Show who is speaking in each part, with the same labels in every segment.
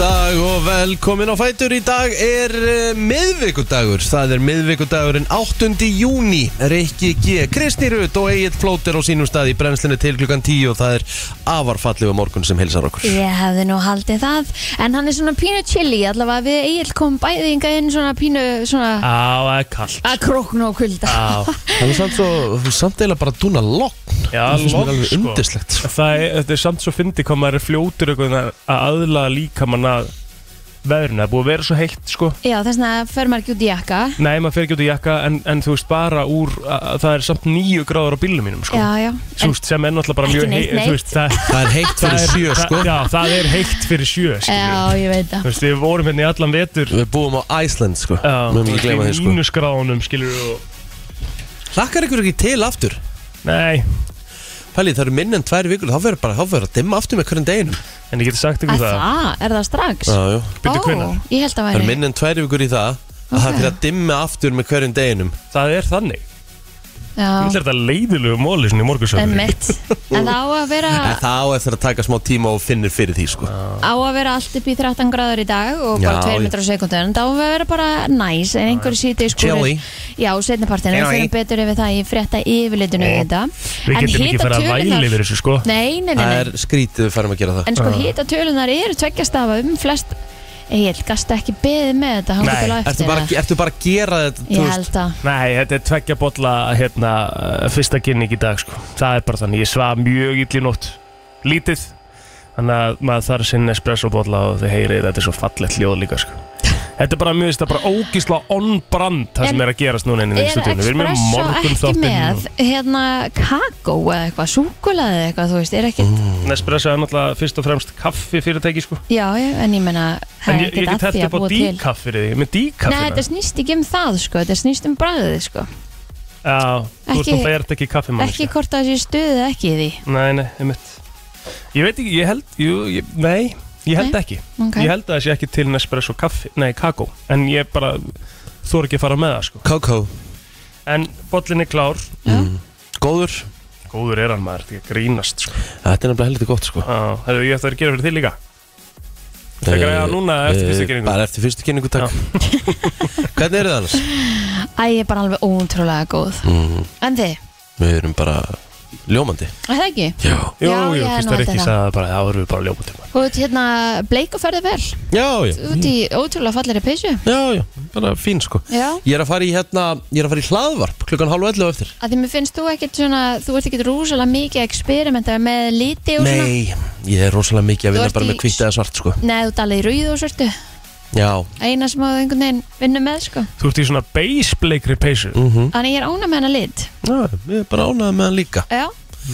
Speaker 1: dag og velkomin á Fætur Í dag er eh, miðvikudagur Það er miðvikudagurinn 8. júni Rikki G. Kristi Rut og Egil Plóter á sínum stað í brennslinu til klukkan 10 og það er afarfallegu morgun sem hilsar okkur
Speaker 2: Ég hefði nú haldið það En hann er svona pínu chili Allavega við Egil kom bæði inga inn svona pínu svona
Speaker 3: Á, það er kallt
Speaker 2: að krokna og kulda
Speaker 3: Á,
Speaker 1: Það er samt svo, samt eiginlega bara dúna lokn
Speaker 3: já,
Speaker 1: Það finnst mér
Speaker 3: loks,
Speaker 1: alveg
Speaker 3: sko.
Speaker 1: undislegt
Speaker 3: Það er, þetta er samt svo fyndi hvað maður er fljótur einhvern veginn að aðla líka mann að veðrinu, það er búið að vera svo heitt sko
Speaker 2: Já þess vegna fer maður ekki út í jakka
Speaker 3: Nei, maður fer ekki út í jakka en, en þú veist bara úr að, að það er samt nýju gráður á bílum mínum sko
Speaker 2: Já já
Speaker 3: Þú veist, sem er náttúrulega bara
Speaker 2: Ekki
Speaker 3: mjög
Speaker 2: neitt,
Speaker 3: hei-
Speaker 2: neitt.
Speaker 3: þú veist, það,
Speaker 1: Það er heitt
Speaker 3: það,
Speaker 1: fyrir
Speaker 3: er,
Speaker 1: sjö sko
Speaker 3: það, já, það er heitt fyrir sjö
Speaker 2: Já
Speaker 3: skilur.
Speaker 2: ég veit það
Speaker 3: Þú veist, við vorum hérna í allan vetur
Speaker 1: Við búum á Æsland sko
Speaker 3: Já,
Speaker 1: Við höfum ekki gleyma því sko
Speaker 3: mínusgráðunum skilur við, og,
Speaker 1: Hlakkar ykkur ekki til aftur
Speaker 3: Nei,
Speaker 1: Pæli það eru minn en tvær vikur Þá verður bara, þá verður að dimma aftur með hverjum deginum
Speaker 3: en ég geti sagt ykkur
Speaker 2: Að
Speaker 3: Um það
Speaker 2: það, er það strax?
Speaker 1: Já, já
Speaker 3: Byrju, hvenær?
Speaker 2: Ó, ég held að
Speaker 1: Það er
Speaker 2: væri
Speaker 1: minn en tvær vikur í það að það fyrir að dimma aftur með hverjum deginum
Speaker 3: Það er þannig Þetta
Speaker 2: Já,
Speaker 3: er þetta leiðilegu móli svona í morgunsöfnum
Speaker 2: emmitt En það á að vera,
Speaker 1: en það á eftir að taka smá tíma og finnir fyrir því sko.
Speaker 2: á að vera allt upp í 13 gráður í dag og bara 2
Speaker 1: Já, ég-
Speaker 2: metrar á sekundu en þá á að vera bara næs en
Speaker 3: Ah.
Speaker 2: einhverju síti í skúrin
Speaker 1: Chilly.
Speaker 2: Já, setnapartin, við
Speaker 1: Chilly.
Speaker 2: fyrir betur yfir það í frétta yfirlitinu við þetta
Speaker 3: Við
Speaker 2: En
Speaker 3: getum ekki fara að
Speaker 2: hitatölurnar-
Speaker 3: væli yfir þessu sko
Speaker 2: Nei, nei, nei,
Speaker 1: það
Speaker 2: nei.
Speaker 1: er skrítið við færum að gera það
Speaker 2: En sko hitatölunar eru tveggjastafa um flest Egil, gastu ekki beðið með þetta hann
Speaker 3: Nei,
Speaker 2: getur lagt
Speaker 1: ertu, bara, ertu bara að gera þetta þú
Speaker 2: Ég
Speaker 1: veist?
Speaker 2: held að
Speaker 3: Nei, þetta er tveggja bolla hérna, uh, fyrsta kynning í dag sko. Það er bara þannig, ég svaf mjög ill í nótt Lítið Þannig að maður þarf sinn espresso bolla og þið heyrið þetta er svo fallegt hljóð líka sko. Þetta er bara mjög, þetta er bara ógísla on brand það sem
Speaker 2: En
Speaker 3: er að gerast núna inn í
Speaker 2: Er
Speaker 3: stúdíunum. Við erum með
Speaker 2: Espresso ekki
Speaker 3: morgunþáttinn
Speaker 2: með hérna kakó eða eitthvað, súkulaði eða eitthvað, þú veist, er ekki
Speaker 3: og- Nespresso er náttúrulega fyrst og fremst kaffi fyrirtæki sko.
Speaker 2: Já, ég- en ég menna,
Speaker 3: En
Speaker 2: það er
Speaker 3: ég, ég
Speaker 2: ekkert
Speaker 3: get
Speaker 2: að því
Speaker 3: hætti
Speaker 2: að
Speaker 3: upp á
Speaker 2: búa til
Speaker 3: díkaff fyrir því Með
Speaker 2: Nei, þetta
Speaker 3: díkaffina
Speaker 2: snýst ekki um það, sko, þetta snýst um bræðið, sko
Speaker 3: Já, þú
Speaker 2: Ekki-
Speaker 3: veist að það er sko. ekki kaffimann
Speaker 2: Ekki hvort það sé stuðið eða ekki í því
Speaker 3: Nei, nei, einmitt Ég veit ekki, ég held, jú, ég, nei, ég held
Speaker 2: Nei,
Speaker 3: ekki
Speaker 2: ok.
Speaker 3: Ég held að það sé ekki til Nespresso kaffi, nei, kakó En ég bara, þú ekki að fara með það, sko
Speaker 1: Kókó,
Speaker 3: En bollin er klár,
Speaker 1: Mm. góður
Speaker 3: góður er hann maður, þetta er ekki að grínast, sko
Speaker 1: þetta er nefnilega heldur gott sko.
Speaker 3: Á, Hefðu, ég ætti að gera fyrir þig líka Það
Speaker 1: Eh,
Speaker 3: græða núna eftir
Speaker 1: eh,
Speaker 3: fyrstu kynningu
Speaker 1: bara eftir fyrstu kynningu takk hvernig eru það annars?
Speaker 2: Æ, ég er bara alveg ótrúlega góð
Speaker 1: Mm,
Speaker 2: En þið,
Speaker 1: við erum bara ljómandi
Speaker 2: er það ekki?
Speaker 1: já,
Speaker 3: Jú,
Speaker 2: Já,
Speaker 3: jú,
Speaker 2: ég er
Speaker 3: fyrst
Speaker 2: nú
Speaker 3: það er ekki
Speaker 2: þetta.
Speaker 3: sagði það bara, þá erum við bara sko. ljópa til
Speaker 2: Þú ert hérna bleik og ferðið vel
Speaker 1: já, já,
Speaker 2: Þú ert í ótrúlega fallegri peysu
Speaker 1: já, já bara fín sko
Speaker 2: Já
Speaker 1: ég er að fara í hérna, ég er að fara í hlaðvarp klukkan hálf 11 á eftir
Speaker 2: að því mér finnst þú ekkert svona þú ert ekkert rúsalega mikið að experimenta með liti og svona
Speaker 1: Nei, ég er rosalega mikið að
Speaker 2: Þú
Speaker 1: vinna
Speaker 2: ert
Speaker 1: bara
Speaker 2: í-
Speaker 1: með kvitt eða svart sko
Speaker 2: Nei, þú dalið í rauð og svörtu
Speaker 1: Já,
Speaker 2: eina sem þú einhvern veginn vinnur með sko
Speaker 3: Þú ert í svona beisbleikri peysu
Speaker 2: þannig ég er ána með hana lit
Speaker 1: já ég er Mhm. bara ánægð með hann líka
Speaker 2: Já.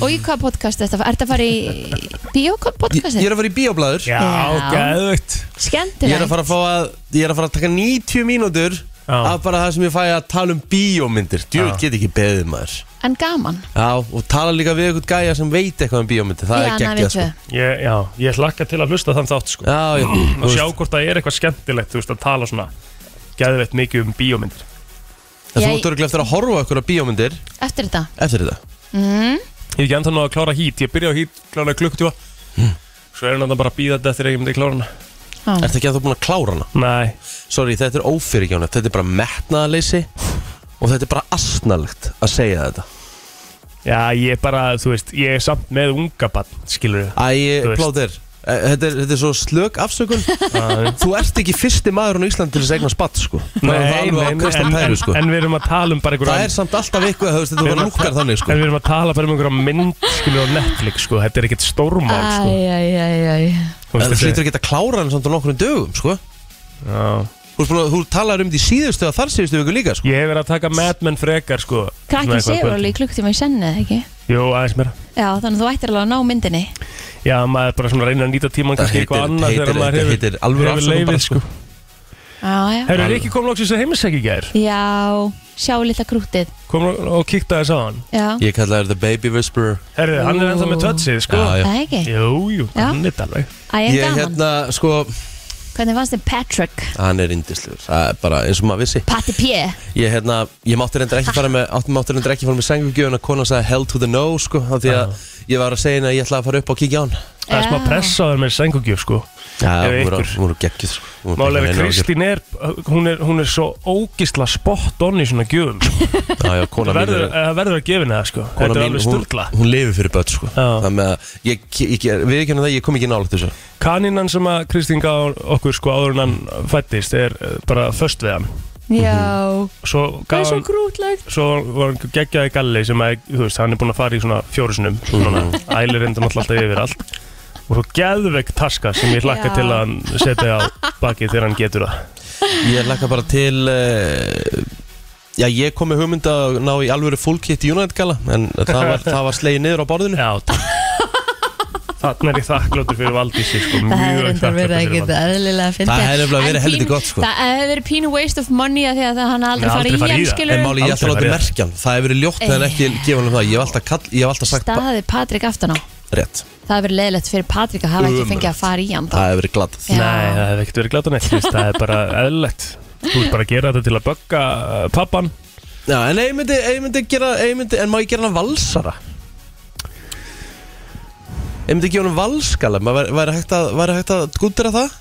Speaker 2: og í hvaða podcast er þetta? Er þetta að fara í
Speaker 1: ég, ég
Speaker 2: bíópodcastið?
Speaker 1: er að fara í bioblæður
Speaker 3: Já,
Speaker 2: Já.
Speaker 3: geðvögt
Speaker 1: Ég
Speaker 2: Skemmtilega
Speaker 1: er að fara að fá að, ég er að fara að taka 90 mínútur
Speaker 3: Já.
Speaker 1: Af bara það sem ég fæ að tala um bíómyndir Djúl
Speaker 3: Já.
Speaker 1: get ekki beðið maður
Speaker 2: en gaman
Speaker 1: Já, og tala líka við einhvern gæja sem veit eitthvað um bíómyndir Það
Speaker 2: Já,
Speaker 1: er
Speaker 2: na,
Speaker 1: geggjað
Speaker 2: við
Speaker 1: sko
Speaker 2: tvö.
Speaker 3: Ég, já, ég hlakka til að hlusta þann þátt, sko
Speaker 1: Já, já, þú
Speaker 3: að
Speaker 1: veist,
Speaker 3: sjá hvort það er eitthvað skemmtilegt þú veist að tala svona geðveitt mikið um bíómyndir
Speaker 1: það þú
Speaker 2: Ég-
Speaker 1: ert örgulega eftir að horfa okkur á bíómyndir
Speaker 2: eftir þetta Mm.
Speaker 1: Eftir þetta
Speaker 3: ég er ekki enda nú að klára hít, ég byrja á hít klára klukkutífa svo er hann bara að býða þetta eftir að ég myndi klára hana
Speaker 2: Já.
Speaker 1: Hmm. Ertu ekki að þú búin að klára hana?
Speaker 3: nei,
Speaker 1: Sorry, þetta er ófyrirgjónlegt, þetta er bara metnaðarleysi Og þetta er bara asnalegt að segja þetta
Speaker 3: já ég er bara þú veist, ég er samt með unga bann skilur við,
Speaker 1: Æ,
Speaker 3: Þú veist.
Speaker 1: plóðir Þetta er, þetta er svo slök afsökun Þú ert ekki fyrsti maðurinn á Íslandi til þess að eigna spatt sko. Það er alveg að kasta
Speaker 3: en,
Speaker 1: pæru sko.
Speaker 3: en, en við erum að tala um bara
Speaker 1: Það
Speaker 3: einhverja
Speaker 1: er samt alltaf eitthvað þú veist, Þetta bara lukkar þannig sko.
Speaker 3: en við erum að tala bara um einhverja mynd skilur við, á Netflix sko, þetta er ekkert stórmál sko.
Speaker 2: Æ, æ, æ, æ, æ.
Speaker 1: En
Speaker 3: Þú
Speaker 1: Þú
Speaker 3: veist, þetta
Speaker 1: hlýtur ekki að klára hann samt á nokkrum dögum sko.
Speaker 3: er- já.
Speaker 1: Þú, spil, þú talar um því síðustu að þar síðustu viku líka sko.
Speaker 3: ég hef verið að taka Mad Men frekar sko,
Speaker 2: krakkin
Speaker 3: svona eitthvað
Speaker 2: séur
Speaker 3: kvöld.
Speaker 2: alveg í klukktíma í senni eða ekki
Speaker 3: jú, aðeins meira
Speaker 2: Já, þannig að þú ættir alveg að ná myndinni
Speaker 3: Já, maður bara svona reynir að nýta
Speaker 1: Það
Speaker 3: tíman kannski eitthvað
Speaker 1: heitir-
Speaker 3: annað
Speaker 1: heitir-
Speaker 3: þegar maður
Speaker 1: þetta
Speaker 3: hefur,
Speaker 1: heitir alvöru
Speaker 3: hefur
Speaker 1: afsökun bara,
Speaker 3: leifið
Speaker 1: sko.
Speaker 3: sko.
Speaker 2: Já, já,
Speaker 3: Herru, Rikki kom loksins að heimsækja í gær
Speaker 2: já sjá litla krútið
Speaker 3: Kom og, og kíkta þess á hann
Speaker 2: Já,
Speaker 1: Ég kalla þér The Baby Whisperer
Speaker 3: Herru, hann er ennþá með tötsið, sko
Speaker 1: Já, já.
Speaker 2: það er ekki
Speaker 3: Jú, jú,
Speaker 2: Já.
Speaker 3: hann er þetta alveg
Speaker 2: Æ, en
Speaker 1: Ég
Speaker 2: gaman
Speaker 1: hérna, sko,
Speaker 2: Hvernig fannst þið Patrick?
Speaker 1: hann er indislegur Það er bara eins og maður vissi
Speaker 2: Patti P
Speaker 1: Ég, hérna, ég mátti reyndar ekki fara með átti mátti reyndar ekki fara með sengugjöfun að konan sagði hell to the no sko, af því að ég var að segja henni að ég ætlaði að fara upp og kíkja á hann
Speaker 3: það er smá
Speaker 2: Já.
Speaker 3: pressa á þér með sengugjöf sko
Speaker 1: Já,
Speaker 3: Ef
Speaker 1: hún voru-
Speaker 3: ykkur-
Speaker 1: hún voru geggjuð sko. Hún voru
Speaker 3: Málega
Speaker 1: bara
Speaker 3: er
Speaker 1: vel
Speaker 3: að Kristín er hún, er, hún er svo ógisla spott onni svona gjöfum sko.
Speaker 1: ágjörð. Já, já, kona
Speaker 3: Það
Speaker 1: mín
Speaker 3: verður,
Speaker 1: er-
Speaker 3: það verður að gefa henni það sko
Speaker 1: kona
Speaker 3: Þetta er
Speaker 1: mín, hún,
Speaker 3: alveg sturgla
Speaker 1: hún lifi fyrir börn sko.
Speaker 3: Já.
Speaker 1: Þannig að ég, ég, ég, við ekki hann það, ég kom ekki nálægt þessu
Speaker 3: Kanínan sem að Kristín gaf okkur sko áður en hann fættist er eh, bara föst við hann
Speaker 2: Já,
Speaker 1: Mhm.
Speaker 2: það
Speaker 3: Svo
Speaker 2: er
Speaker 3: gaf
Speaker 2: svo
Speaker 3: hann
Speaker 2: grútlegt
Speaker 3: Svo var hann geggjaði galli sem að, þú veist, hann er búinn að fara í svona fjórusunum Svona,
Speaker 1: Mhm.
Speaker 3: ælir endur náttúrulega alltaf yfir allt Og svo geðvegg taska sem ég hlakka
Speaker 2: Já.
Speaker 3: til að hann setja á bakið þegar hann getur það
Speaker 1: Ég lakka bara til uh, Já, ég kom með hugmynd að ná í alvöru full kit United gala En það var, það var slegið niður á borðinu
Speaker 3: Já, takk Þannig er ég þakkláttur fyrir Valdísi, sko
Speaker 2: Það hefur
Speaker 3: mjög
Speaker 2: reyndar
Speaker 3: þakklátur
Speaker 2: verið
Speaker 3: fyrir
Speaker 2: ekkert
Speaker 3: Valdísi.
Speaker 2: eðlilega að finna
Speaker 1: Það hefði nefnilega verið helviti gott, sko.
Speaker 2: Það hefði verið pínu waste of money að því að það hann aldrei
Speaker 3: Nei, aldrei
Speaker 2: farið í hann
Speaker 3: farið í það.
Speaker 1: En
Speaker 2: skilur
Speaker 1: máli ég ætla að
Speaker 3: Aldrei
Speaker 1: láta
Speaker 3: farið.
Speaker 1: merkjan Það hefur verið ljótt en ekki
Speaker 2: Eh.
Speaker 1: gefa hann um það Ég hef alltaf, kall, ég hef alltaf sagt ba-
Speaker 2: staði Patrik aftan á
Speaker 1: rétt
Speaker 2: Það hefur verið leðilegt fyrir Patrik að hafa ekki
Speaker 1: Ömurlegt.
Speaker 2: fengið að fara í hann þá.
Speaker 1: Það hefur verið glatt
Speaker 2: Já.
Speaker 3: Nei, það hefði ekkert verið glátan eitt, það er bara eðlilegt Þú ert bara að gera þetta til að bögga uh, pappan
Speaker 1: Já, en ég myndi, ég myndi gera ég myndi, En má ég gera hann valsara? Ég myndi gefa hann valskala Væri væri hægt að, væri hægt að gúndra það?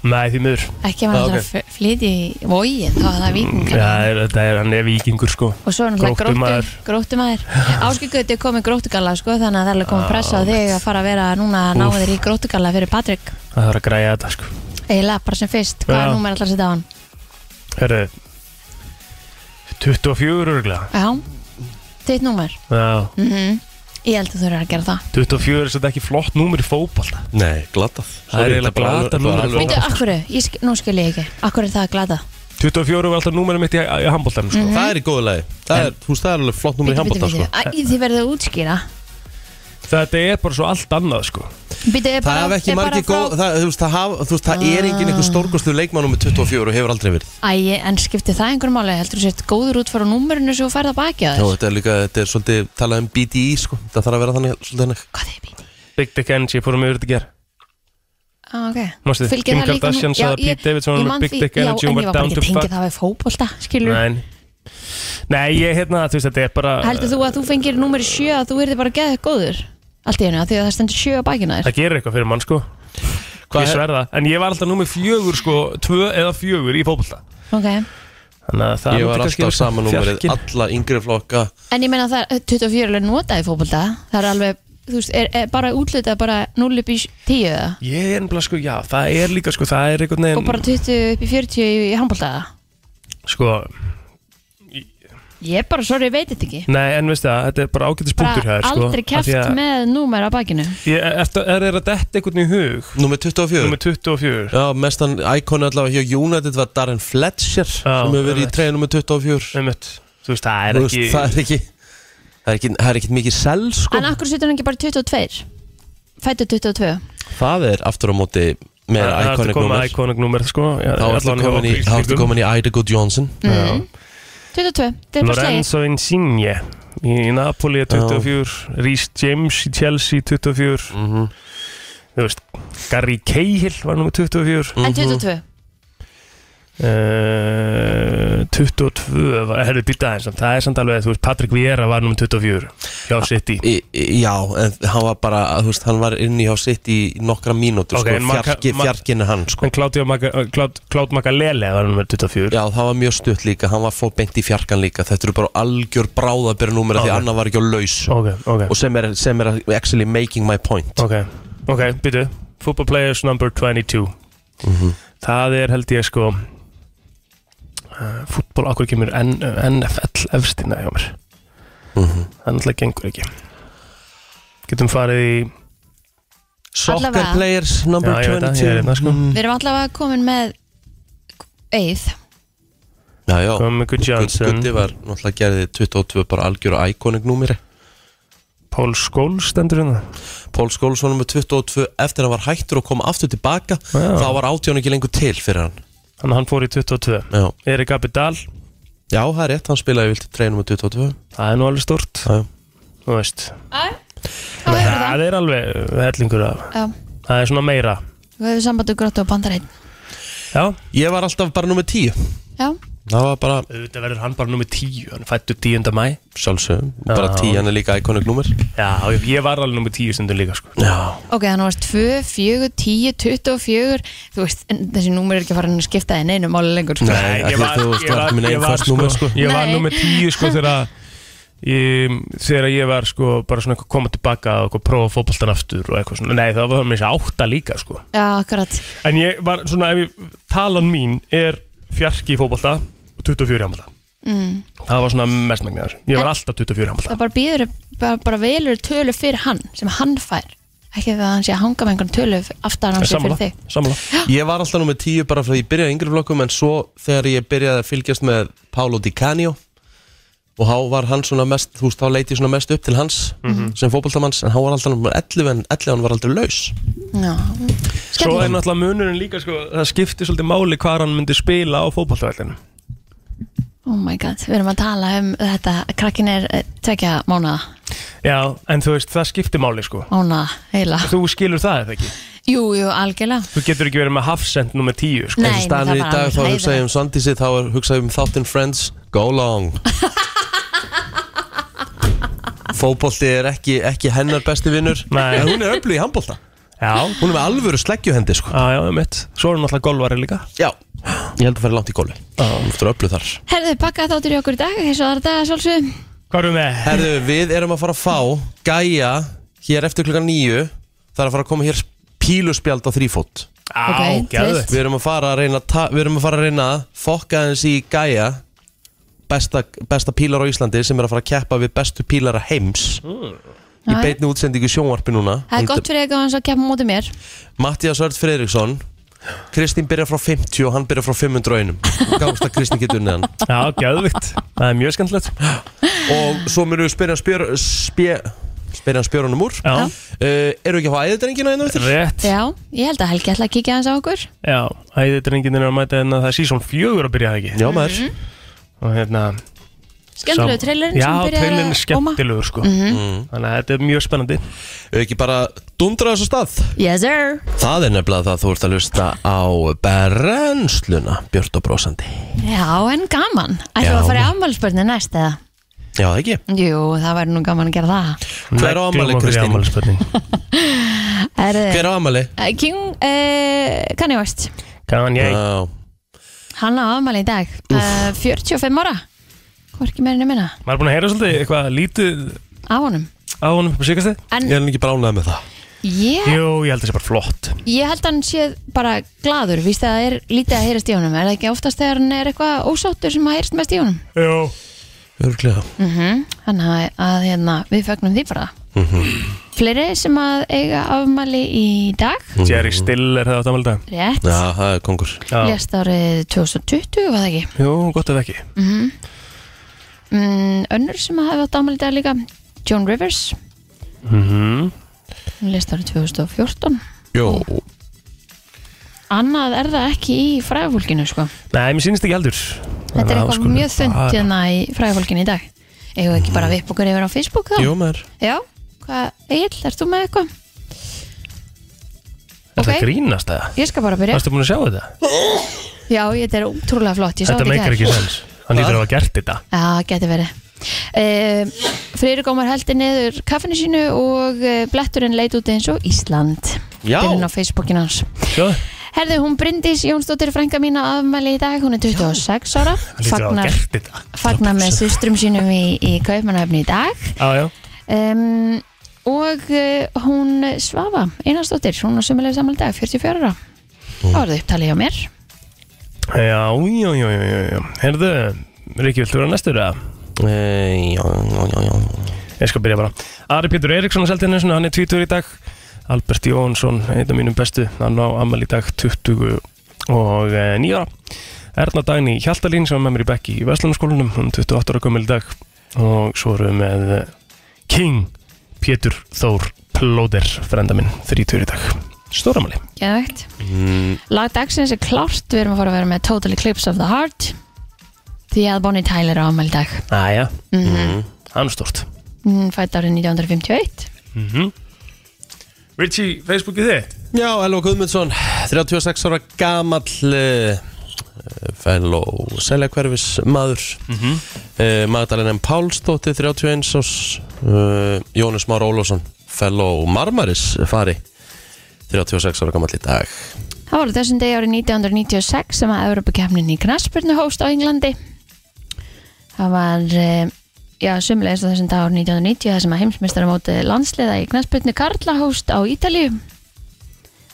Speaker 3: Nei, því miður
Speaker 2: Ekki ef hann
Speaker 1: Já,
Speaker 2: ætlar
Speaker 1: ok. Mm.
Speaker 2: að f- flytja í vógin þá er það
Speaker 3: Já,
Speaker 2: vikingar
Speaker 3: það er, það er, hann er vikingur, sko
Speaker 2: Og svo er náttúrulega
Speaker 3: Gróttumaður.
Speaker 2: gróttu- gróttumæður Áskilgöti er komið gróttugalla sko þannig að það er alveg komið pressa á þig að fara að vera núna að ná
Speaker 3: Úff.
Speaker 2: þér í gróttugalla fyrir Patrik
Speaker 3: Það þarf að græja þetta, sko
Speaker 2: Eiginlega bara sem fyrst, hvað
Speaker 3: Já.
Speaker 2: er númer allar að setja á hann?
Speaker 3: Herru 24 örgulega
Speaker 2: Já, þitt númer
Speaker 3: Já,
Speaker 2: mm Ég held að þú eru að gera það
Speaker 3: 24 er þetta ekki flott númur í fótbolta
Speaker 1: Nei, glatað
Speaker 3: Það er eiginlega glatað númer í
Speaker 2: Veitu,
Speaker 3: fótbolta.
Speaker 1: fólk
Speaker 2: akkur, ég, sk- nú skil ég ekki Akkur er það að glata
Speaker 3: 24 var alltaf númurum mitt í, í handbóltanum
Speaker 2: Mhm.
Speaker 3: sko.
Speaker 1: Það er í góðu lagi Það er, þú veist, það er alveg flott númer í handbólta sko.
Speaker 2: Þið verður að útskýra
Speaker 3: Þetta er bara svo allt annað sko.
Speaker 2: Bíddu, er
Speaker 1: Það
Speaker 2: bara-
Speaker 1: hef ekki
Speaker 2: er bara
Speaker 1: margir
Speaker 2: frá- Ah.
Speaker 1: góð það, þú, veist, það, haf, þú veist, það er engin einhver stórkostu leikmannum með 24 og hefur aldrei verið
Speaker 2: Æ, en skipti það einhverjum máli Heldur þú sért góður út frá númerinu sem þú færð að baki á
Speaker 1: Já,
Speaker 2: þér
Speaker 1: þetta er líka, þetta er svolítið talað um BDI sko. Það þarf að vera þannig, svolítið þannig
Speaker 2: Hvað er E? bíti?
Speaker 3: Big Dick Energy fórum um yfir þetta ger
Speaker 2: Á, ok
Speaker 3: Manstu,
Speaker 2: Fylgir
Speaker 3: Kim
Speaker 2: það líka nú-
Speaker 3: Kardashian
Speaker 2: Já,
Speaker 3: sagði að
Speaker 2: ég-
Speaker 3: Pete Davidson
Speaker 2: ég
Speaker 3: var með
Speaker 2: man
Speaker 3: Big
Speaker 2: því-
Speaker 3: Dick Energy
Speaker 2: Já,
Speaker 3: og
Speaker 2: en
Speaker 3: var
Speaker 2: ég var bara
Speaker 3: down
Speaker 2: ekki
Speaker 3: to
Speaker 2: tengið
Speaker 3: fuck.
Speaker 2: það við fótbolta Skilur
Speaker 3: Nei. Nei, ég hérna þú veist, Þetta er bara
Speaker 2: Heldur þú að þú fengir númeri 7 að þú verður bara geðið góður allt í hennu, því að það stendur 7 á bakinu á þér
Speaker 3: Það gerir eitthvað fyrir mann sko.
Speaker 1: Hvað
Speaker 3: Ég
Speaker 1: er-
Speaker 3: sverða En ég var alltaf númur fjögur sko, Tvö eða fjögur í fótbolta
Speaker 2: okay.
Speaker 3: Þannig að það
Speaker 1: Ég
Speaker 3: myndi
Speaker 1: var alltaf
Speaker 3: kannski vera
Speaker 1: sama númerið
Speaker 3: fjarkinn.
Speaker 1: Alla yngri flokka
Speaker 2: En ég meina að það er 24 alveg notað í fótbolta Það er alveg, þú veist, er, er bara útlitað bara 0 upp í 10 eða?
Speaker 3: Ég er bara sko, já, það er líka sko, það er einhvern
Speaker 2: og
Speaker 3: veginn
Speaker 2: bara 20 upp í 40 í, í handbolta
Speaker 3: sko,
Speaker 2: Ég er bara, sorry, veit þetta ekki
Speaker 3: Nei, en veistu það, þetta er bara ágætis punktur
Speaker 2: Bara
Speaker 3: hér sko,
Speaker 2: aldrei keft með númer á bakinu
Speaker 3: Ég er, er, er að detta einhvern í hug
Speaker 1: Númer 24
Speaker 3: Númer 24
Speaker 1: Já, mestan íkonu allavega hjá United var Darren Fletcher sem hefur verið í
Speaker 3: einmitt.
Speaker 1: treyja númer 24
Speaker 3: Einmitt. Þú veist, það er
Speaker 1: Þú
Speaker 3: ekki
Speaker 1: veist, Það er ekki Það er ekki, það er ekki mikið sel sko
Speaker 2: En akkur setur hann ekki bara 22 Fættu 22
Speaker 1: Það er aftur á móti meira
Speaker 3: Það er
Speaker 1: íkonu
Speaker 3: að koma íkónik númer sko, já,
Speaker 1: Þá ertu
Speaker 3: allan hjá
Speaker 1: komin í, þá ertu
Speaker 3: Íslendingum.
Speaker 1: komin í Idaho Johnson
Speaker 2: 22, þetta er bara slegið
Speaker 3: Lorenzo Insigne í, í Napoli er 24 Rhys James í Chelsea 24
Speaker 1: Mhm.
Speaker 3: Þú veist, Gary Cahill var númer 24
Speaker 1: Mhm.
Speaker 2: En 22,
Speaker 3: Uh, 22 var, herri, býta aðeins það er samt alveg, þú veist, Patrick Vieira var nummer 24 hjá City
Speaker 1: Ah, Í- í- Já, en hann var bara, þú veist, hann var inni hjá sitt í nokkra mínútur,
Speaker 3: Ok, en
Speaker 1: sko,
Speaker 3: Maka-
Speaker 1: fjarki,
Speaker 3: Ma-
Speaker 1: fjarkinu hann, sko
Speaker 3: en Claudio Maca- uh, Clád- Clád Magalele var nummer 24
Speaker 1: Já, það var mjög stutt líka, hann var fór beint í fjarkan líka Þetta eru bara algjör bráðabera númer því
Speaker 3: Ok.
Speaker 1: annar var ekki á laus
Speaker 3: ok, ok,
Speaker 1: Og sem er, sem er actually making my point
Speaker 3: ok, ok, býtu football players number 22
Speaker 1: Mhm.
Speaker 3: það er held ég sko uh, fútbol okkur kemur N, NFL efstina hjá mér
Speaker 1: Mhm.
Speaker 3: það náttúrulega gengur ekki getum farið í
Speaker 1: Soccer
Speaker 2: Allavega. Mm.
Speaker 1: players number
Speaker 3: já, ég veit það, ég
Speaker 1: 22
Speaker 3: er hérna sko
Speaker 2: við erum allavega komin með Eið
Speaker 1: Já, já,
Speaker 3: komið Good Johnson
Speaker 1: Gutti var náttúrulega gerði 22 bara algjör iconic númeri
Speaker 3: Paul Scholes stendur hérna
Speaker 1: Pól Skólsson nummer 22 eftir hann var hættur og kom aftur tilbaka
Speaker 3: Já.
Speaker 1: þá var átján ekki lengur til fyrir hann
Speaker 3: Þannig að hann fór í 22
Speaker 1: Já,
Speaker 3: Erik Abidal,
Speaker 1: já það er rétt, hann spilaði vilt treinum með 22
Speaker 3: það er nú alveg stort
Speaker 1: Já, já.
Speaker 3: Þú veist
Speaker 2: Þá hefur það
Speaker 3: Það er alveg uh, hellingur af
Speaker 2: Já,
Speaker 3: Það er svona meira
Speaker 2: við höfum samband og gróttu og bandar einn
Speaker 3: Já,
Speaker 1: Ég var alltaf bara nummer 10
Speaker 2: Já,
Speaker 1: það var bara
Speaker 3: Þetta verður hann bara nummið 10, hann fættu 10. mæ
Speaker 1: sjálfsögum, bara
Speaker 3: Já.
Speaker 1: tíjan er líka iconic nummer
Speaker 3: Já, ég, ég var alveg nummið 10 stundum líka sko.
Speaker 1: Já,
Speaker 2: Ok, þannig var 2, 4, 10, 24 Þú veist, en þessi númer er ekki farin að skipta þið neinu máli lengur sko.
Speaker 1: Nei,
Speaker 3: ég
Speaker 1: ekki
Speaker 3: var,
Speaker 1: þú varst
Speaker 3: ég var,
Speaker 1: ekki minn
Speaker 3: ég
Speaker 1: einn
Speaker 3: var,
Speaker 1: föst númer, sko.
Speaker 3: Ég var
Speaker 2: Nei.
Speaker 3: nummið 10 sko þegar Ég, þegar ég var sko bara svona eitthvað koma tilbaka og eitthvað prófa fótboltan aftur og eitthvað svona, nei það var mér sér átta líka sko
Speaker 2: Já, akkurat
Speaker 3: En ég var svona, ef ég, talan mín er fjarki í fótbolta og 24 í handbolta. Mm. Það var svona mestmægnaður. Ég var
Speaker 2: En-
Speaker 3: alltaf 24 í handbolta.
Speaker 2: Það bara býður, bara, bara velur tölu fyrir hann sem hann fær ekki það að hann sé að hanga með einhvern tölu aftar hann sé fyrir
Speaker 3: Sammála,
Speaker 2: þig
Speaker 3: sammála.
Speaker 1: Ég var alltaf nummer 10 bara frá því ég byrjaði í yngri flokkum en svo þegar ég byrjaði að fylgjast með Paolo Di Canio og há var hann svona mest, þú veist, þá leiti ég svona mest upp til hans sem fótboltamanns en há var alltaf nummer 11 en 11 hann var aldrei laus
Speaker 2: Já,
Speaker 3: Svo er
Speaker 2: skemmtilegt
Speaker 3: náttúrulega munurinn líka, sko, það skiptir svolítið máli hvað hann myndi spila á fótboltavælinu.
Speaker 2: Oh my god, við erum að tala um þetta krakkin er eh, tvekja mánaða
Speaker 3: Já, en þú veist, það skiptir máli, sko.
Speaker 2: mánaða, heila
Speaker 3: Þú skilur það eða ekki?
Speaker 2: Jú, jú, algjörlega
Speaker 3: Þú getur ekki verið með hafsend nummer 10, sko.
Speaker 2: Nei,
Speaker 1: eins og staðan
Speaker 2: það
Speaker 1: er í
Speaker 2: var
Speaker 1: dag
Speaker 2: alveg
Speaker 1: þá hugsa ég
Speaker 2: hræðilegt.
Speaker 1: um Svandísi þá er- hugsa ég um þáttinn Friends Go long Fótbolti er ekki, ekki hennar besti vinnur
Speaker 3: Nei.
Speaker 1: en hún er öflug í handbolta
Speaker 3: Já,
Speaker 1: hún er með alvöru sleggjuhendi sko
Speaker 3: já, já, mitt. Svo er hann náttúrulega golvari líka.
Speaker 1: Já, ég held að fara langt í gólu Hún er öflug þar
Speaker 2: Herðu, pakka þáttur í okkur í dag, eins og aðra daga sjálfsög
Speaker 3: Hvað erum við?
Speaker 1: Herðu, við erum að fara að fá Gæja hér eftir klukkan nýju Það er að fara að koma hér píluspjald á þrýfót
Speaker 3: Á,
Speaker 2: Ok,
Speaker 3: geðveikt.
Speaker 1: Við erum að fara að reyna að ta- Við erum að fara að reyna að fokka aðeins í Gæja besta, besta pílar á Íslandi sem er að fara að keppa við bestu pílara heims
Speaker 3: Mm.
Speaker 1: Í
Speaker 2: Já, já.
Speaker 1: beinni útsendingu í sjónvarpi núna
Speaker 2: Það er gott fyrir eitthvað hans að kemja móti mér
Speaker 1: Mattias Örd Fredriksson Kristín byrjar frá 50 og hann byrjar frá 501 Gáðast að Kristín getur neðan
Speaker 3: Já, geðvikt. Það er mjög skemmtilegt.
Speaker 1: Og svo munum við spyrja hann spjör, spjö, spyrja hann spjörunum úr
Speaker 3: Já.
Speaker 1: Uh, eru ekki að fá æðidrengina einu eftir?
Speaker 3: Rétt.
Speaker 2: Já, ég held að Helgi ætla að kíkja hans á okkur
Speaker 3: Já, æðið drengin er að mæta hérna það er sísón fjögur að byrja það ekki
Speaker 1: Já maður
Speaker 2: Mhm.
Speaker 3: og hérna
Speaker 2: Skemmtilegu
Speaker 3: sá-
Speaker 2: trailerin
Speaker 3: Já,
Speaker 2: sem byrjar að
Speaker 3: trailerin er
Speaker 2: koma Mhm.
Speaker 3: skemmtilegur sko Þannig að þetta er mjög spennandi
Speaker 1: Eru Mm-hmm. ekki bara dundra þessu stað?
Speaker 2: Yes sir
Speaker 1: Það er nefnilega það þú ert að hlusta á Berensluna, Björn og Brósandi
Speaker 2: Já, en gaman Ætlum við
Speaker 1: Já.
Speaker 2: að fara í afmálspörni næst eða?
Speaker 1: Já það ekki?
Speaker 2: Jú, það væri nú gaman að gera það
Speaker 1: Hver á afmæli, Kristín?
Speaker 3: Kristín?
Speaker 2: Er, eh,
Speaker 1: Hver á amali?
Speaker 2: King uh, Kanye West
Speaker 3: Kann ég
Speaker 1: Já,
Speaker 2: Hann á afmæli í dag uh, 45 ára Hvorki meirinu minna
Speaker 3: Maður er búin að heyra svolítið eitthvað lítið
Speaker 2: Á honum
Speaker 3: á honum på síkastu
Speaker 1: ég
Speaker 2: En
Speaker 1: er nú ekki bránað með það
Speaker 2: ég,
Speaker 3: Jú, ég held þessi bara flott
Speaker 2: ég held hann sé bara gladur Víst að það er lítið að heyrast í honum Er það ekki oftast þegar hann er eitthvað ósáttur sem að heyrast mest í honum
Speaker 3: Jú
Speaker 1: Örglega
Speaker 2: mm Þannig að, að hérna, við fagnum því bara
Speaker 3: Mhm.
Speaker 2: Fleiri sem að eiga afmæli í dag
Speaker 3: Jerry Still er það átt ámælda
Speaker 2: Rétt
Speaker 1: Já það er kongur
Speaker 2: Lest árið 2020 var það ekki
Speaker 3: Jú, gott ef ekki
Speaker 2: Mhm. mm, Önnur sem að hafa átt afmæli í dag líka Joan Rivers
Speaker 3: Mhm.
Speaker 2: Hún lest árið 2014
Speaker 1: Jó
Speaker 2: Annað er það ekki í fræðafólkinu sko.
Speaker 3: Nei, mér sýnist ekki heldur
Speaker 2: Þetta er eitthvað mjög þund hérna í fræðafólkinu í dag Eigum við ekki bara vipp okkur yfir á Facebook þá?
Speaker 1: Jó maður
Speaker 2: Já, hvað, Egil, ert þú með eitthvað?
Speaker 3: Er það
Speaker 2: Ok.
Speaker 3: grínast það?
Speaker 2: Ég skal bara byrja
Speaker 3: Varstu búin að sjá þetta?
Speaker 2: Já, þetta er útrúlega flott, ég sá
Speaker 3: Þetta
Speaker 2: í
Speaker 3: meikar
Speaker 2: gær.
Speaker 3: ekki sens Hann lítur að hafa gert þetta
Speaker 2: Já, það getur verið uh, Freyri gómar heldi niður kaffinu sínu og uh, bletturinn leit út eins og Ísland
Speaker 1: Já.
Speaker 2: Byrjun á Facebookinu hans
Speaker 3: Sjóðu
Speaker 2: Herðu, hún Bryndís Jónsdóttir frænka mín á afmæli í dag, hún er 26 ára
Speaker 3: Hann lítur að hafa
Speaker 2: fagnar,
Speaker 3: gert þetta
Speaker 2: fagnar með systrum sínum í, í kaupmanöfni í dag
Speaker 3: Já, já
Speaker 2: um, og uh, hún Svava Einarsdóttir, hún á sömulega samal dag 44 ára, það var það upptalið hjá mér
Speaker 3: Já, já, já, já, já, já. Herðu, Ríkki, viltu vera næstur eða?
Speaker 1: e, Já, já, já, já
Speaker 3: Ég skal byrja bara. Ari Pétur Eriksson á Seltjarnarnesinu, hann er 20 í dag. Albert Jónsson, einn af mínum bestu, hann á ammali í dag 20 og eh, nýja ára. Erna Dagni Hjaltalín sem er með mér í bekki í Vestlunarskólanum, hún er 28 ára gömul í dag. Og svo erum við með eh, King Pétur Þór Plóder, frenda minn, 30 í dag. Stóramali.
Speaker 2: Geðvægt. Lag dagsins er klárt, við erum að fara að vera með Total Eclipse of the Heart því að Bonnie Tyler á afmæli í dag
Speaker 3: Æja, mm hann er stórt.
Speaker 2: Hún fætt árið 1951
Speaker 3: Ríkki, Facebookið þið?
Speaker 1: Já, Elva Guðmundsson 36 ára gamall uh, fellow seljakverfis maður mm Magdalena M. Pálsdóttir 31 ás uh, Jónus Már Ólásson fellow Marmaris fari 36 ára gammal í dag
Speaker 2: Það var á þessum degi árið 1996 sem að Evropakefnin í Knaspurnu hófst á Englandi. Það var, eh, já, sumleis á þessum dag árið 1990 þar sem að heimsmeistaramótið landsliða í Knaspurnu Karla hófst á Ítalíu.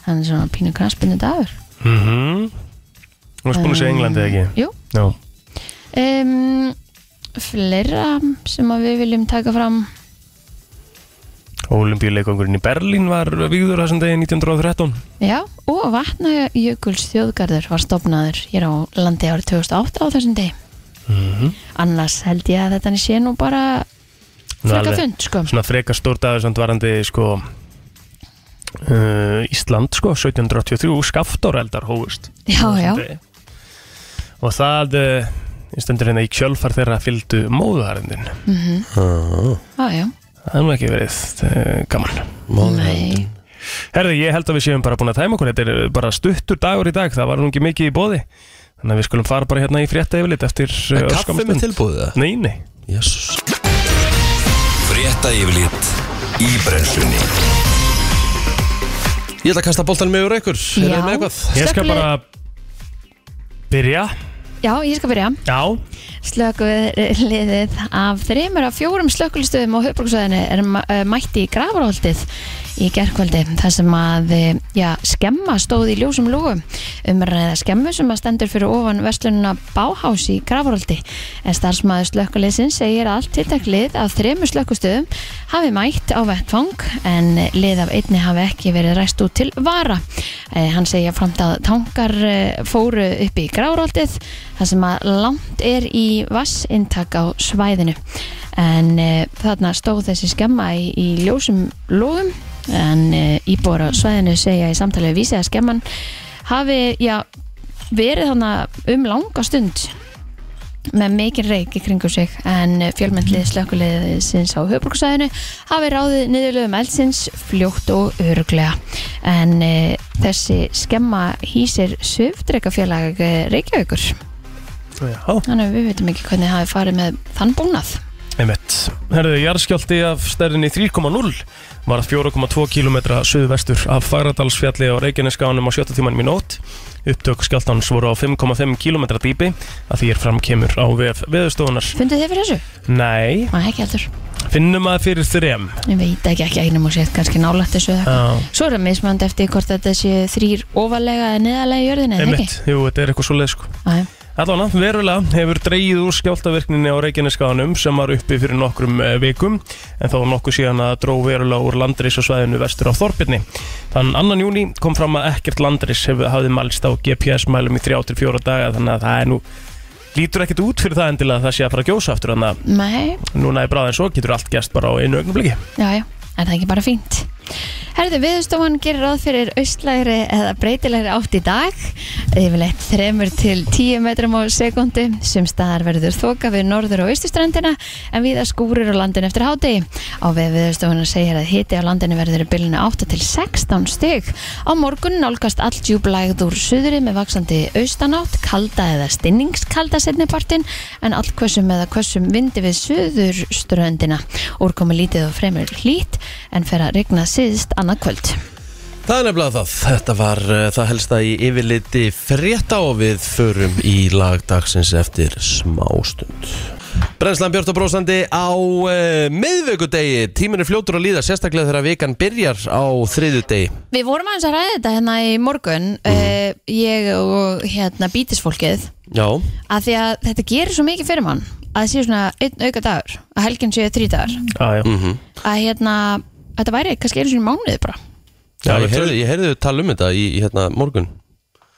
Speaker 2: Hann er svona pínu Knaspurnu dagur.
Speaker 3: Mhm Þú varst búin að segja Englandi eða ekki?
Speaker 2: Um, Jú.
Speaker 3: Já
Speaker 2: Um, fleira sem að við viljum taka fram.
Speaker 3: Ólympíuleikongurinn í Berlín var výður þessum degi 1913
Speaker 2: Já, og Vatnajökuls þjóðgarður var stopnaður hér á landi árið 2008 á þessum degi. Annars held ég að þetta sé nú bara
Speaker 3: Nú,
Speaker 2: freka
Speaker 3: alveg.
Speaker 2: fund, sko.
Speaker 3: Svona freka stór dagur samt varandi sko uh, Ísland sko 1783 skaftáreldar hófust
Speaker 2: Já, já.
Speaker 3: Og það uh, stendur hérna í kjölfar þeirra fylgdu móðuharðindin
Speaker 2: Mhm.
Speaker 1: Ah.
Speaker 2: Já, já.
Speaker 3: Það er nú ekki verið uh, gaman
Speaker 2: Nei.
Speaker 3: Herði, ég held að við séum bara búin að tæma okkur Þetta er bara stuttur dagur í dag, það var nú ekki mikið í bóði Þannig að við skulum fara bara hérna í frétta yfirlit eftir uh,
Speaker 1: En kaffi
Speaker 3: örskamma
Speaker 1: með
Speaker 3: stund.
Speaker 1: tilbúið það?
Speaker 3: Nei, nei
Speaker 1: Jésús
Speaker 4: Frétta yfirlit í brennslunni
Speaker 1: Ég ætla að kasta boltanum yfir ykkur Er það með eitthvað?
Speaker 3: Ég skal
Speaker 2: Slökkvilið-
Speaker 3: bara byrja
Speaker 2: Já, ég skal byrja.
Speaker 3: Já,
Speaker 2: Slökuliðið af þreymur af fjórum slökulistöðum á höfbruksöðinu er ma- eh, mætt í gravarhóldið í gerkvöldi þar sem að eh, já, skemma stóð í ljósum Um lúgum umræða skemmu sem að stendur fyrir ofan verslununa Báhás í gravarhóldi en starfsmaður slökuliðsins segir að allt tiltaklið af þreymur slökustöðum hafi mætt á vettfang en lið af einni hafi ekki verið ræst út til vara. Eh, Hann segja framt að tankar eh, fóru upp í gráraldið þar sem að langt er í vassintak á svæðinu en eh, þarna stóð þessi skemma í, í ljósum lóðum en eh, íbúar á svæðinu segja í samtali við vísi að skemman hafi já, verið þannig um langa stund með mikinn reik í kringum sig en
Speaker 3: Mhm.
Speaker 2: fjölmyndlið slökkuliðsins á höfbruksæðinu hafi ráðið niðurlöfum eldsins fljótt og öruglega en e, þessi skemma hýsir söfdreikafélag Reykjavíkur
Speaker 3: já
Speaker 2: þannig að við veitum ekki hvernig hafi farið með þann búnað
Speaker 3: Einmitt. Herðu, jarðskjálti af stærðinni 3,0 var 4,2 km suðvestur af Fagradalsfjalli á Reykjaneskánum á 7 tímanum í nótt. Upptök skjáltans voru á 5,5 km dýpi að því er fram kemur á vef veðustofunar.
Speaker 2: Funduð þið fyrir þessu?
Speaker 3: Nei,
Speaker 2: Nei, ekki heldur
Speaker 3: finnum að fyrir þrem.
Speaker 2: Ég veit ekki ekki einum og sétt kannski nálægt þessu eða eitthvað.
Speaker 3: Já,
Speaker 2: Svo er það mismönd eftir hvort þetta sé þrýr ofalega eða neðalega í jörðinni, eða ekki?
Speaker 3: einmitt. Jú, þetta er eitthvað svo leið sko.
Speaker 2: Æ,
Speaker 3: Allána, verulega hefur dreigið úr skjáltaverkninni á Reykjaneskáðanum sem var uppi fyrir nokkrum eh, vikum en þá var nokkuð síðan að dró verulega úr landreis og svæðinu vestur á Þorbirni. Þann 2. júni kom fram að ekkert landreis hefur hafði mælst á GPS-mælum í 3-4 daga þannig að það er nú lítur ekkert út fyrir það endilega að það sé að fara að gjósa aftur þannig
Speaker 2: nei,
Speaker 3: að núna er bráðin svo getur allt gerst bara á einu augnumbliki.
Speaker 2: Já, já, er það ekki bara fínt? Herðu, viðstofan gerir ráð fyrir austlægri eða breytilegri átt í dag yfirleitt 3 til 10 metrum á sekundu sem staðar verður þoka við norður og austustrandina en viða skúrir á landinu eftir hádegi á við viðstofana segir að hiti á landinu verður í bylunu 8 til 16 stig á morgun nálgast allt djúblægð úr suðri með vaksandi austanátt kalda eða stinningskalda setnipartin en allt allkvössum eða kvössum vindi við suðurströndina úrkomi lítið og fremur hlýtt en fer að regna síðst annað kvöld
Speaker 1: Það er nefnilega það. Þetta var uh, það helsta í yfirliti frétta og við förum í lagdagsins eftir smástund. Brennslan Björn og Brósandi á uh, miðvöggudegi. Tíminn er fljótur að líða, sérstaklega þegar vikan byrjar á þriðjudegi.
Speaker 2: Við vorum aðeins að ræða þetta hérna í morgun uh, ég og hérna bítisfólkið
Speaker 1: Já,
Speaker 2: að því að þetta gerir svo mikið fyrir mann að það séu svona einn auka dagur að helginn séu þrý dagar
Speaker 3: Ah, mm.
Speaker 1: Mhm.
Speaker 2: að hérna, þetta væri kannski einu svona mánuðið bara
Speaker 1: Já
Speaker 3: Já,
Speaker 1: ég,
Speaker 3: við
Speaker 1: heyrði, ég heyrði þau tala um þetta í, í hérna morgun.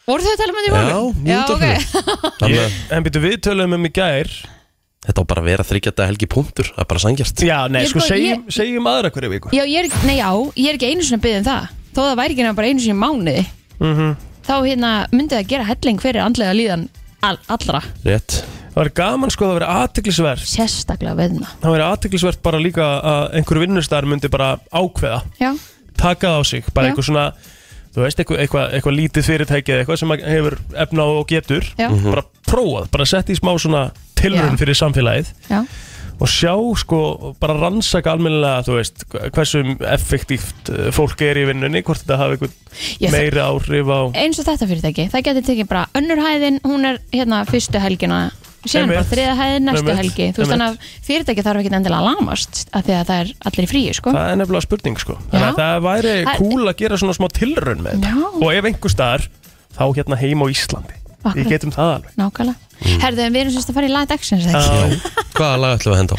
Speaker 2: Voru þau að tala um þetta í
Speaker 1: Já,
Speaker 2: morgun?
Speaker 1: í útvarpinu. Þannig
Speaker 3: ég,
Speaker 1: að
Speaker 3: En býtu við töluðum um í gær
Speaker 1: þetta á bara að vera þryggjata helgi punktur. Það er bara sangjast.
Speaker 3: Já, nei,
Speaker 2: Ég
Speaker 3: sko,
Speaker 2: sko,
Speaker 3: segjum, segjum aðra hverju viku
Speaker 2: Já, ég er, nei, já, ég er ekki einu svona byggðið um það þó það væri ekki nefnir bara einu svona mánuði þá hérna myndi það gera helling fyrir andlega líðan all, allra
Speaker 1: Rétt.
Speaker 3: Það var gaman sko, það verið aðtiklisvert
Speaker 2: sérstaklega veðna
Speaker 3: það verið aðteklisvert bara líka að einhver vinnustar myndi bara ákveða
Speaker 2: Já,
Speaker 3: taka það á sig, bara
Speaker 2: Já.
Speaker 3: eitthvað svona þú veist, eitthvað, eitthvað, eitthvað lítið fyrirtæki eða eitthvað sem að hefur efna og getur
Speaker 2: Já.
Speaker 3: bara prófað, bara sett í smá svona tilrun
Speaker 2: Já.
Speaker 3: fyrir samfélagið
Speaker 2: já,
Speaker 3: og sjá sko, bara rannsaka almennilega, þú veist, hversu effektíft eh, fólk er í vinnunni, hvort þetta hafi
Speaker 2: Ég-
Speaker 3: einhvern meiri áhrif á
Speaker 2: eins og þetta fyrirtæki það getur tekið bara önnur hæðin hún er hérna fyrstu helgina síðan er bara
Speaker 3: Einmitt.
Speaker 2: þriða hæðin næstu
Speaker 3: Einmitt.
Speaker 2: helgi þú veist
Speaker 3: Einmitt.
Speaker 2: þannig að fyrirtæki þarf ekki endilega að lamast af því að það er allir í fríu sko
Speaker 3: Það er nefnilega spurning sko Þannig að
Speaker 2: Já.
Speaker 3: það væri
Speaker 2: Það-
Speaker 3: cool að gera svona smá tilraun með þetta
Speaker 2: Já.
Speaker 3: Og ef einhver staðar, þá hérna heima á Íslandi
Speaker 2: Akkurat.
Speaker 3: Við getum það alveg
Speaker 2: nákvæmlega, herðu en við erum sérst að fara í lag dagsins eða ekki?
Speaker 3: Já,
Speaker 1: Hvaða lag ætlum við að henda á?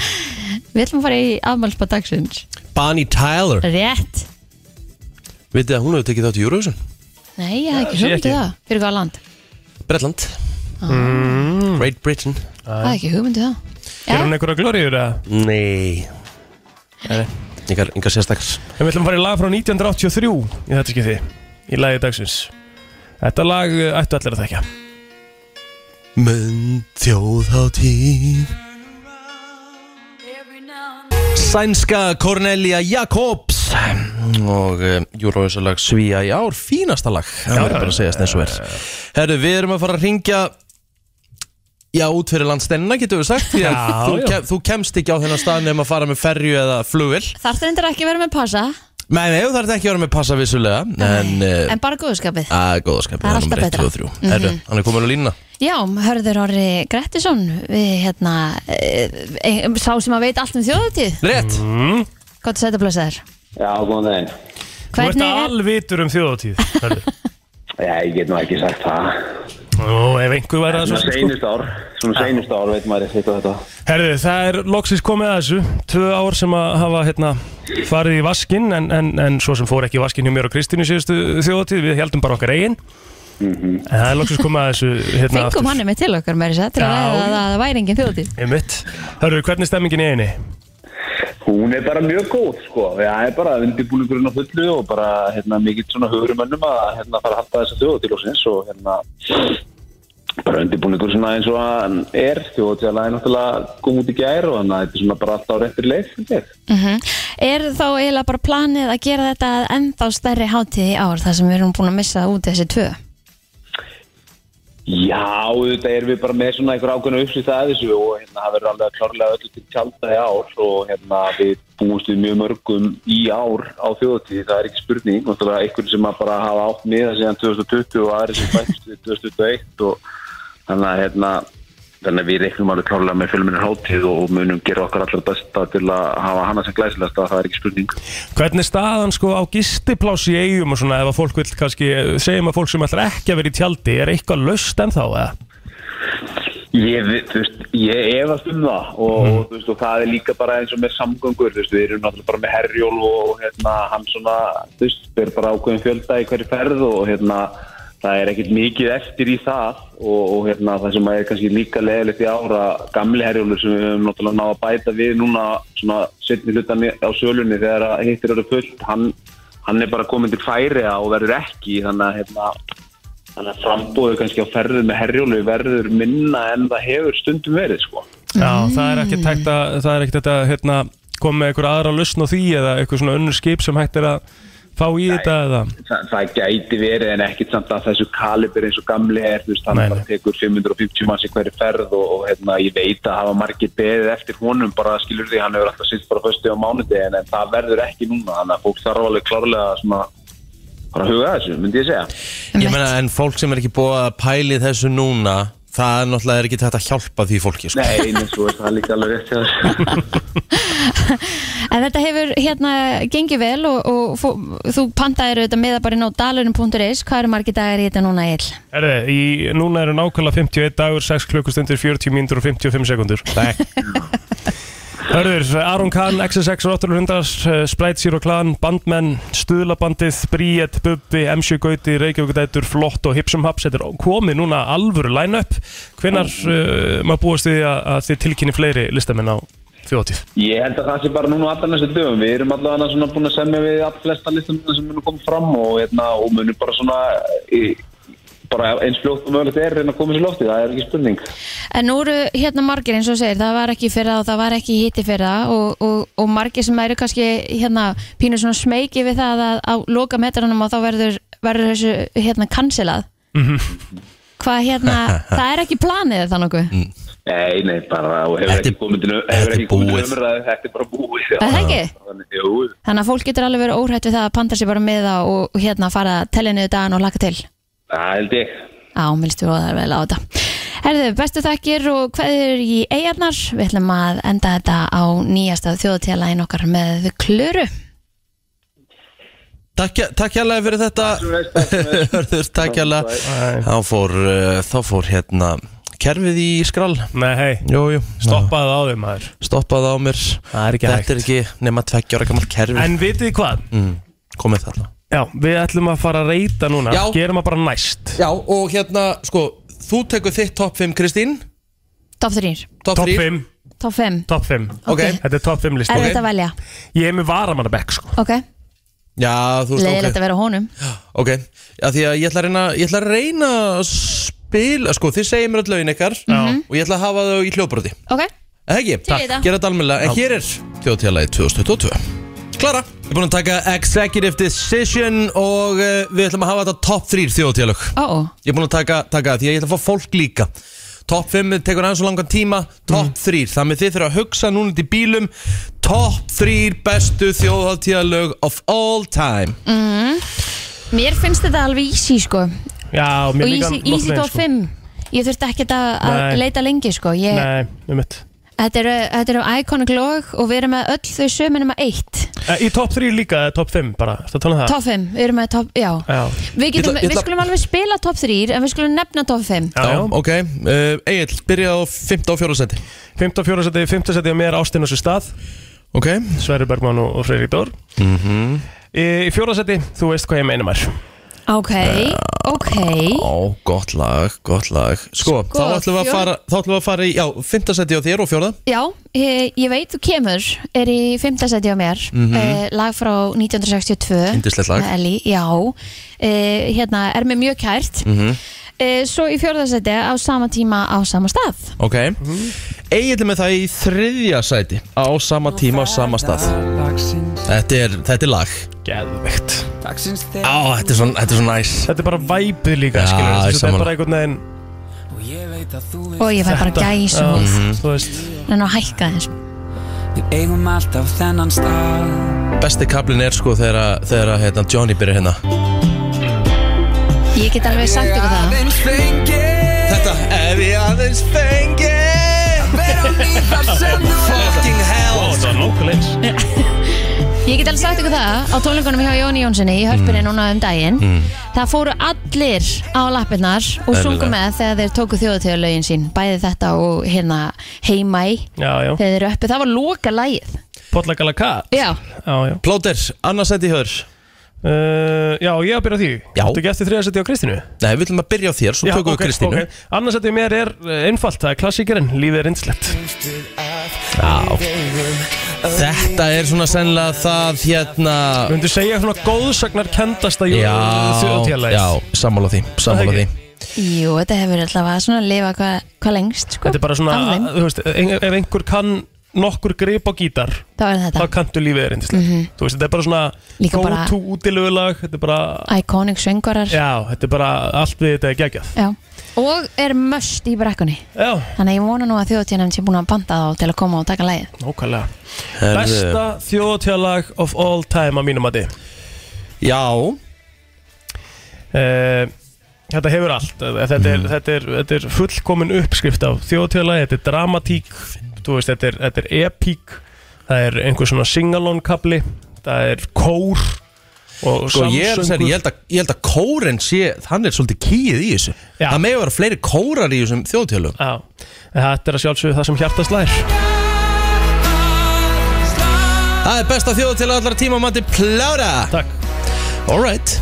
Speaker 2: við ætlum að fara í afmálspá dagsins
Speaker 1: Bonnie Tyler
Speaker 2: rétt,
Speaker 1: Vitið að hún hefur tekið þátt í Eurovision?
Speaker 2: nei ég hef ekki
Speaker 3: sé
Speaker 2: hugmyndu
Speaker 3: ekki.
Speaker 2: það fyrir hvað land,
Speaker 1: Bretland Great Britain
Speaker 2: það er ekki hugmyndu það
Speaker 3: er hún
Speaker 2: já,
Speaker 3: einhverja glóriður að
Speaker 1: Nei Engar, engar sérstakars
Speaker 3: En við ætlum að fara í lag frá 1983 Í þetta skipti, í lagi dagsins Þetta lag eh, ættu allir að þekja
Speaker 1: Mun þjóðháttíð Sænska Cornelia Jacobs og uh, Eurovisalag svíja í ár fínasta lag, það verður bara að segjast eins og er Herru, við erum að fara að ringja já, út fyrir landstennina getum við sagt, því að
Speaker 3: Já,
Speaker 1: þú,
Speaker 3: já.
Speaker 1: Kem, þú kemst ekki á þennan stað nefn að fara með ferju eða flugil
Speaker 2: þarf það endur ekki að vera með passa
Speaker 1: Nei, nei, þú þarf ekki að vera með passa vissulega en, uh,
Speaker 2: en bara góðskapið
Speaker 1: að góðaskapið
Speaker 2: Það er
Speaker 1: númer
Speaker 2: alltaf Mhm.
Speaker 1: eitt, tvö og þrjú. Herru, hann er komin að lína
Speaker 2: Já, hörður Orri Grettisson við hérna e, e, sá sem að veit allt um
Speaker 3: Mm.
Speaker 2: þjóðutíð
Speaker 1: Rétt,
Speaker 2: gott að setja blessa þér
Speaker 5: Já, góðan daginn.
Speaker 3: Þú ert
Speaker 2: Hvernig er,
Speaker 3: alvitur um þjóðatíð Hörðu.
Speaker 5: Já, ég get nú ekki sagt það.
Speaker 3: Nú, ef einhver væri að sko.
Speaker 5: Svona
Speaker 3: svo
Speaker 5: seinust ár, svona seinust ár veit maður þetta og þetta.
Speaker 3: Herðu, það er loksins komið að þessu Tvö ár sem að hafa hérna, farið í vaskinn en, en, en svo sem fór ekki í vaskinn hjá mér og Kristínu síðustu þjóðatíð Við heldum bara okkar eigin En það er loksins komið að þessu hérna,
Speaker 2: fengum hann með til okkar með þess að til að
Speaker 3: Já.
Speaker 2: ræða að það væri engin þjóðutíð
Speaker 3: Einmitt. Hörru, hvernig er stemmingin í eini?
Speaker 5: Hún er bara mjög góð, sko. Það er bara undirbúningurinn á fullu og bara hérna, mikill svona hugurumönnum að hérna, fara að halda þessa þjóðatílóksins og hérna, bara undirbúningur svona eins og hann er. Þjóðatílaði náttúrulega kom út í gær og þannig að þetta er svona bara alltaf á réttir leið, finnst ég.
Speaker 2: mm Er þá eiginlega bara planið að gera þetta að ennþá stærri hátíð í ár þar sem við erum búin að missa út þessi tvö
Speaker 5: Já, auðvitað erum við bara með svona einhver ákveðna uppsýta að þessu og hérna það verður alveg klárlega öllu til tjálta í ár og hérna við búumst við mjög mörgum í ár á þjóðtíð, það er ekki spurning náttúrulega einhvern sem að bara hafa átt miða síðan 2020 og aðri sem fættist við 2021 og þannig að hérna þannig að við reiknum alveg klárlega með fjölminni hátíð og munum gera okkar allra besta til að hafa hana sem glæsilegasta, það er ekki spurning
Speaker 3: Hvernig er staðan sko á gistipláss í eigum og svona ef að fólk vil kannski, eh, segjum að fólk sem ætlar ekki að vera í tjaldi, er eitthvað löst ennþá eða?
Speaker 5: Ég, vi- þú veist, ég efast um það og, og, þú veist, og það er líka bara eins og með samgöngur, þú veist, við erum náttúrulega bara með herjól og hérna, hann svona, þú veist, við erum bara ákveðin fjölda í hverju ferð og hérna, það er ekkert mikið eftir í það og, og hérna, það sem er kannski líka leðilegt í ára, gamli herjólur sem við höfum náttúrulega náða að bæta við núna svona setni hlutan í- á sölunni þegar að hittir eru fullt, hann, hann er bara komin til færi og verður ekki, þannig að hérna, Þannig að frambóðu kannski á ferðu með herjólu verður minna en það hefur stundum verið sko.
Speaker 3: Já, það er ekki tækt að, það er ekki þetta hérna, koma með einhver aðra löstn á því eða eitthvað svona önnur skip sem hægt er að fá í þetta eða?
Speaker 5: Þa, það gæti verið en ekkit samt að þessu kalibur eins og gamli er, þú veist, hann
Speaker 3: Nei, nei.
Speaker 5: bara tekur 550 manns í hverju ferð og, og hérna, ég veit að hafa margir beðið eftir honum, bara skilur því, hann hefur alltaf sitt bara föstu á mánuði en, en það verður ekki núna, þannig að fólk þarf alveg klárlega svona, bara að huga að þessu, myndi ég segja.
Speaker 1: Ég meina, en fólk sem er ekki búið að pæli þessu núna Það er náttúrulega ekki þetta að hjálpa því fólki sko.
Speaker 5: Nei, eins og það er líka alveg rétt hjá þessu.
Speaker 2: En þetta hefur hérna gengið vel og, og fó- þú pantaðir auðvitað meða bara inn á dalurinn.is hvað eru margir dagar í þetta núna eill?
Speaker 3: Herðu, í, núna eru nákvæmlega 51 dagur, 6 klukkustundir, 40 mínútur og 55 sekundur.
Speaker 1: Takk.
Speaker 3: Hörður, Aron Kahn, XSX, Rotterdundar, Sprite Zero Clan, Bandmenn, Stuðlabandið, Bríett, Bubbi, M7 Gauti, Reykjavíkudætur, Flott og Hipsum Haps. Þetta er komið núna alvöru line-up. Hvenar uh, maður búast við að, að þið tilkynni fleiri listamenn á þjóðtíð?
Speaker 5: Ég held að það sé bara núna allan þessu dögum. Við erum allavega svona búin að semja við allt flesta listamina sem munum koma fram og, hérna, og munum bara svona í, bara eins fljótt og mögulegt er reyna að koma sér loftið. Það er ekki spurning.
Speaker 2: En nú eru hérna margir eins og þú segir, það var ekki í fyrra og það var ekki í hitti fyrra og, og, og margir sem eru kannski hérna pínur svona smeiki við
Speaker 1: Mhm.
Speaker 2: það að á loka metranum og þá verður, verður þessu hérna cancelað. hvað hérna, það er ekki planið það nokkuð
Speaker 5: Nei, nei, bara, og hefur
Speaker 1: Þetta er-
Speaker 5: ekki komið til
Speaker 1: þetta
Speaker 5: hefur
Speaker 1: er
Speaker 5: ekki komið til
Speaker 1: búið.
Speaker 5: umræðu, þetta er bara búið. já.
Speaker 2: Er það ekki?
Speaker 5: Þannig, jú,
Speaker 2: Þannig að fólk getur alveg verið óhrætt við það að panta sér bara með það og og hérna fara að telja niður dagann og laka til.
Speaker 5: það held ég.
Speaker 2: Á, milstu og það er vel á þetta. Herðu, bestu þakkir og hverður í eigarnar. Við ætlum að enda þetta á nýjasta þjóðatíðalægin okkar með klöru.
Speaker 1: Takk, takk hérlega fyrir þetta Hörður, takk hérlega
Speaker 3: Æ,
Speaker 1: Þá fór, eh, þá fór hérna kerfið í skrall
Speaker 3: Nei, hei,
Speaker 1: Jú, jú,
Speaker 3: stoppaðu á þeim maður
Speaker 1: Stoppaði á mér
Speaker 3: Það er ekki
Speaker 1: Þetta er
Speaker 3: hægt
Speaker 1: ekki nema tveggja ára gammal kerfi
Speaker 3: En vitið þið hvað?
Speaker 1: mm, Komið þarna
Speaker 3: Já, við ætlum að fara að reyta núna
Speaker 1: Já.
Speaker 3: Gerum að bara næst
Speaker 1: Já, og hérna, sko Þú tekur þitt topp 5, Kristín
Speaker 2: Top 3,
Speaker 1: Topp
Speaker 3: Top
Speaker 1: 3
Speaker 3: 5,
Speaker 2: top 5.
Speaker 3: top 5
Speaker 1: Ok.
Speaker 3: Þetta er top 5 listi
Speaker 2: Er þetta að velja?
Speaker 3: Ég er með varamannabekk sko
Speaker 2: Ok,
Speaker 1: Já, þú
Speaker 2: leiðilegt
Speaker 1: veist,
Speaker 2: að vera á honum.
Speaker 1: ok Ok, já, því að ég ætla að reyna Ég ætla að reyna að spila Sko, þið segir mér öll lögin ykkar
Speaker 3: Já.
Speaker 1: Og ég ætla að hafa þau í hljóbroti
Speaker 2: Mhm. Ok,
Speaker 1: Er Það ekki,
Speaker 2: Til í þetta.
Speaker 1: gera þetta almennilega En hér er þjóðtjálagi 2022 Klara, við erum búin að taka Executive Decision Og uh, við ætlum að hafa þetta top 3 þjóðtjálag
Speaker 2: ó, ó,
Speaker 1: Ég er búin að taka, taka það því að ég ætla að fá fólk líka Top 5 tekur aðeins og langan tíma
Speaker 2: Mm.
Speaker 1: Top 3, þannig þið þurfa að hugsa núna út í bílum Top 3 bestu þjóðháttíðalög of all time
Speaker 2: Mhm. mér finnst þetta alveg easy sko.
Speaker 3: Já,
Speaker 2: Og
Speaker 3: mér líka sko.
Speaker 2: easy, easy top 5. Ég þurfti ekkert að að
Speaker 3: Nei.
Speaker 2: leita lengi sko. Ég,
Speaker 3: Nei, um mitt
Speaker 2: Þetta eru, þetta eru iconic log og við erum með öll þau sömu nema eitt
Speaker 3: Eh, Í top 3 líka, eða top 5 bara Það tala um það
Speaker 2: Top 5, við erum með top, já
Speaker 3: Já,
Speaker 2: Við, getum,
Speaker 1: Ég ætla- ég
Speaker 2: við
Speaker 1: ætla-
Speaker 2: skulum alveg spila top 3 en við skulum nefna top 5
Speaker 3: já, já.
Speaker 1: ok uh, Egil, byrja á 15 og 14 seti
Speaker 3: 15. fjóra seti, 15. seti og mér Ástin og sér stað
Speaker 1: Ok, Mhm.
Speaker 3: Sverri Bergman og, og Freyri Dór mm Í fjóra seti, þú veist hvað ég meina maður
Speaker 2: Ok, ok
Speaker 1: ó, gott lag, gott lag Sko,
Speaker 2: Sko,
Speaker 1: þá ætlum við að
Speaker 2: fjórða-
Speaker 1: fara, þá ætlum við að fara í, já, 15 seti á þér og 4
Speaker 2: Já, e, ég, ég veit þú kemur er í 5. seti á mér mm lag frá 1962
Speaker 1: Indislegt Mhm. lag
Speaker 2: með Ellie, já e, hérna, er mér mjög kært mm
Speaker 1: Mhm.
Speaker 2: Svo í 4. seti á sama tíma á sama stað
Speaker 1: Ok, Egil er með það í þriðja seti á sama tíma og sama stað Þetta er, þetta er lag
Speaker 3: Geðvegt
Speaker 1: Á, þetta er svo, þetta er svo næs
Speaker 3: Þetta er bara væpið líka,
Speaker 1: Já,
Speaker 3: skilur
Speaker 1: ég
Speaker 3: Þetta er
Speaker 1: sammála.
Speaker 3: bara einhvern veginn
Speaker 2: og ég fær bara
Speaker 3: Þetta-
Speaker 2: gæs
Speaker 3: Já,
Speaker 2: og
Speaker 3: Þú veist
Speaker 2: en að hækka eins
Speaker 6: Við eigum alltaf þennan stað
Speaker 1: Besti kaplin er sko þegar, að- þegar að, hérna, Johnny byrjar hérna
Speaker 2: Ég get alveg sagt ykkur það
Speaker 1: Þetta Ef ég aðeins fengi Fucking hell
Speaker 3: Ó, það var nokkuð leins
Speaker 2: Ég get alveg sagt ykkur það á tónleikunum hjá Jóni Jónssoni í
Speaker 1: Mhm.
Speaker 2: hörpunni núna um daginn Það fóru allir á lappirnar og
Speaker 1: Eðlilega.
Speaker 2: sungu með þegar þeir tóku þjóðatíðalögin sín Bæði þetta og hérna heimæ
Speaker 3: Já, já
Speaker 2: þegar þeir eru uppi Það var loka lægið
Speaker 3: Pottlagala kat
Speaker 2: Já,
Speaker 3: Já, já
Speaker 1: Plóter, annarsæti hör
Speaker 3: uh, Já, ég að byrja á því
Speaker 1: Já.
Speaker 3: Þú gæst í þriða seti á Kristínu
Speaker 1: Nei, við viljum að byrja á þér, svo tökum við Kristínu
Speaker 3: okay. Annars að því mér er eh, einfalt, það er klassíkerinn, lífið er einslegt
Speaker 1: Þetta er svona sennilega það hérna
Speaker 3: Við myndum segja svona góðsagnar kendasta
Speaker 1: Já,
Speaker 3: þjóðtjálæð
Speaker 1: já, sammála því, sammála
Speaker 3: Það
Speaker 1: því
Speaker 3: ekki?
Speaker 2: jú, þetta hefur alltaf að svona lifa hvað hva lengst sko.
Speaker 3: Þetta er bara svona,
Speaker 2: Af þeim.
Speaker 3: þú veist, ein- ef einhver kann nokkur grip á gítar
Speaker 2: Þá er þetta Mhm.
Speaker 3: þá kanntu lífið er einslegt Þú veist, þetta er bara svona
Speaker 2: Líka bara-
Speaker 3: go-to útilögulag Þetta er bara,
Speaker 2: Iconic söngorar
Speaker 3: já, þetta er bara allt við þetta er geggjað
Speaker 2: Já. Og er möst í brekkunni
Speaker 3: Já,
Speaker 2: Þannig að ég vona nú að þjóðatíðanum sé búin að banda þá til að koma og taka lægið
Speaker 3: nákvæmlega
Speaker 1: Herðu.
Speaker 3: Besta þjóðtjálag of all time á mínum mati
Speaker 1: Já,
Speaker 3: Eh, Þetta hefur allt Eh, Þetta er,
Speaker 1: Mm.
Speaker 3: þetta er, þetta er fullkomin uppskrift af þjóðtjóðlega, þetta er dramatík þú veist, þetta er, þetta er epík það er einhver svona singalón kapli það er kór og
Speaker 1: Sko ég, er, sér, ég,
Speaker 3: samsöngur
Speaker 1: held að, ég held að kóren sé, hann er svolítið kýið í þessu
Speaker 3: Já.
Speaker 1: Það megi vera fleiri kórar í þessum þjóðtjálum
Speaker 3: Já, en þetta er að sjálfsögðu það sem hjartast lær
Speaker 1: Það er besta þjóðtjála allar tíma mati plára
Speaker 3: Takk
Speaker 1: Alright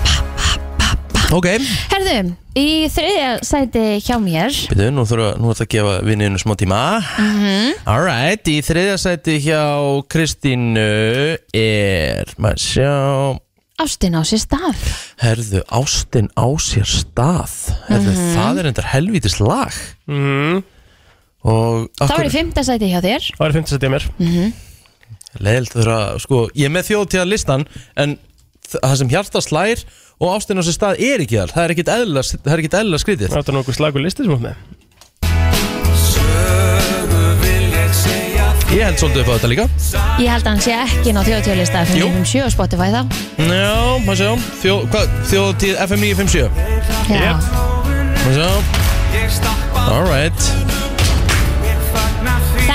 Speaker 1: Ok,
Speaker 2: Herðu, í þriðja sæti hjá mér
Speaker 1: byrju, nú þurfa, nú er það að gefa vinninu smá tíma Alright, í þriðja sæti hjá Kristínu er, maður sjá
Speaker 2: Ástin á sér stað
Speaker 1: Herðu, ástin á sér stað Herðu,
Speaker 3: Mhm.
Speaker 1: það er endar helvítis lag
Speaker 3: mm,
Speaker 1: Og
Speaker 2: Það var í fymta sæti hjá þér Mhm.
Speaker 3: Það er 50 setið mér
Speaker 1: Leðilt þurfa, sko, ég er með þjóðtíðarlistan en þ- það sem hjarta slær og ástin á sér stað er ekki þar það er ekkit eðla, það er ekkit eðla skrítið
Speaker 3: Þetta er nokkuð slagur listi sem hún með
Speaker 1: ég held svolítið upp á þetta líka
Speaker 2: Ég held að hann sé ekki ná þjóðtjóðlista FM
Speaker 1: Jú.
Speaker 2: 957 og Spotify þá
Speaker 1: já, maður sjá Þjó, hvað, þjóðtíð FM 957
Speaker 2: Já,
Speaker 3: Yep.
Speaker 1: maður sjá alright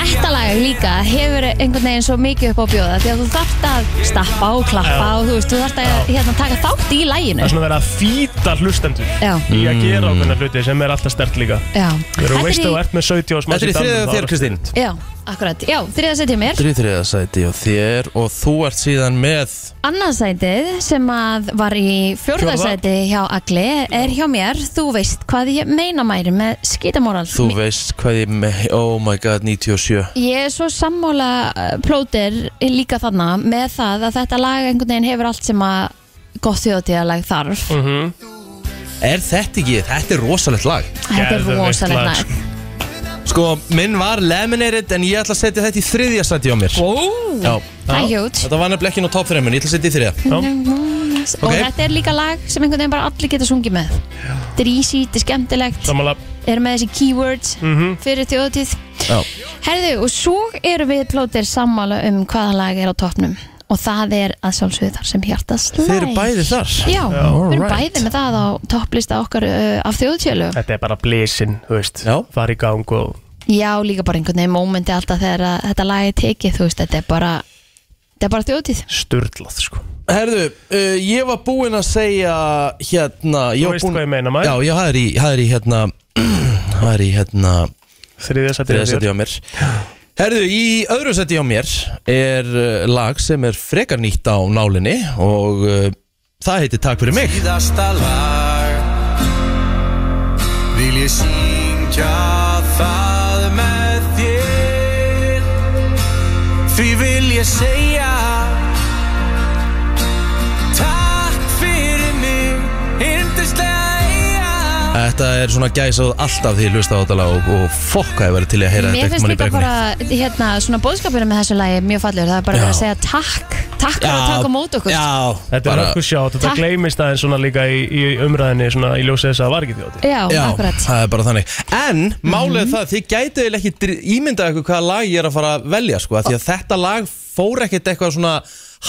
Speaker 2: Þetta lag líka hefur einhvern veginn svo mikið upp á að bjóða því að þú þarft að stappa og klappa og þú veist, þú þarft að hérna, taka þátt í
Speaker 3: Það
Speaker 2: læginu
Speaker 3: er svona verið að fýta hlustendur
Speaker 2: Já,
Speaker 3: í að gera
Speaker 1: Mm.
Speaker 3: ákveðna hluti sem er alltaf stert líka
Speaker 2: já
Speaker 3: Þegar þú
Speaker 2: Þetta er
Speaker 3: veist
Speaker 2: í-
Speaker 3: að þú ert með 70 og smá
Speaker 1: þetta er í þriða þér Kristín
Speaker 2: Já, akkurat, já, þriða setja mér
Speaker 1: þetta er í þriða sæti og þér og þú ert síðan með
Speaker 2: Annarsætið sem að var í
Speaker 1: Fjórða.
Speaker 2: fjórðarsæti hjá Agli er hjá mér, þú veist hvað ég meina mæri með skítamóral
Speaker 1: þú veist hvað ég með oh my god 97
Speaker 2: Ég er svo sammála eh, plóter líka þarna með það að þetta lag einhvern veginn hefur allt sem að gott þjóðtíðalag þarf
Speaker 3: Mhm.
Speaker 1: er þetta ekki, þetta er rosalegt lag
Speaker 2: Þetta er
Speaker 3: Geðveikt
Speaker 2: rosalegt
Speaker 3: lag,
Speaker 2: lag
Speaker 1: Sko, minn var Lemonade en ég ætla að setja þetta í þriðja sæti á mér Já,
Speaker 2: Það er hjút
Speaker 1: Þetta var nefnilega ekki inn á top 3 en ég ætla að setja í þriðja
Speaker 2: Og
Speaker 1: Ok.
Speaker 2: þetta er líka lag sem einhvern veginn bara allir geta sungið með Þetta er easy, þetta er skemmtilegt
Speaker 3: Samanlega,
Speaker 2: Eru með þessi keywords
Speaker 1: Mhm.
Speaker 3: Mhm.
Speaker 2: fyrir þjóðtíð
Speaker 1: Já.
Speaker 2: Herðu, og svo eru við plóter sammála um hvaða lag er á toppnum Og það er að sjálfsögðu þar sem hjartast
Speaker 1: Þeir eru bæði þar
Speaker 2: Já, við erum
Speaker 1: alright.
Speaker 2: bæði með það á topplista okkar uh, af þjóðtjölu
Speaker 3: þetta er bara blísin, þú veist
Speaker 1: Já.
Speaker 3: Fara í gang og
Speaker 2: Já, líka bara einhvern veginn mómenti alltaf þegar að þetta lag er tekið, þú veist, þetta er bara þetta er bara þjóðtíð
Speaker 3: sturlað, sko
Speaker 1: Herðu, uh, ég var búinn að segja hérna
Speaker 3: Þú
Speaker 1: var
Speaker 3: veist
Speaker 1: búinn-
Speaker 3: hvað ég meina, maður.
Speaker 1: Já, ég hafði í, hafði í hérna hafði í hérna
Speaker 3: Þriðja sæti
Speaker 1: þriðja sæti á mér Herðu, í öðru sæti á mér er uh, lag sem er frekar nýtt á nálinni og uh, það heitir Takk fyrir mig
Speaker 7: Síðasta lag Vil ég syngja það með þér Því vil ég segja Takk fyrir mig Yndislega eiga
Speaker 1: Þetta er svona gæsað alltaf því ég hlusta á þetta lag og, og fokk að ég verið til í að heyra
Speaker 2: Mér
Speaker 1: þetta
Speaker 2: finnst
Speaker 1: einhvern
Speaker 2: líka
Speaker 1: tímann í
Speaker 2: bara, hérna, svona bóðskapurinn með þessu lagi er mjög fallegur, það er bara
Speaker 1: Já.
Speaker 2: verið að segja takk takk fyrir að taka á mót okkur
Speaker 1: Já,
Speaker 3: Þetta er
Speaker 1: bara-
Speaker 3: nokkuð sjátt, þetta
Speaker 2: Takk.
Speaker 3: gleymist aðeins svona líka í, í umræðinni svona í ljósið þess að það var ekki þjóti
Speaker 2: Já,
Speaker 1: Já,
Speaker 2: akkurat
Speaker 1: það er bara þannig En málið
Speaker 2: Mhm.
Speaker 1: er það að þið gætu eiginlega ekki dr- ímyndað ykkur hvaða lag ég er að fara að velja sko, af Því að þetta lag fór ekkert eitthvað svona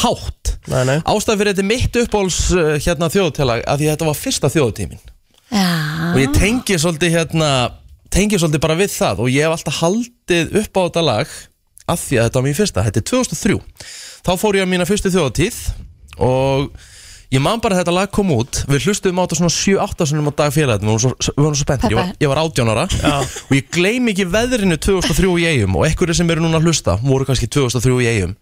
Speaker 1: hátt
Speaker 3: Nei, nei.
Speaker 1: Ástæð fyrir þetta er mitt uppbóls uh, hérna þjóðutelag Af því að þetta var fyrsta þjóðutímin Og
Speaker 2: Já,
Speaker 1: ég tengi svolítið hérna Tengi svolítið bara við það Og ég hef alltaf haldið upp á þetta lag Af því að þetta var mín fyrsta, þetta er 2003 Þá fór ég á mína fyrstu þjóðutíð Og Ég man bara að þetta lag kom út Við hlustuðum á þetta svona 7-8 sinnum á dag félagatinn Við vorum svo, við vorum svo spenntir, ég var, ég var 18 ára Og ég gleym ekki veðrinu 2003 í eigum Og ekkur sem eru núna að hlusta voru kannski 2003 í eigum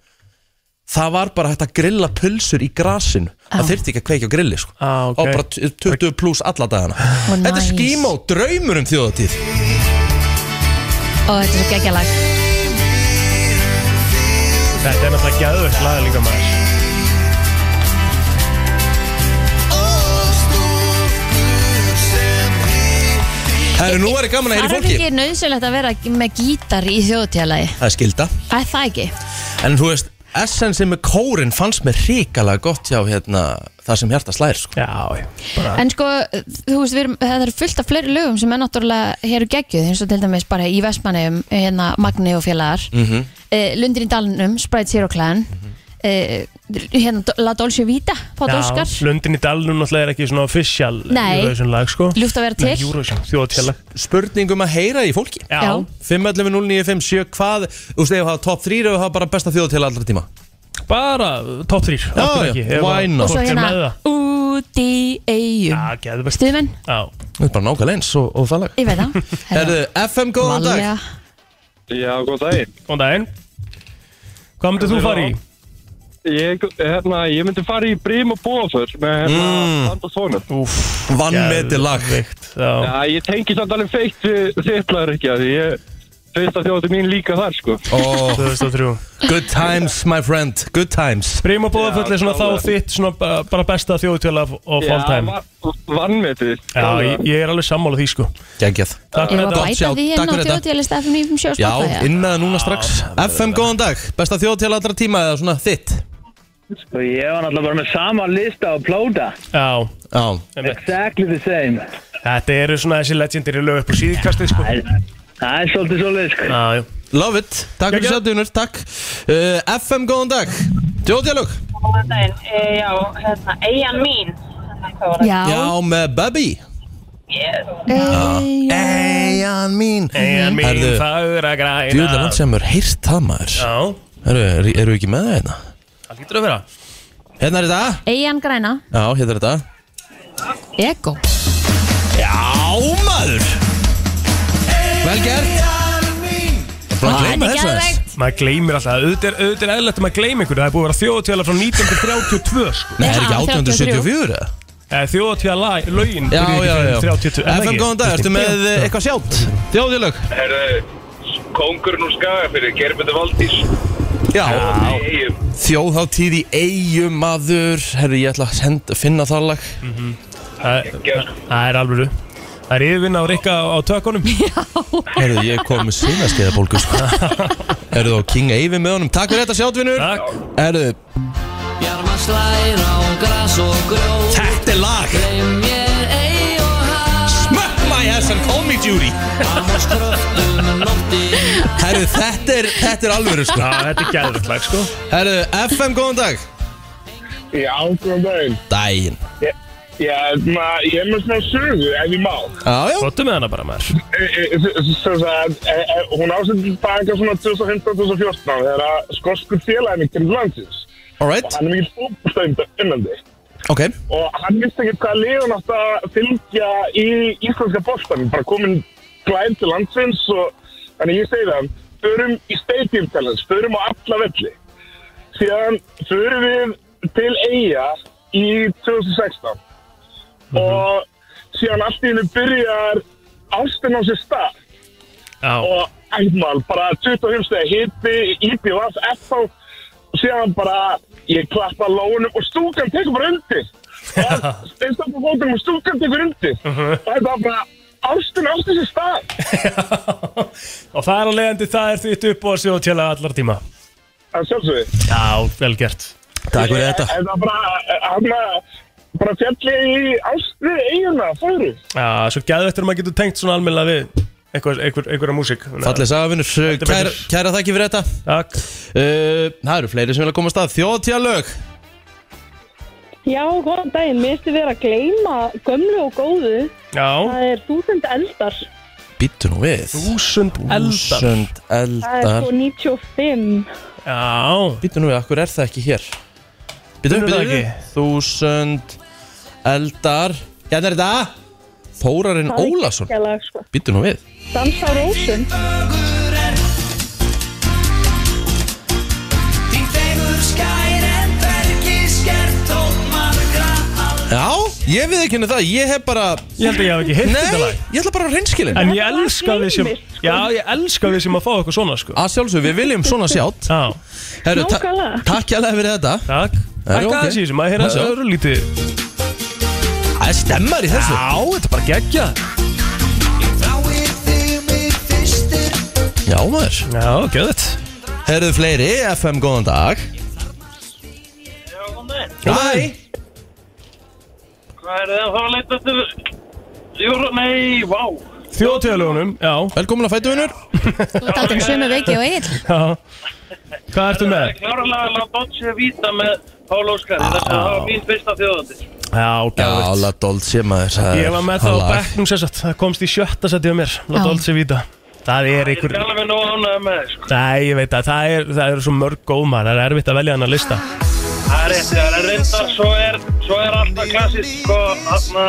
Speaker 1: Það var bara hægt að grilla pulsur í grasinu
Speaker 2: Ah.
Speaker 1: Það þyrfti ekki að kveikja á grilli sko.
Speaker 3: Ah, ok.
Speaker 1: Það var bara t- 20 pluss alla dagana Þetta er
Speaker 2: nice.
Speaker 1: skímó, draumur um þjóðatíð
Speaker 2: og þetta er svo geggja lag
Speaker 3: Þetta er náttúrulega gæðvögt lag líka maður
Speaker 1: Herru, nú er ég gaman að
Speaker 2: Það
Speaker 1: heyra í
Speaker 2: er
Speaker 1: fólki
Speaker 2: ekki nauðsynlegt að vera með gítar í þjóðtjálagi
Speaker 1: Það er skilda
Speaker 2: Það er það ekki
Speaker 1: En þú veist, essensi með kórin fannst mér ríkalega gott hjá hérna, það sem hjarta slær sko.
Speaker 3: Já, já, bara
Speaker 2: En sko, þú veist, við erum, það eru fullt af fleiri lögum sem er náttúrulega hér og geggjuð eins og til dæmis bara í Vestmanneum hérna Magni og félagar mm
Speaker 1: Mhm.
Speaker 2: Lundir í Dalnum, Sprite Zero Clan mm hérna Do- La Dolce Vita Pátt Óskar,
Speaker 3: Já, Lundin í dalnum náttúrulega er ekki svona official
Speaker 2: Nei.
Speaker 3: Eurovision lag, sko
Speaker 2: Ljúft að vera til.
Speaker 3: Nei, Eurovision, þjóðtjálag
Speaker 1: Spurningum um að heyra í fólki
Speaker 3: Já,
Speaker 2: Já.
Speaker 1: 5.11.09.57 hvað, þú veist, ef þú hafa top 3 og hafa bara besta þjóð til allra tíma
Speaker 3: bara top 3
Speaker 1: Já, já, why not?
Speaker 2: og svo hérna Út í eigum
Speaker 3: Já, geðvögt
Speaker 2: Stuðmenn,
Speaker 3: Já,
Speaker 1: það er bara nákvæmlega eins og, og það lag
Speaker 2: ég veit það
Speaker 1: Herðu, FM góðan dag
Speaker 2: Valega.
Speaker 8: Já, góð daginn.
Speaker 3: góðan daginn Hvað myndir þú fara í?
Speaker 8: Ég, hérna, ég myndi fara í Brím og Bófur með hérna, mm. Band og Sónur.
Speaker 3: Úf,
Speaker 1: Vannmeti lag
Speaker 8: Já, ég tengi samt alveg feitt við þittlaður ekki, því ég fyrst að þjóti mín líka þar, sko.
Speaker 1: oh,
Speaker 3: 2003
Speaker 1: Good times my friend, good times
Speaker 3: Brím og Bóðafull er svona þá
Speaker 8: klálega.
Speaker 3: þitt svona ba- bara besta þjóðtjálag of all time
Speaker 8: vannmetið.
Speaker 3: Já, ég ég er alveg sammála því, sko
Speaker 1: Gengjað
Speaker 3: Takk
Speaker 2: Ég
Speaker 3: fyrir
Speaker 2: var að
Speaker 3: þetta
Speaker 2: bæta
Speaker 1: Sjá,
Speaker 2: því hérna
Speaker 1: takk
Speaker 2: á
Speaker 1: fyrir þetta.
Speaker 2: þjóðtjálist FM 97
Speaker 1: Já,
Speaker 2: Spotify,
Speaker 1: inn með það núna strax FM góðan dag, besta þjóð til allra tíma eða svona þitt
Speaker 9: Og Sko, ég var náttúrulega bara með sama lista á plóta
Speaker 3: Já,
Speaker 1: Já,
Speaker 3: einmitt.
Speaker 9: Exactly the same
Speaker 3: þetta eru svona þessi legendary lög upp á síðkastið sko
Speaker 9: Það er- það er svolítið svolítið sko
Speaker 3: Já, já
Speaker 1: love it Takk fyrir
Speaker 3: Geggjað.
Speaker 1: sattunur, takk uh, FM, góðan dag Djóðjálug
Speaker 5: Góðan daginn, e, já, hérna, eigin mín Hérna, hvað var það?
Speaker 2: Já,
Speaker 1: Já, með Babi
Speaker 5: Yes.
Speaker 1: Eyjan mín
Speaker 3: Egin mín
Speaker 1: Herðu,
Speaker 3: fagra græna
Speaker 1: Djóðlega langt sem er heyrst það maður
Speaker 3: Já,
Speaker 1: Eru, eru, eru ekki með það hérna?
Speaker 3: það lítur að vera
Speaker 1: Hérna er þetta
Speaker 2: Eyjan Græna,
Speaker 1: Já, hérna er þetta
Speaker 2: Ego
Speaker 1: Já, maður Vel gert Búin að gleyma þessu aðeins.
Speaker 3: Maður gleymir alltaf, auðvitað er, auðvitað er eðlætt að maður gleymi einhverju Það er búið að vera þjóðatíðala frá 1932 sko
Speaker 1: Nei, er ekki
Speaker 2: Já,
Speaker 1: 1874 eða?
Speaker 3: Eh, Þjóðatíðala lögin
Speaker 1: Já,
Speaker 3: byrjuðu ekki
Speaker 1: já, já
Speaker 3: fyrr en 32, er það
Speaker 1: FM,
Speaker 3: ekki?
Speaker 1: góðan dag, ertu með eh, eitthvað sjátt? Þjóðjálug
Speaker 10: Kongurinn úr skaga fyrir Gerbjörn Valdís
Speaker 1: Já,
Speaker 10: Eyjum
Speaker 1: þjóðháttíð í eigum maður Herri, ég ætla að senda, finna það lag
Speaker 3: Það það- það er alvöru Það er yfirvinna á Rikka á tökunum
Speaker 1: Herri, ég kom með sinaskeiða bólgu sko. Herri, þá King Eyvi með honum Takk fyrir þetta sjáttvinur
Speaker 3: Takk
Speaker 1: Herri,
Speaker 11: Bjarma slæra á gras og grjót
Speaker 1: þetta er lag
Speaker 11: Gleim mér ei og haf
Speaker 1: Smack my ass and call me Judy
Speaker 11: Annars kröftum nóttin
Speaker 1: Herri, þetta er, þetta er alvöru sko.
Speaker 3: Já, þetta er gæðvægt lag sko
Speaker 1: Herri, FM, góðan dag
Speaker 10: Já, góðan daginn
Speaker 1: Dæin
Speaker 10: Já, ma, ég er með svona sögu ef ég má
Speaker 1: Já, já,
Speaker 3: Gottu með hana bara maður
Speaker 10: Svo að e- e- hún ásendur baka svona 2015-2014 þegar að skosku félaginu kemur landsins
Speaker 1: alright
Speaker 10: hann er mikið fókbústænd innandi
Speaker 1: Ok,
Speaker 10: og hann vissi ekki hvað liðan átt að fylgja í íslenska bóttanum bara komin glæð til landsins og þannig ég segi það hann förum í stadium challenge, förum á alla velli síðan förum við til eiga í 2016 og síðan allt í hennu byrjar ástin á sér stað
Speaker 3: Já,
Speaker 10: og ægmal, bara 25 stegi hiti, IPVAS, FH og síðan bara ég klappa lónum og stúkan tekur bara undir og þeir stoppa fótum og stúkan tekur undir og þetta var bara ástin, ástin sér stað
Speaker 3: og það er að leiðandi það er þitt upp og sjóðatíðala allar tíma
Speaker 10: að sjálfsögðu
Speaker 3: Já, vel gert
Speaker 1: takk fyrir þetta
Speaker 10: þetta var bara, hann bara fjalli í ástu eiguna, fóru
Speaker 3: Já, svo gæðvægt er að maður getur tengt svona almennilega við einhver, einhver, einhverja músík Þannig að-
Speaker 1: Fallið sagafinur, kæra,
Speaker 3: betur.
Speaker 1: kæra þakki fyrir þetta
Speaker 3: Takk
Speaker 1: uh, Það eru fleiri sem vilja koma að stað Þjóðtíðalög
Speaker 5: Já, góðan daginn, mér ertu verið að gleyma gömlu og góðu
Speaker 3: Já
Speaker 5: Það er þúsund eldar
Speaker 1: Býttu nú við
Speaker 3: Þúsund eldar
Speaker 1: Þúsund
Speaker 5: Það er sko
Speaker 1: eldar
Speaker 5: svo 95
Speaker 3: Já
Speaker 1: Býttu nú við, akkur er það ekki hér Býttu,
Speaker 3: Finnur
Speaker 1: býttu
Speaker 3: það
Speaker 1: ekki
Speaker 3: ekki?
Speaker 1: Þúsund eldar Hérna er þetta Þórarinn
Speaker 5: Það er
Speaker 1: Ólason
Speaker 5: geggjalag, sko.
Speaker 1: Býttu nú við
Speaker 5: Dans á rósum
Speaker 12: Þín fegur skær en bergi skert tótt margra alveg
Speaker 1: Já, ég við ekki henni það Ég hef bara
Speaker 3: Ég held að ég hef ekki hitt þetta
Speaker 1: Nei,
Speaker 3: lag
Speaker 1: ég ætla bara á reynskilin
Speaker 3: En ég
Speaker 5: Þetta lag
Speaker 3: elska því sem
Speaker 5: gleymist, sko.
Speaker 3: Já, ég elska því sem að fá eitthvað svona sko
Speaker 1: Að sjálfsög, við viljum svona sjátt
Speaker 3: Já,
Speaker 1: Herru, ta
Speaker 5: Nákvæmlega.
Speaker 1: Takk hérlega fyrir þetta
Speaker 3: takk
Speaker 1: Það er
Speaker 3: Takk
Speaker 1: ok.
Speaker 3: aðeins í þessum, að
Speaker 1: Já,
Speaker 3: hérna
Speaker 1: já.
Speaker 3: þessu öðru lítið
Speaker 1: Það er stemmar í þessu
Speaker 3: Já, þetta er bara geggja
Speaker 12: Þáir þig mig fyrstir
Speaker 1: Já, maður
Speaker 3: Já, gæðvægt
Speaker 1: Herru, fleiri, FM, góðan dag Hæ
Speaker 9: Hvað er það að fara að leita til Júra, nei, vá
Speaker 3: Þjóðtíðalögunum, já,
Speaker 1: Velkomin að fætu vinnur
Speaker 2: Þú ert aldrei um sömu veiki og Egil
Speaker 3: já Hvað ertu með?
Speaker 9: Klárlega að láta Dodge að víta með Pál Óskari Þetta var mín fyrsta þjóðandi
Speaker 3: Já,
Speaker 1: Já,
Speaker 3: gæðvægt
Speaker 1: la dold sé maður það
Speaker 3: Ég
Speaker 1: er
Speaker 3: var með það á
Speaker 1: lag.
Speaker 3: bekknum sérsagt Það komst í sjötta setið á mér
Speaker 2: Já.
Speaker 3: Láta allt sér vita Það er
Speaker 9: Ég er
Speaker 3: ykkur
Speaker 9: ekki alveg nóg ánægð með þig, sko.
Speaker 3: Nei, ég veit að það er, það er svo mörg gómar Það er erfitt að velja hann að lista
Speaker 9: Það er rétt, það er reynda Svo er, svo er alltaf klassist Sko, þarna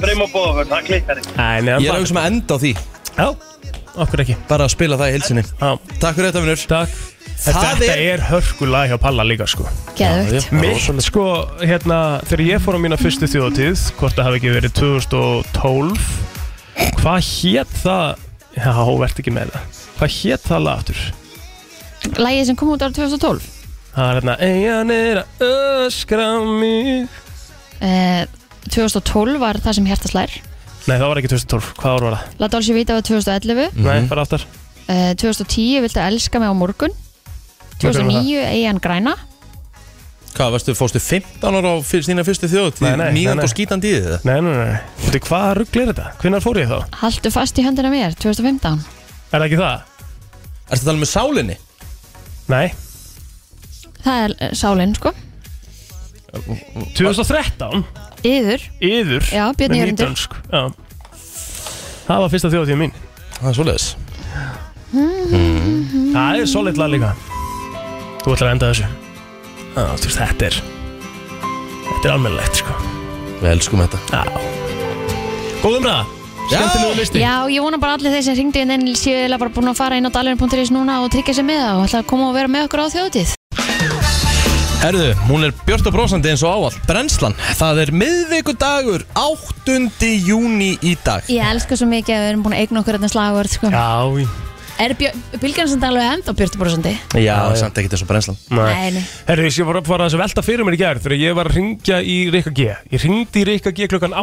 Speaker 9: Breym og bóðaförn, það klikkar ekki
Speaker 3: Nei, nei,
Speaker 1: Ég er að hugsa um að enda á því
Speaker 3: Já, okkur ekki
Speaker 1: Bara að spila það í hilsinni
Speaker 3: Já,
Speaker 1: Takk fyrir þetta vinnur
Speaker 3: takk
Speaker 1: Það
Speaker 3: Þetta
Speaker 1: er-
Speaker 3: er hörkulag hjá Palla líka sko
Speaker 2: Geðvögt
Speaker 3: Mitt sko, hérna, þegar ég fór á mína fyrstu þjóðatíð Hvort það hafi ekki verið 2012 Hvað hét það Já, verð ekki með það Hvað hét það lag aftur?
Speaker 2: Lægið sem kom út ára 2012
Speaker 3: Það er hérna Eyjan er að öskra mig
Speaker 2: eh, 2012 var það sem hjartaslær
Speaker 3: Nei, það var ekki 2012, hvað ár var það?
Speaker 2: Láta alls ég vita var 2011
Speaker 1: Mhm.
Speaker 3: Nei, bara aftar
Speaker 2: eh, 2010 Viltu elska mig á morgun
Speaker 3: Hvað er
Speaker 2: 2009 Eyjan Græna
Speaker 1: Hvað, varstu, fórstu 15 ára á fyrst, þína fyrstu þjóðut?
Speaker 3: Nei, nei, nei,
Speaker 1: Mígand
Speaker 3: nei.
Speaker 1: og skítandi í þið það?
Speaker 3: Nei, nei, nei, veitu hvað rugl er þetta? Hvenær fór ég þá?
Speaker 2: Haltu fast í höndina mér, 2015
Speaker 3: Er það ekki það?
Speaker 1: Ertu að tala með sálinni?
Speaker 3: Nei
Speaker 2: Það er eh, sálin, sko
Speaker 3: 2013?
Speaker 2: Yður
Speaker 3: Yður
Speaker 2: Já, Björn
Speaker 3: með
Speaker 2: Jörundur.
Speaker 3: nýdönsk, Já Það var fyrsta þjóðtíð mín
Speaker 1: Það er svoleiðis
Speaker 3: Hmm. Það er solid lag líka Þú ætlar að enda þessu Já, þú veist, þetta er Þetta er almennilegt, sko
Speaker 1: Við elskum þetta
Speaker 3: Já Góðum ræða Skemmtilegu listi
Speaker 2: Já, ég vona bara allir þeir sem ringdu en enn séu eða bara búin að fara inn á dalurinn.is núna og tryggja sér með það og ætla að koma og vera með okkur á þjóðtíð
Speaker 1: Herðu, hún er björt og brósandi eins og áall Brennslan, það er miðvikudagur 8. júni í dag
Speaker 2: Ég elska svo mikið að við erum búin að eigna okkur þetta slagvörð sko.
Speaker 3: Já,
Speaker 2: Er Bilgarn sem um talaðu enda Björn Brósandi?
Speaker 1: Já, samt ekkert eins og brennslan
Speaker 2: Nei, nei.
Speaker 3: Herru, ég var bara að velta fyrir mér í gerð þegar ég var að ringja í Rikka G Ég ringdi í Rikka G klukkan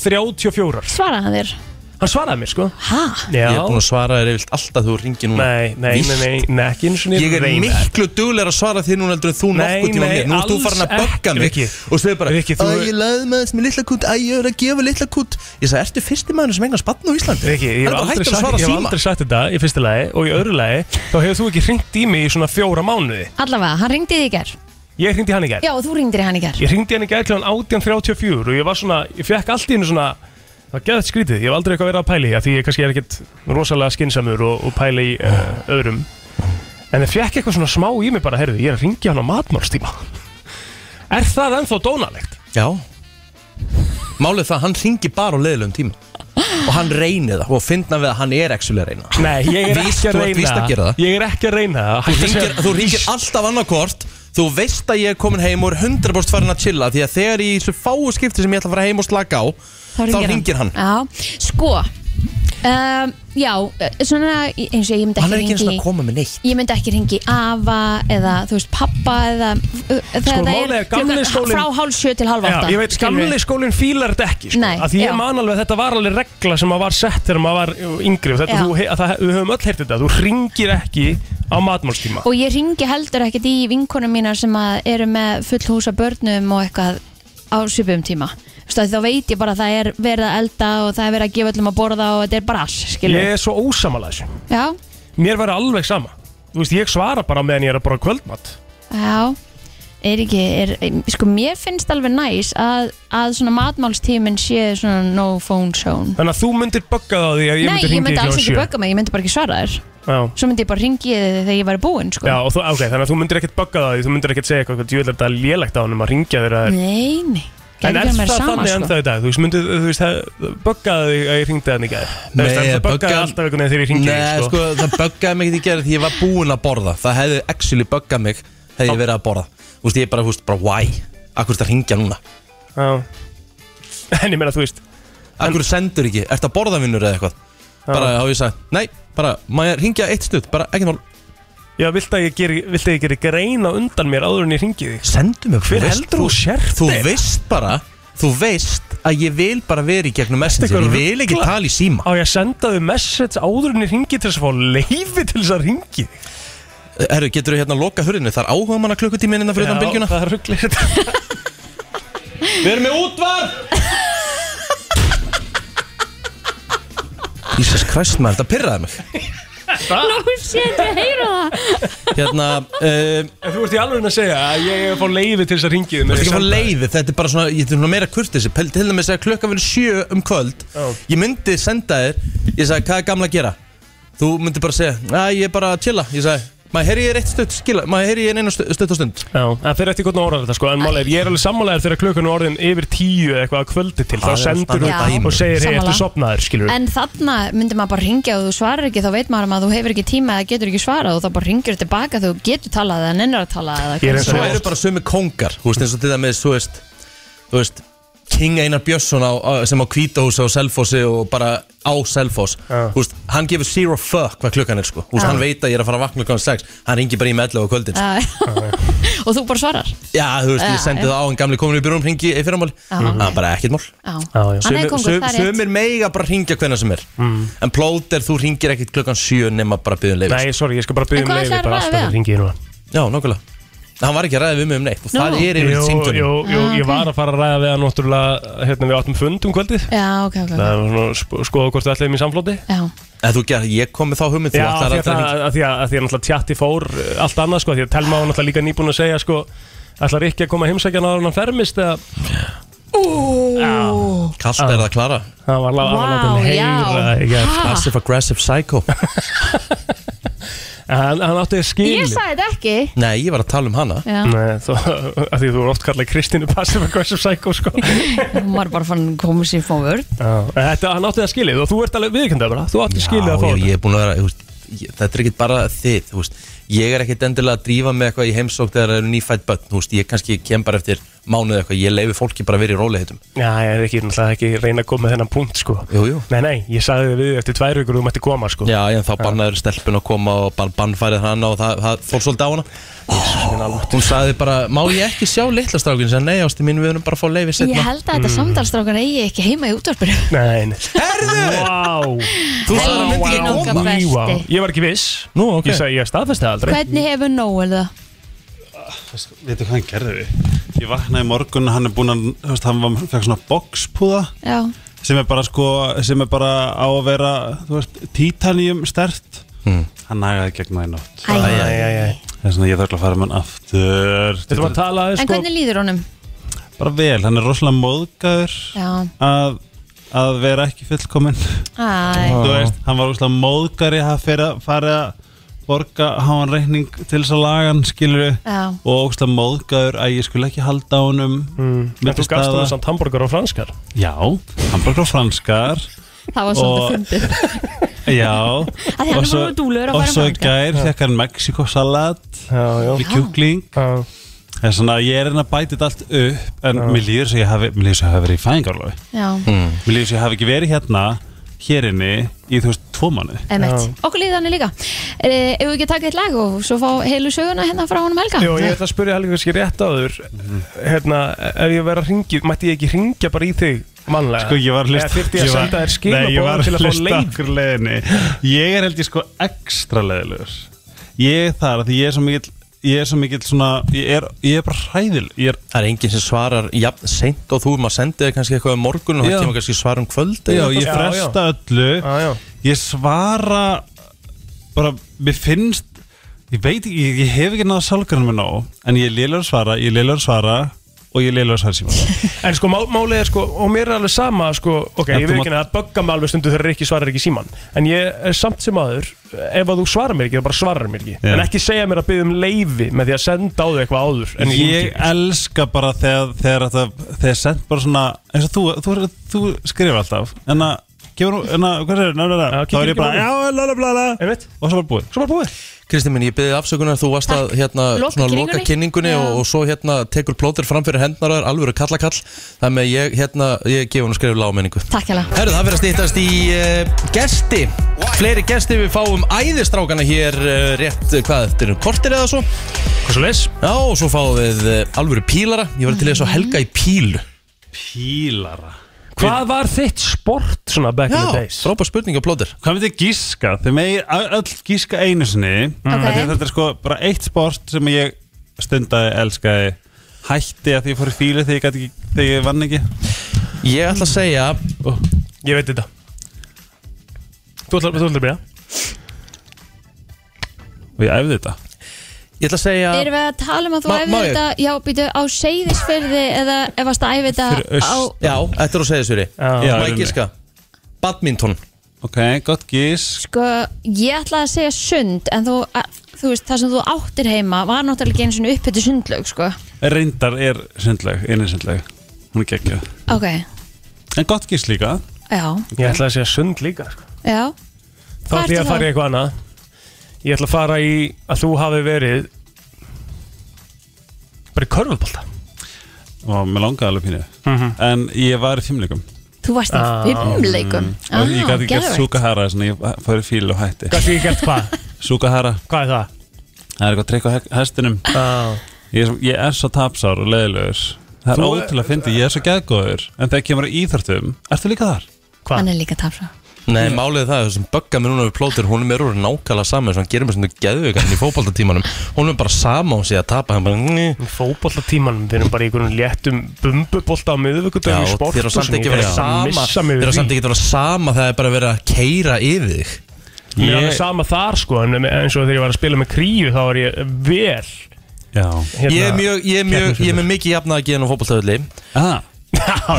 Speaker 3: 18.34
Speaker 2: Svaraði hann þér?
Speaker 3: Hann svaraði mér, sko
Speaker 2: Hæ?
Speaker 3: Já.
Speaker 1: Ég er búin að svara þér yfirlt alltaf þú ringir núna
Speaker 3: Nei, nei, nei, nei, nei, ekki eins og
Speaker 1: Ég er miklu duglegar að svara þér núna heldur en þú
Speaker 3: Nei,
Speaker 1: nokkuð tíma
Speaker 3: nei,
Speaker 1: mér Nú ert þú
Speaker 3: alls
Speaker 1: farin að bögga
Speaker 3: ekki,
Speaker 1: mig
Speaker 3: Rikki.
Speaker 1: Og segir bara
Speaker 3: Rikki, þú-
Speaker 1: "Æ, Ég laði með þess með litla kutt Æ, ég er að gefa litla kutt Ég sagði, ertu fyrsti maður sem engan spann á Íslandi?
Speaker 3: Riki, ég
Speaker 1: Hann
Speaker 3: hef
Speaker 1: er bara
Speaker 3: aldrei,
Speaker 1: hættur að
Speaker 3: sagt,
Speaker 1: svara
Speaker 3: ég hef
Speaker 1: síma
Speaker 3: aldrei sagt þetta í fyrsta lagi og í öðru lagi þá hefur þú ekki hringt í mig í svona fjóra mánuði
Speaker 2: Allavega, hann ringdi þig í ger
Speaker 3: Ég hringdi í hann í gær
Speaker 2: Já, þú ringdir hann í ger
Speaker 3: Ég hringdi í hann í gær kl. 18.34 og ég var svona, ég fekk allt í hennu svona það var geðað skrítið, ég hef aldrei eitthvað verið að pæli því að því ég kannski er ekkert rosalega skinsamur og, og pæli í uh, öðrum en ég fekk eitthvað svona smá í mig bara, herðu, ég er að ringja hann á matmálstíma Er það ennþá dónalegt?
Speaker 1: Já Málið það, hann ringi bara á leiðilegum tíma Og hann reynir það Og finna við að hann er actually að reyna
Speaker 3: Nei, ég er
Speaker 1: Víst,
Speaker 3: ekki að
Speaker 1: þú ert víst
Speaker 3: reyna
Speaker 1: að gera það.
Speaker 3: Ég er ekki að reyna
Speaker 1: Þú ringir, þú ringir alltaf annarkort Þú veist að ég er komin heim og er 100% farin að chilla Því að þegar í þessu fáu skipti sem ég ætla að fara heim og slaka á Þá
Speaker 2: hringir hann.
Speaker 1: ringir hann
Speaker 2: Já, sko um, Já, svona eins og ég myndi
Speaker 1: Hann
Speaker 2: ekki
Speaker 1: er ekki eins og
Speaker 2: ringi
Speaker 1: að koma með neitt
Speaker 2: Ég myndi ekki ringi afa eða þú veist pappa eða Sko,
Speaker 3: málið er gamli skólinn-
Speaker 2: Frá hálf sjö til hálf
Speaker 3: Já,
Speaker 2: átta
Speaker 3: ég veit,
Speaker 2: skilurðu.
Speaker 3: gamli skólinn fílar þetta ekki sko.
Speaker 2: Nei,
Speaker 3: að því
Speaker 2: já.
Speaker 3: ég man alveg að þetta var alveg regla sem að var sett þegar maður var yngri og þetta,
Speaker 2: Já.
Speaker 3: þú, he- að það, við höfum öll heyrt þetta þú ringir ekki á matmálstíma
Speaker 2: Og ég ringi heldur ekkert í vinkonum mínar sem að eru með full húsa börnum og eitthvað á svipum tíma Þú veist, að Þá veit ég bara að það er verið að elda og það er verið að gefa öllum að borða og þetta er bara ass, skilur
Speaker 3: ég er svo ósamala þessu
Speaker 2: Já,
Speaker 3: mér verður alveg sama þú veist, ég svara bara meðan ég er að borða kvöldmat
Speaker 2: já Er ekki, er, sko mér finnst alveg næs að, að svona matmálstíminn sé svona no phone zone
Speaker 3: þannig að þú myndir bögga það á því að ég
Speaker 2: Nei,
Speaker 3: myndir
Speaker 2: ég
Speaker 3: ringi
Speaker 2: myndi alls ekki
Speaker 3: ekki á sjö
Speaker 2: bögga mig, ég myndi bara ekki svara þér
Speaker 3: Já.
Speaker 2: Svo myndi ég bara ringi þig þegar ég væri búin, sko
Speaker 3: Já, og þú, ok, þannig að þú myndir ekkert bögga það á því þú myndir ekkert segja eitthvað, djú, þetta er lélegt á honum að ringja þér að
Speaker 2: Nei, nei,
Speaker 3: En
Speaker 2: gerði
Speaker 3: er
Speaker 2: ekki mér
Speaker 3: það
Speaker 2: sama,
Speaker 3: þannig
Speaker 2: sko
Speaker 3: ennþá í dag? Þú veist, myndið, þú veist, það böggaði þig að ég ringdi þannig í gær Þú veist,
Speaker 1: Nei,
Speaker 3: það böggaði
Speaker 1: böggaði-
Speaker 3: alltaf einhvern veginn þegar ég ringdi
Speaker 1: Nei, sko, það böggaði mig ekki í gerð því ég var búinn að borða Það hefði actually böggað mig hefði ég verið að borða Þú veist, ég bara, þú veist, bara why? Akkur þetta ringja núna?
Speaker 3: Já En ég meina þú veist
Speaker 1: Akkur sendur ekki? Ertu að borða vinnur eða eitthvað? Bara á ég sagði, nei, bara, maður ringja eitt snudd, bara ekki mál
Speaker 3: Já, vilt að ég geri, vilt að ég geri greina undan mér áður en ég ringi þig
Speaker 1: Sendu mig,
Speaker 3: Hver heldur þú sért
Speaker 1: Þú
Speaker 3: þig?
Speaker 1: veist bara, þú veist að ég vil bara vera í gegnum messenger Ég vil ekki tala í síma
Speaker 3: Á ég að senda þig message áður en ég ringi til þess
Speaker 1: um
Speaker 3: að fá leifi til þess að ringi þig
Speaker 1: Herru, getur þú hérna að loka hurðinu? Það er áhuga manna klukkutíminn innan fyrir utan bylgjuna
Speaker 3: það er rugglir þetta
Speaker 1: Við erum með útvarp Jesus Christ maður, þetta pirraði mig
Speaker 2: Nú sé ég heyra það
Speaker 1: Hérna, um,
Speaker 3: Eh, En þú ert í alveg að segja að ég er að fá leifi til þess að ringi þig
Speaker 1: þetta er ekki að fá leiði Þetta er bara svona, ég þetta er svona meira kurtisi Pel- Til dæmis að klukka verið sjö um kvöld
Speaker 3: Já.
Speaker 1: Ég myndi senda þér Ég sagði, hvað er gamla að gera? Þú myndi bara segja, að ég er bara að chilla Ég sagði, maður heyri ég rétt stutt skila Maður heyri ég einu stutt og stund
Speaker 3: Já, það fyrir eftir hvernig orðar þetta sko En málega, ég er alveg sammálaður þegar klukkan er orðin yfir tíu eða eitthvað að kvöldi til Þá
Speaker 1: Það er
Speaker 3: sendur
Speaker 1: allt
Speaker 3: þú
Speaker 2: annað dæmi.
Speaker 3: og segir, hei,
Speaker 2: Sammála.
Speaker 3: ertu sopnaður, skilur
Speaker 2: En þarna myndir maður bara ringja og þú svarar ekki þá veit maður um að þú hefur ekki tíma eða getur ekki svarað og þá bara ringjur tilbaka þegar þú getur talað eða nennir að tala eða
Speaker 3: Ég er
Speaker 2: hvað
Speaker 3: eins
Speaker 2: sem
Speaker 1: Svo eru
Speaker 3: og Svo oft.
Speaker 1: bara sömu kongar Þú veist, eins og til það með, þú veist Þú veist, King Einar Björnsson á, á- sem á kvítahúsa og selfossi og bara á selfoss
Speaker 3: Já.
Speaker 1: Þú veist, hann gefur zero fuck hvað klukkan er sko Þú veist, hann veit að ég er að fara að vakna klukkan 6 Hann ringi bara í með 11 á kvöldin sko.
Speaker 2: er. og þú bara svarar
Speaker 1: Já, þú veist, ég
Speaker 2: Já,
Speaker 1: sendi
Speaker 2: já.
Speaker 1: það á hann gamli komin upp í rúm Ringi í fyrramál Það er bara ekkert mál
Speaker 2: Já,
Speaker 3: já.
Speaker 2: hann er kongur, það
Speaker 1: sum-
Speaker 2: er rétt
Speaker 1: Sumir meiga bara ringja hvenna sem er
Speaker 3: Mm.
Speaker 1: En plóter, þú ringir ekkert klukkan 7 nema bara byggðum leifis
Speaker 3: Nei, sorry, ég skal bara
Speaker 2: En
Speaker 3: byggja um
Speaker 2: hvað
Speaker 3: leiði
Speaker 2: ætlarðu að
Speaker 3: bara
Speaker 2: ræða
Speaker 3: alltaf
Speaker 2: við
Speaker 3: að ringi núna
Speaker 1: Já, nákvæmlega Hann var ekki að ræða við mig um neitt og það
Speaker 3: Nú.
Speaker 1: er yfir
Speaker 3: Jú,
Speaker 1: símtölum
Speaker 3: Jú, jú,
Speaker 2: Ah,
Speaker 3: ég
Speaker 2: ok.
Speaker 3: var að fara að ræða við hann náttúrulega hérna við áttum fund um kvöldið
Speaker 2: Já, ok, ok,
Speaker 3: Það
Speaker 2: ok
Speaker 3: var svona að sp- skoða hvort við ætlaðum í samflóti
Speaker 2: Já,
Speaker 1: En þú gerð, ég kom með þá hugmynd þú
Speaker 3: Já,
Speaker 1: ætlar
Speaker 3: af því að
Speaker 1: aldrei að
Speaker 3: það- af því að af því að náttúrulega tjatti fór uh, allt annað sko, af því að Telma var náttúrulega líka nýbúin að segja sko, ætlar ekki að koma heimsækjan áður en hann fermist eða
Speaker 2: Ú,
Speaker 1: Kast er það að klara
Speaker 3: Það var lág
Speaker 2: Vá,
Speaker 3: að heyra
Speaker 2: já.
Speaker 3: í gær.
Speaker 2: Ha?
Speaker 1: Passive aggressive psycho
Speaker 3: En hann, hann átti að skilja
Speaker 2: Ég sagði þetta ekki
Speaker 1: Nei, ég var að tala um hana
Speaker 2: Já.
Speaker 3: Nei, þú, af því að þú er oft kallað Kristínu Passive Aggressive Psycho sko.
Speaker 2: Hún var bara fann komið sér fór vörð
Speaker 3: Já, en Þetta, hann átti það skilið og þú ert alveg viðkendað bara Þú átti skilið að fá
Speaker 1: Já, ég,
Speaker 3: þetta
Speaker 1: ég er búin að vera þú veist, ég, Þetta er ekkit bara þið þú veist, Ég er ekkit endilega að drífa með eitthvað í heimsók þegar það eru nýfætt börn þú veist, Ég kannski kem bara eftir mánuð eða eitthvað Ég leifi fólki bara að vera í róliðheitum
Speaker 3: Já, ég er ekki, náttúrulega ekki að reyna að koma með þennan punkt sko.
Speaker 1: Jú, jú
Speaker 3: Nei, nei, ég sagði þið við eftir tvær vikur þú mætti koma sko.
Speaker 1: Já, en þá bannaður stelpun að koma og bann, bannfærið hann og það, það fór svolítið á hana Hún sagði bara, má ég ekki sjá litla strákin sem nei ástu mín, við erum bara að fá leiði
Speaker 2: Ég held að
Speaker 3: Mm.
Speaker 2: þetta samtalstrákan eigi ekki heima í útvarpinu
Speaker 3: Nei, nei Herðu
Speaker 2: Þú sagði að hann myndi ekki Helgi koma. okkar besti.
Speaker 3: Ég var ekki viss
Speaker 1: Nú, ok
Speaker 3: Ég sagði, ég staðfesti það aldrei
Speaker 2: Hvernig hefur Nóel það?
Speaker 13: Veitu hvað hann gerði við Ég vaknaði í morgun, hann er búinn að þú veist, Hann var, fekk svona boxpúða
Speaker 2: Já,
Speaker 13: Sem er bara sko, sem er bara á að vera Þú veist, titanium stert Hann nægaði gegn það í nótt
Speaker 2: Æ. Æ, æ,
Speaker 3: æ, æ.
Speaker 13: Það er svona, ég þarf að fara með hann aftur
Speaker 3: Þetta var að tala
Speaker 2: en hvernig líður honum?
Speaker 13: Bara vel, hann er rosalega móðgæður
Speaker 2: Já,
Speaker 13: Að, að vera ekki fullkominn
Speaker 2: æ
Speaker 13: Þú veist, hann var rosalega móðgæri Hann fyrir að fara að borga Háan reikning til þess að laga hann skilur
Speaker 2: Já.
Speaker 13: Og ógstlega móðgæður Að ég skulle ekki halda á honum mm.
Speaker 3: En þú gafst hann samt hambúrgar og franskar
Speaker 13: Já, hambúrgar og franskar
Speaker 2: Það var
Speaker 13: Og-
Speaker 2: svolítið fyndið
Speaker 13: Já
Speaker 2: Að því hann er búin að dúlur að
Speaker 13: Og
Speaker 2: fara
Speaker 13: svo í
Speaker 2: þangað.
Speaker 13: gær
Speaker 2: Já.
Speaker 13: fekk hann Mexikosalat Við kjúkling Það er svona, ég er enn að bæti þetta allt upp En mér líður sem ég hafi Mér líður sem ég hafi verið í fæðingarlofi
Speaker 2: Já,
Speaker 13: Mér líður sem ég hafi ekki verið hérna Hér inni í þú veist tvo manni
Speaker 2: emmett Okkur líður hann líka Eh, Ef við ekki að taka eitt lag og svo fá heilu söguna hérna frá honum Helga
Speaker 3: Jó, ég ætla að spyrja Helgi kannski rétt áður
Speaker 1: Mhm.
Speaker 3: Hérna, ef ég verið að ringja Mætti ég ekki ringja bara í þig mannlega
Speaker 13: Sko ég var
Speaker 3: Eh,
Speaker 13: að
Speaker 3: Eða
Speaker 13: hlusta
Speaker 3: þyrfti ég
Speaker 13: ég
Speaker 3: að
Speaker 13: var-
Speaker 3: senda þér
Speaker 13: Nei, ég var
Speaker 3: skilabóðan til að fá leik
Speaker 13: ykkur leðinni Ég er held ég sko ekstra leðilegur Ég er þar af því ég er svo mikill Ég er svo mikill svona Ég er, ég er bara hræðil ég er,
Speaker 1: Það er enginn sem svarar, já, seint og þú maður sendið þér kannski eitthvað um morgun og
Speaker 13: Já.
Speaker 1: það kemur kannski svar um kvöld
Speaker 13: Já,
Speaker 1: eða
Speaker 13: ég
Speaker 1: eitthvað.
Speaker 13: fresta öllu Ég svara Bara, mér finnst Ég veit ekki, ég, ég hef ekki náða sálgarinn mér nóg En ég er lélegur að svara, ég er lélegur að svara Og ég er lélegur að svara síma
Speaker 3: En sko má- málið er sko, og mér er alveg sama sko, ok,
Speaker 13: En
Speaker 3: ég
Speaker 13: þú
Speaker 3: veit ekki að það bögga mig alveg stundu þegar Rikki svarar ekki í síman En ég er samt sem aður, ef að þú svarar mér ekki, þá bara svarar mér ekki
Speaker 13: Já.
Speaker 3: En ekki segja mér að byggja um leifi með því að senda á þau eitthvað áður en
Speaker 13: Ég elska bara þegar Þegar þetta, þegar sent bara svona eins og þú, þú, þú, þú skrifar alltaf En að, gefur nú, en að, hvað er það? Þá er ég bara, já,
Speaker 3: lala, lala Og
Speaker 13: svo bara búið
Speaker 3: Svo bara búið
Speaker 1: Kristinn minn, ég byrði afsökunar, þú varst að hérna,
Speaker 13: Loka
Speaker 1: svona,
Speaker 13: kynningunni.
Speaker 1: loka kynningunni
Speaker 13: Já.
Speaker 1: og, og svo hérna tekur plótir fram fyrir hendnar á þér, alvöru kallakall Þannig að ég, hérna, ég gefa hún að skrifa lágmenningu
Speaker 2: Takk hérna
Speaker 1: Herru, það fyrir að stýttast í uh, gesti Fleiri gesti við fáum æðistrákana hér uh, rétt, uh, hvað eftir, kortir eða svo
Speaker 3: Hvað svo les?
Speaker 1: Já, og svo fáum við uh, alvöru pílara Ég var til þess að helga í pílu
Speaker 13: Pílara
Speaker 3: Hvað var þitt sport svona back in the
Speaker 13: Já,
Speaker 3: days?
Speaker 1: frábær spurning og plótir
Speaker 13: Hvað myndið gíska? Þau megir öll gíska einu sinni þetta, er, þetta er sko bara eitt sport sem ég stundaði, elskaði Hætti að því ég fór í fílu þegar ég, gat ekki, þegar ég vann ekki
Speaker 1: Ég ætla að segja
Speaker 3: Ég veit þetta Þú ætlar, þú ætlar að byrja
Speaker 13: Og ég æfði þetta
Speaker 1: Ég ætla að segja
Speaker 2: Erum við að tala um að þú
Speaker 1: Ma-
Speaker 2: æfir
Speaker 1: má ég?
Speaker 2: þetta Já, býtu á seyðisfyrði eða ef varst að æfi þetta á
Speaker 1: Já, þetta er að segja suri Má
Speaker 13: Já, í
Speaker 1: ég
Speaker 13: rauninni.
Speaker 1: giska? Badminton
Speaker 13: Ok, gott gís
Speaker 2: Sko, ég ætlaði að segja sund en þú, að, þú veist, það sem þú áttir heima var náttúrulega ekki einu svona uppbyttu sundlaug, sko
Speaker 13: Reyndar er sundleg, einu sundleg Hún er geggjöð
Speaker 2: Ok,
Speaker 13: En gott gís líka
Speaker 2: já,
Speaker 3: Ég ætla að segja sund líka sko.
Speaker 2: já
Speaker 3: Þá ætla ég að fara í eitthvað annað Ég ætla að fara í að þú hafi verið Bara í körfubólta
Speaker 13: Og mér langaði alveg pínu
Speaker 3: Mhm.
Speaker 13: En ég var í fimmleikum
Speaker 2: Þú varst í
Speaker 13: Ah.
Speaker 2: fimmleikum
Speaker 13: Og Ég gæti ekki gert
Speaker 2: geðveikt.
Speaker 13: súkahara Þannig ég fór í fílu og hætti
Speaker 3: Gæti ekki gert hvað?
Speaker 13: Súkahara
Speaker 3: Hvað er það?
Speaker 13: Það er eitthvað trikk á he- hestinum ég, er svo- ég er svo tapsár og leiðilegur Það er
Speaker 3: Þú-
Speaker 13: ótrúlega að fyndi, ég er svo geðgóður En þegar kemur að íþörtum, ertu líka þar?
Speaker 3: Hva?
Speaker 2: Hann er líka tapsa
Speaker 1: Nei, málið er það sem böggar mér núna við plótir hún er mér úr nákvæmlega sama eins og hann gerir mér svona geðveikan í fótboltatímanum hún er bara sama og sé að tapa hann bara
Speaker 3: Fótboltatímanum, við erum bara í einhverjum léttum bumbubólta á miðvíkudagum í
Speaker 1: Já,
Speaker 3: sport
Speaker 1: þér á samt ekki verið sama
Speaker 3: Þér
Speaker 1: Þér á samt ekki verið sama það er bara verið að keira yfir þig
Speaker 3: Mér er
Speaker 1: Ég-
Speaker 3: alveg sama þar sko en eins og þegar ég var að spila með kríu þá var ég vel
Speaker 13: Já
Speaker 1: Ég er mjög, ég er mjög, ég er með mikið jafnaði að geða nú fótboltaöðli
Speaker 3: Já,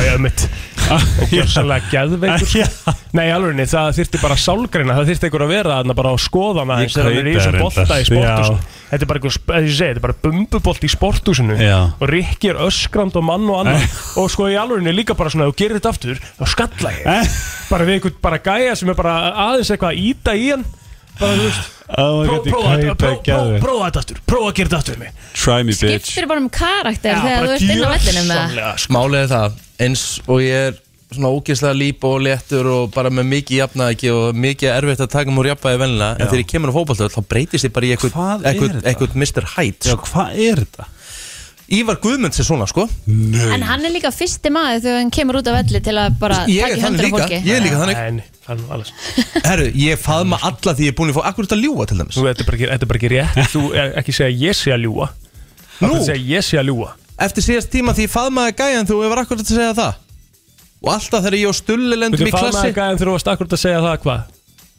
Speaker 3: ég er mitt
Speaker 13: Ah,
Speaker 3: Gjörsalega geðveikur sko. Nei, alveg, það þyrfti bara sálgreina Það þyrfti einhver að vera þarna bara á skoðana
Speaker 13: Ég
Speaker 3: Ég þegar hann er í
Speaker 13: kaupi
Speaker 3: þessum
Speaker 13: það
Speaker 3: bolta í
Speaker 13: reyndar.
Speaker 3: sporthúsinu Þetta er bara einhver, sp- eins og ég segi, þetta er bara bumbubolt í sporthúsinu
Speaker 13: Já.
Speaker 3: Og Rikki er öskrand og mann og
Speaker 13: Eh.
Speaker 3: annan Og sko í alveg líka bara svona, ef þú gerir þetta aftur Þá skalla
Speaker 13: Eh.
Speaker 3: ég Bara við einhvern bara gæja sem er bara aðeins eitthvað að íta í hann Bara, þú veist
Speaker 13: Oh
Speaker 3: pró-
Speaker 13: my God, ég
Speaker 3: prófa þetta-
Speaker 13: kaupi
Speaker 3: pró- pró-
Speaker 13: geðveikt.
Speaker 3: Prófa þetta aftur, prófa að gera þetta aftur við mig
Speaker 13: Try me bitch
Speaker 2: Skiptir bara um karakter
Speaker 3: Já,
Speaker 2: þegar
Speaker 3: bara
Speaker 2: þú ert inn á vellinu með það
Speaker 1: sko. Málið er það eins og ég er svona ógeðslega líp og léttur og bara með mikið jafnaði og mikið erfitt að taka múr jafnaði venlega en
Speaker 13: Já.
Speaker 1: þegar ég kemur á fótboltaöðl þá breytist ég bara í
Speaker 13: Hvað er
Speaker 1: eitthvað
Speaker 13: þetta?
Speaker 1: eitthvað Mr. Hyde
Speaker 13: Já, hvað er þetta?
Speaker 1: sko. Ívar Guðmunds er svona sko Nei
Speaker 2: En hann er líka fyrsti maður þegar hann kemur út á velli til að bara
Speaker 1: Ég er
Speaker 2: taka í höndur
Speaker 1: þannig
Speaker 2: á
Speaker 1: líka,
Speaker 2: fólki
Speaker 1: ég er líka þannig
Speaker 3: Nei, hann var alveg
Speaker 1: Herru, ég faðma alla því ég er búin að fá Akkur er þetta að ljúa til dæmis
Speaker 3: Nú, þetta er bara ekki, þetta er bara ekki rétt Þú er ekki segja ég sé að ljúa Nú?
Speaker 1: Nú?
Speaker 3: Það segja ég sé að ljúa
Speaker 1: Eftir síðast tíma því ég faðmaði gæjan þú hefur akkur að segja það Og alltaf þegar ég og Stulli
Speaker 3: Þú
Speaker 1: lendum í
Speaker 3: fann
Speaker 1: klassi
Speaker 3: að gæðan þú varst akkurat að segja það hvað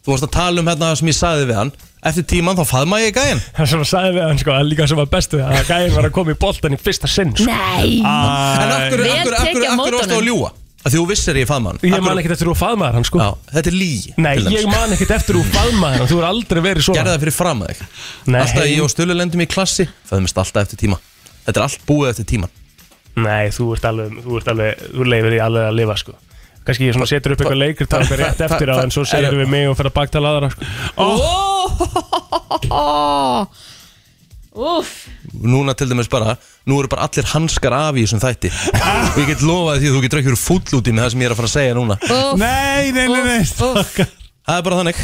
Speaker 1: Þú varst að tala um hérna það sem ég sagði við hann Eftir tíman þá faðmaði ég gæjan
Speaker 3: Það sem að sagði við hann sko, það er líka sem var bestu að gæðin var að koma í boltan í fyrsta sinn sko.
Speaker 2: Nei
Speaker 1: En akkur,
Speaker 2: Vel
Speaker 1: akkur, akkur,
Speaker 2: tekið á
Speaker 1: akkur
Speaker 2: móti
Speaker 1: varst að
Speaker 2: honum.
Speaker 1: ljúa Af Því þú vissir að ég faðma hann Af
Speaker 3: Ég man
Speaker 1: hverju-
Speaker 3: ekkert eftir þú faðmaðar hann sko
Speaker 1: Já, þetta er lí
Speaker 3: Nei, ég man ekkert eftir þú faðmaðar hann Þú er aldrei verið svona
Speaker 1: Gerði það fyrir fram að þig
Speaker 3: Nei.
Speaker 1: Alltaf ég og Stulli lendum í klassi Faðmist alltaf eftir tíma Þetta er allt búið eftir tíman
Speaker 3: Nei, þú ert alveg, þú ert alveg, þú leifir því alveg að lifa sko Kanski ég svona setur upp eitthvað leikur Það er rétt eftir á en svo segir við mig og fer að baktala aðra sko
Speaker 2: Ó Úff
Speaker 1: núna til dæmis bara nú eru bara allir hanskar af í þessum þætti og ég get lofaði því að þú getur ekki verið fúll út í með það sem ég er að fara að segja núna
Speaker 2: Úff.
Speaker 13: Nei, nei, nei, nei stokkar.
Speaker 1: það er bara þannig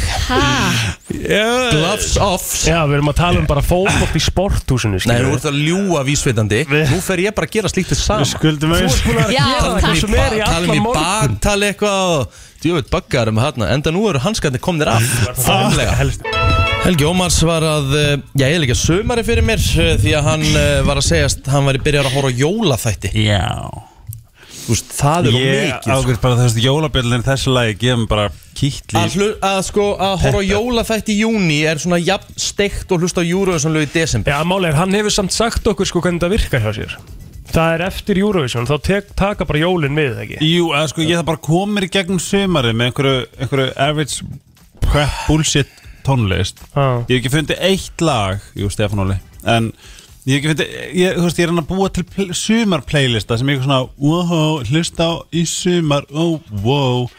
Speaker 1: gloves off
Speaker 3: Já, við erum að tala um bara fótbolt í sporthúsinu
Speaker 1: nei,
Speaker 3: skilur
Speaker 1: nú
Speaker 3: við.
Speaker 1: ert að ljúa vísvitandi nú fer ég bara að gera slíkt þess sama
Speaker 13: Við skuldum
Speaker 3: Þú ert búin að
Speaker 2: Já,
Speaker 3: gera
Speaker 2: takk.
Speaker 3: þetta sem er í
Speaker 1: tala um
Speaker 3: allan
Speaker 1: í
Speaker 3: morgun
Speaker 1: baktali eitthvað djöfitt baggar um þarna enda nú eru hanskarnir komnir af Formlega.
Speaker 3: Helst
Speaker 1: Helgi Ómars var að eh, já, ég er líka sömari fyrir mér eh, því að hann eh, var að segjast hann var í byrjar að horfa á jólaþætti
Speaker 13: Já
Speaker 1: Þú veist, það er of
Speaker 13: Ég
Speaker 1: mikið, sko.
Speaker 13: ákveð bara þessi jólabjöllin þessi lagi gefum bara kýtli
Speaker 1: að, hlu, að sko að horfa á
Speaker 13: Þetta.
Speaker 1: jólaþætt í júni er svona jafn steikt og hlusta á Eurovision lög í desember
Speaker 3: Já, málið er, hann hefur samt sagt okkur sko hvernig það virkar hjá sér Það er eftir Eurovision, þá tek, taka bara jólin við það ekki
Speaker 13: Jú, eða sko ég það bara komir í gegnum sömari með einhverju, einhverju average prep bullshit tónlist
Speaker 3: Já.
Speaker 13: Ég hef ekki fundið eitt lag, jú Stefán Óli En ég hef ekki fundið, ég, þú veist, ég er hann að búa til pl sumar playlista sem ég er svona Wow, hlusta á í sumar, oh, wow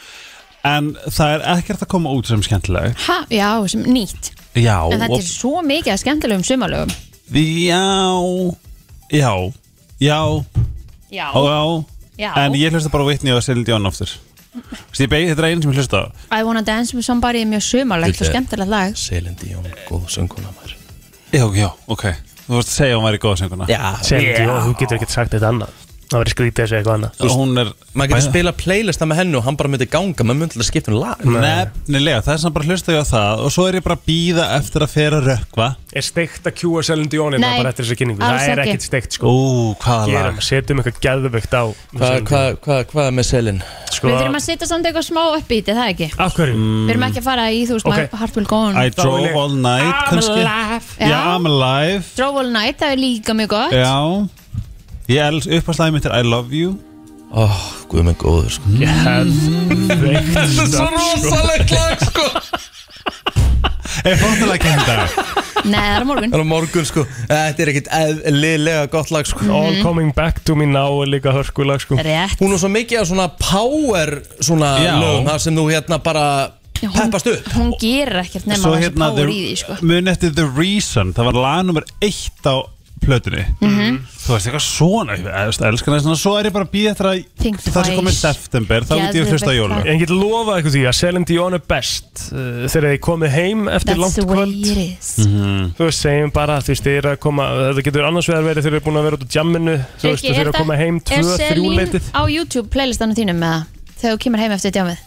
Speaker 13: En það er ekkert að koma út sem skemmtilegt
Speaker 2: Ha, já, sem nýtt
Speaker 13: Já,
Speaker 2: En þetta
Speaker 13: og-
Speaker 2: er svo mikið að skemmtilegum sumarlögum
Speaker 13: Já Já Já
Speaker 2: Já
Speaker 13: Já
Speaker 2: Já.
Speaker 13: En ég hlusta bara á Whitney og Celine Dion aftur Þessi ég beigði þetta er einn sem ég hlusta á
Speaker 2: I wanna dance with somebody er mjög sumarlegt og
Speaker 13: Þetta er-
Speaker 2: skemmtilegt lag
Speaker 1: Selin Díón, góð sönguna maður
Speaker 13: Já, já, ok Þú vorst að segja að hún væri góð sönguna
Speaker 3: Selin Dion, þú getur ekkert sagt eitthvað annað Það verður skrítið þessu eitthvað annað
Speaker 13: Og Hún er
Speaker 1: maður getur spila playlista með hennu og hann bara myndi ganga maður myndi að skipta um lag
Speaker 13: Nefnilega, það er sem bara hlusta ég á það Og svo er ég bara að býða eftir að fyrra rökva
Speaker 3: Er steikt að kjúa Selin Dion
Speaker 2: Nei,
Speaker 3: bara eftir þessu kynningu
Speaker 2: alls
Speaker 3: Það er
Speaker 2: ekki.
Speaker 3: ekkert steikt sko
Speaker 13: Ú, hvaða
Speaker 3: Gerum,
Speaker 13: lag
Speaker 3: setjum eitthvað geðvögt á
Speaker 1: hvað hva, hva, hva er með Selin?
Speaker 3: sko,
Speaker 2: Við þurfum að setja samt eitthvað smá uppbítið, það ekki
Speaker 3: Af hverju?
Speaker 13: Mm.
Speaker 2: Við erum ekki að fara í, þú veist,
Speaker 3: Ok.
Speaker 2: okay. Heart Will Go On
Speaker 13: I drove all night kannski
Speaker 2: Já.
Speaker 13: Já, I'm alive
Speaker 2: Drove All Night, það er líka mjög gott
Speaker 13: Já Ég els uppaslæði mitt er I love you
Speaker 1: oh, Guð með góður sko
Speaker 13: Mm-hmm.
Speaker 3: Geðveikt
Speaker 1: Þetta er svo
Speaker 3: stöf, sko.
Speaker 1: rosalegt lag sko
Speaker 13: Er
Speaker 3: hérna
Speaker 13: fórtalega kenda
Speaker 2: Nei, það er á morgun
Speaker 1: Það er á morgun sko Þetta er ekkit eðlilega gott lag sko
Speaker 3: All
Speaker 2: Mhm.
Speaker 3: coming back to me now er líka hörkulag sko
Speaker 2: Rétt,
Speaker 1: Hún er svo mikið af svona power svona
Speaker 13: Já.
Speaker 1: lögum það sem þú hérna bara peppast upp
Speaker 2: hún gerir ekkert nema
Speaker 13: Svo
Speaker 2: þessi
Speaker 13: hérna
Speaker 2: power í því, sko
Speaker 13: the, mun eftir The Reason Það var lag nummer eitt á plötunni
Speaker 2: Mhm.
Speaker 13: Þú veist eitthvað svona Ég veist, elskan það svona Svo er ég bara að býða eftir að
Speaker 2: Think
Speaker 13: Það sem komið
Speaker 2: twice.
Speaker 13: september Þá get ég að hlusta
Speaker 2: Geðveikt
Speaker 13: jólum
Speaker 3: En ég get lofað eitthvað því að Selin Dion er best uh, Þegar þið komið heim eftir
Speaker 2: That's
Speaker 3: langt
Speaker 2: the way
Speaker 3: kvöld
Speaker 2: it is
Speaker 13: Mm-hmm.
Speaker 3: Þú veist, segjum bara, þú veist, þeir eru að koma Þetta getur annars vegar verið, þeir eru búin að vera út á jamminu Þú veist,
Speaker 2: Rikki,
Speaker 3: þeir eru að
Speaker 2: það-
Speaker 3: koma heim
Speaker 2: er
Speaker 3: tvö,
Speaker 2: Selín
Speaker 3: þrjú leitið
Speaker 2: á YouTube playlistanu þínum með það Þegar þú kemur heim eftir djámið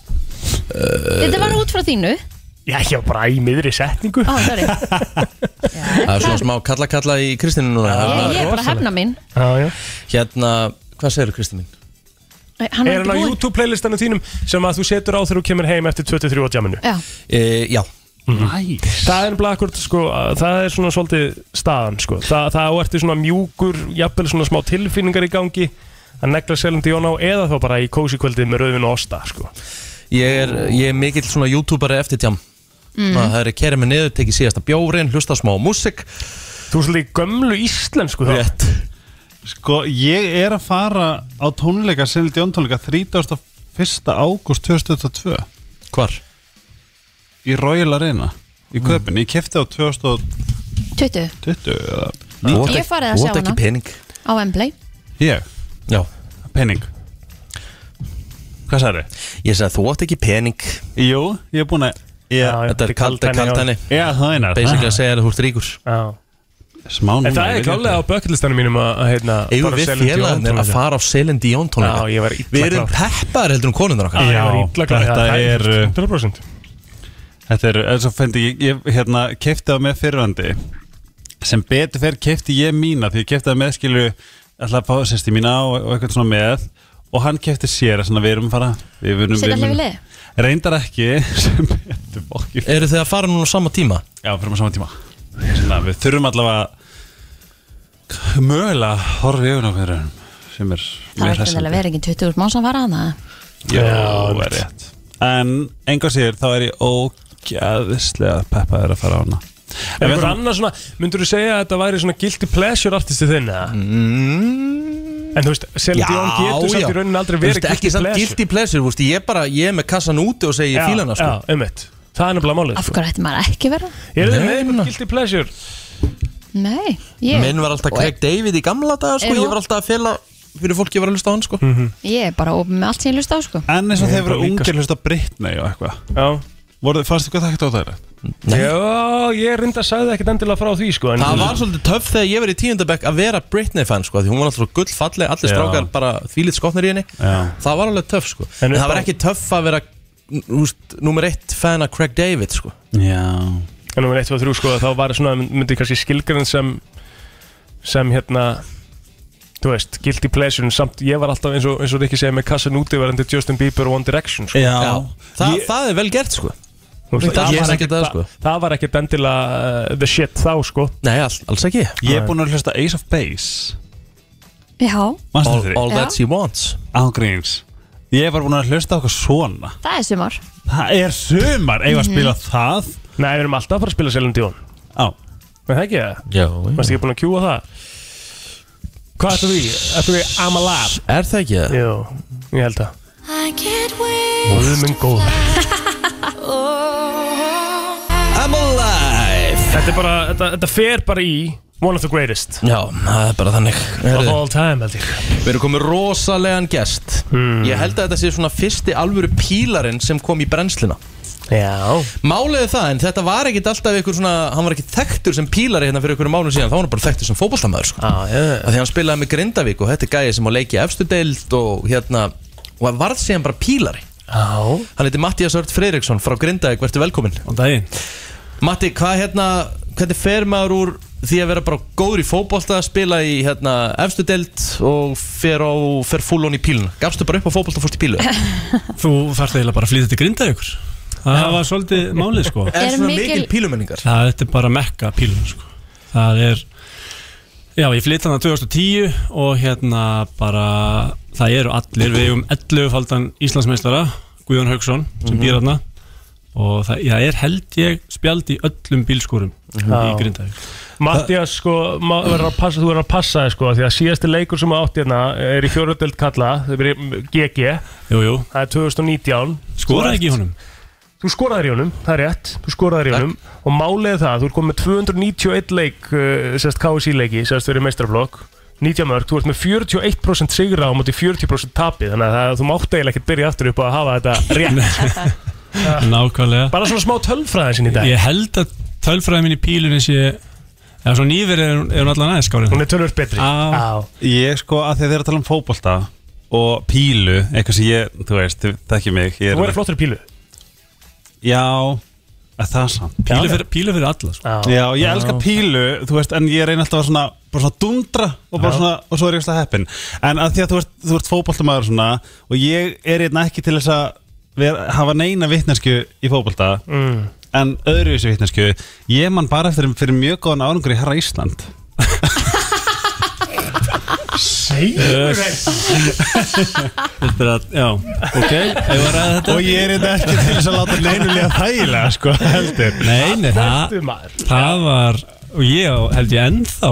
Speaker 3: Eh,
Speaker 2: Þetta var út frá þínu
Speaker 3: Já, ég var bara í miðri setningu
Speaker 2: Ó, sorry
Speaker 1: Það er svona smá kalla-kalla í Kristinu núna
Speaker 2: Ég er bara að hefna mín
Speaker 3: Já, já
Speaker 1: Hérna, hvað segir Kristi mín?
Speaker 2: Æ, Hann
Speaker 3: er
Speaker 2: var
Speaker 3: hann á
Speaker 2: ekki búinn
Speaker 3: YouTube playlistanu þínum sem að þú setur á þegar þú kemur heim eftir 23 á jamminu
Speaker 2: Já.
Speaker 1: e, Já
Speaker 3: Það er bara akkur, sko, að- það er svona svolítið staðan, sko Þa, Það ertu svona mjúkur, jafnvel svona smá tilfinningar í gangi að negla selindi Jón á eða þá bara í kósi kvöldið með rauðvin og osta, sko
Speaker 1: Ég er, ég er mikill svona YouTuberi eftir tjám
Speaker 3: Mm.
Speaker 1: Það er að kæra mig niður, tekið síðasta bjórin, hlusta á smá músik Þú
Speaker 3: er svolítið gömlu íslensku
Speaker 1: þá Rétt
Speaker 13: Sko, ég er að fara á tónleika Sinni Djón tónleika 31. ágúst 2022
Speaker 1: Hvar? Mm.
Speaker 13: Í Royal Arena Í köpinn, ég kefti á 2020
Speaker 2: 20
Speaker 13: eða
Speaker 2: Þú átt Ég ekki- farið að þú átt sjá ekki hana. pening. á Wembley
Speaker 13: Ég?
Speaker 1: Já
Speaker 13: Pening Hvað sagði?
Speaker 1: Ég sagði þú átt ekki pening
Speaker 13: Jú, ég er búin að ég,
Speaker 1: Þetta er kalda kaltæni
Speaker 13: Já, það er
Speaker 1: Basically að segja að þú ert ríkur
Speaker 13: Smá
Speaker 3: En það er klálega á bökkilistanum mínum að, hérna, að heitna,
Speaker 1: Eigum við félagarnir að fara á Selin Dion tónleika?
Speaker 3: Já, ég var illa
Speaker 1: Við erum
Speaker 3: klár.
Speaker 1: peppar heldur um konundur okkar
Speaker 13: Já, þetta er uh,
Speaker 3: 100%
Speaker 13: Þetta er, eins og fendi, ég, ég hérna kefti á með fyrrandi sem betur fer kefti ég mína því ég kefti á með skilu alltaf að fá sérst í mína og, og eitthvað svona með og hann kefti sér að svona við erum að fara við erum,
Speaker 2: Setja hlið við
Speaker 13: munum-
Speaker 2: hlið?
Speaker 13: Reyndar ekki sem betur fokkjum
Speaker 1: Eru þið að fara núna á sama tíma?
Speaker 13: Já, við fyrir á sama tíma svona, Við þurfum allavega mögulega að horfa í augun á hverjum sem er
Speaker 2: Það var ekki vel að vera ekki 20 úr máns að fara hana
Speaker 13: Já, er rétt En enga sér, þá er ég ógæðislega peppaður að fara á hana
Speaker 3: En einhver annar svona, myndur þú segja að þetta væri svona guilty pleasure artisti þinn eða? Mm. En þú veist, Celine Dion getur samt í rauninni aldrei verið
Speaker 1: Ekki
Speaker 3: guilty
Speaker 1: samt
Speaker 3: pleasure
Speaker 1: guilty pleasure, þú veist, ég er bara, ég er með kassan úti og segi
Speaker 3: Já,
Speaker 1: ég fílan það, sko
Speaker 3: Já, ummitt, það er nefnilega málið
Speaker 2: Af hverju ætti maður ekki vera?
Speaker 3: Er þið með einhvern guilty pleasure?
Speaker 2: Nei, ég
Speaker 1: Minn var alltaf Craig David í gamla daga, sko
Speaker 2: Jú.
Speaker 1: Ég var alltaf að fela fyrir fólki að vera að hlusta á hann, sko
Speaker 3: Mhm.
Speaker 2: Ég er bara opið með allt sem ég hlusta á sko
Speaker 13: En eins og þeir
Speaker 3: bara
Speaker 13: voru
Speaker 3: líka, sko.
Speaker 13: ungir hlust á Britney og eitthvað
Speaker 3: Já
Speaker 13: Voru, Fannst þið hvað það ekkert óþægilegt?
Speaker 3: Já, ég reyndi að sagði ekkert endilega frá því, sko en-
Speaker 1: Það var svolítið töff þegar ég verið í tíundabæk að vera Britney fan sko, því hún var alltaf svo gullfalleg, allir
Speaker 3: Já.
Speaker 1: strákar bara þvílitt skotnir í henni
Speaker 13: Já.
Speaker 1: Það var alveg töff sko, en,
Speaker 3: upp
Speaker 1: það var
Speaker 3: á-
Speaker 1: ekki töff að vera úst, nummer eitt fan af Craig David sko
Speaker 13: Já
Speaker 3: En nummer 1, 2, 3 sko, þá var það svona myndi kannski skilgrann sem sem hérna þú veist, guilty pleasure en samt ég var alltaf eins og, eins og Rikki segja með kassan úti verandi Justin Bieber og One Direction sko.
Speaker 1: Já. Það, það er vel gert sko
Speaker 3: Þú veist,
Speaker 1: Það
Speaker 3: ég-
Speaker 1: var ekkert að, sko.
Speaker 3: það, það var ekkert endilega uh, the shit þá sko
Speaker 1: Nei, all, alls ekki
Speaker 13: Ég er búin að hlusta Ace of Base
Speaker 2: Já,
Speaker 13: Manstu
Speaker 1: All,
Speaker 13: eftir því?
Speaker 1: all that she wants
Speaker 13: Ángríns Ég er bara búin að hlusta á okkur svona
Speaker 2: það er sumar
Speaker 13: Það er sumar, eigum við að spila það
Speaker 3: Nei, við erum alltaf að fara að spila Selin Dion
Speaker 13: Á
Speaker 3: Með það ekki það?
Speaker 1: Já
Speaker 3: Varst ekki búin að kjúa það? Hvað ættu við? Ættu við I'm Alive?
Speaker 1: Er það ekki það?
Speaker 3: Jú, ég held að
Speaker 9: I can't wait
Speaker 3: Guð minn góð
Speaker 9: Oh.
Speaker 1: I'm alive
Speaker 3: Þetta er bara, þetta, þetta fer bara í One of the greatest
Speaker 1: Já, það er bara þannig
Speaker 3: Of
Speaker 1: Heyrðu,
Speaker 3: all time, held ég Hmm.
Speaker 1: Við erum komið rosalegan gest Ég held að þetta sé svona fyrsti alvöru pílarinn sem kom í brennsluna
Speaker 3: Já
Speaker 1: Málið er það, en þetta var ekkit alltaf ykkur svona, hann var ekkit þekktur sem pílari hérna fyrir ykkur mánu síðan, þá var hann bara þekktur sem fótballtamaður sko.
Speaker 3: ah, yeah.
Speaker 1: Því hann spilaði með Grindavík og þetta er gæði sem á leiki efstu deild og hérna, og hann varð síðan bara pílari.
Speaker 3: Já
Speaker 1: Hann heiti Mattias Ört Freireksson frá Grindavík, verður velkominn.
Speaker 13: Og daginn
Speaker 1: Matti, hvað hérna, hvernig fer maður úr því að vera bara góður í fótballta, spila í hérna efstu deild og fer, á, fer full on í píluna? Gafstu bara upp á fótballta og fórst í pílu?
Speaker 14: Þú þarft eiginlega bara að flytja til grinda ykkur Það var svolítið málið sko
Speaker 1: Er svona mikil pílumenningar?
Speaker 14: Já, þetta er bara mekka pílun sko Það er Já, ég flytti hann 2010 og hérna bara Það eru allir, við eigum 11-faldan Íslandsmeistara, Guðjón Haugsson sem
Speaker 3: Mhm.
Speaker 14: býr hann og það já, er held ég spjald í öllum bílskúrum í
Speaker 3: Já.
Speaker 14: Grindavík
Speaker 3: Mattias, sko, ma- verður að passa, þú verður að passa þig, sko, því að síðasti leikur sem átt hérna er í fjóröldöld kalla, það er GG
Speaker 14: Jú, jú
Speaker 3: Það er 2019
Speaker 14: Skoraði
Speaker 3: Þú
Speaker 14: ekki í
Speaker 3: ert-
Speaker 14: honum?
Speaker 3: Þú skoraði í honum, það er rétt, þú skoraði í honum Og málið er það, þú ert komið með 291 leik, uh, sérst KSI leiki, sérst verið meistraflokk 90 mörg, þú ert með 41% sigra á móti 40% tapi Þannig að það, þú mátt eiginlega ekkert byrja aftur upp á að hafa þetta rétt
Speaker 14: Nákvæmlega
Speaker 3: Bara svona smá tölfræðin sinni í dag
Speaker 14: Ég held að tölfræði minni pílun eins ég Já, svo nýverið er hún- er hún allan aðeins skárið
Speaker 3: Hún er tölvöld betri
Speaker 14: Á.
Speaker 13: Ég sko að því að þeir eru að tala um fótbolta og pílu, eitthvað sem ég, þú veist, það ekki mig ég
Speaker 3: Þú verður flottur í pílu
Speaker 13: Já, er það samt
Speaker 14: Pílu fyrir, pílu fyrir alla sko.
Speaker 13: Já, ég elska pílu, þú veist, en ég reyna alltaf að svona, bara svona dundra og bara
Speaker 14: Já.
Speaker 13: svona, og svo er ég alltaf heppin. En að því að þú ert, þú ert fótboltamaður svona, og ég er einna ekki til þess að vera, hafa neina vitnesku í fótbolta,
Speaker 3: Mm.
Speaker 13: en öðruvísi vitnesku, ég man bara eftir fyrir mjög góðan árangur í Herra Ísland.
Speaker 14: Segir Þetta er að, já, ok eigum við að ræða þetta?
Speaker 13: Og ég er einna ekki til þess að láta neinu líða þægilega, sko, heldur.
Speaker 14: Nei, nei, það,
Speaker 3: Ertu maður?
Speaker 14: það var og ég á- held ég ennþá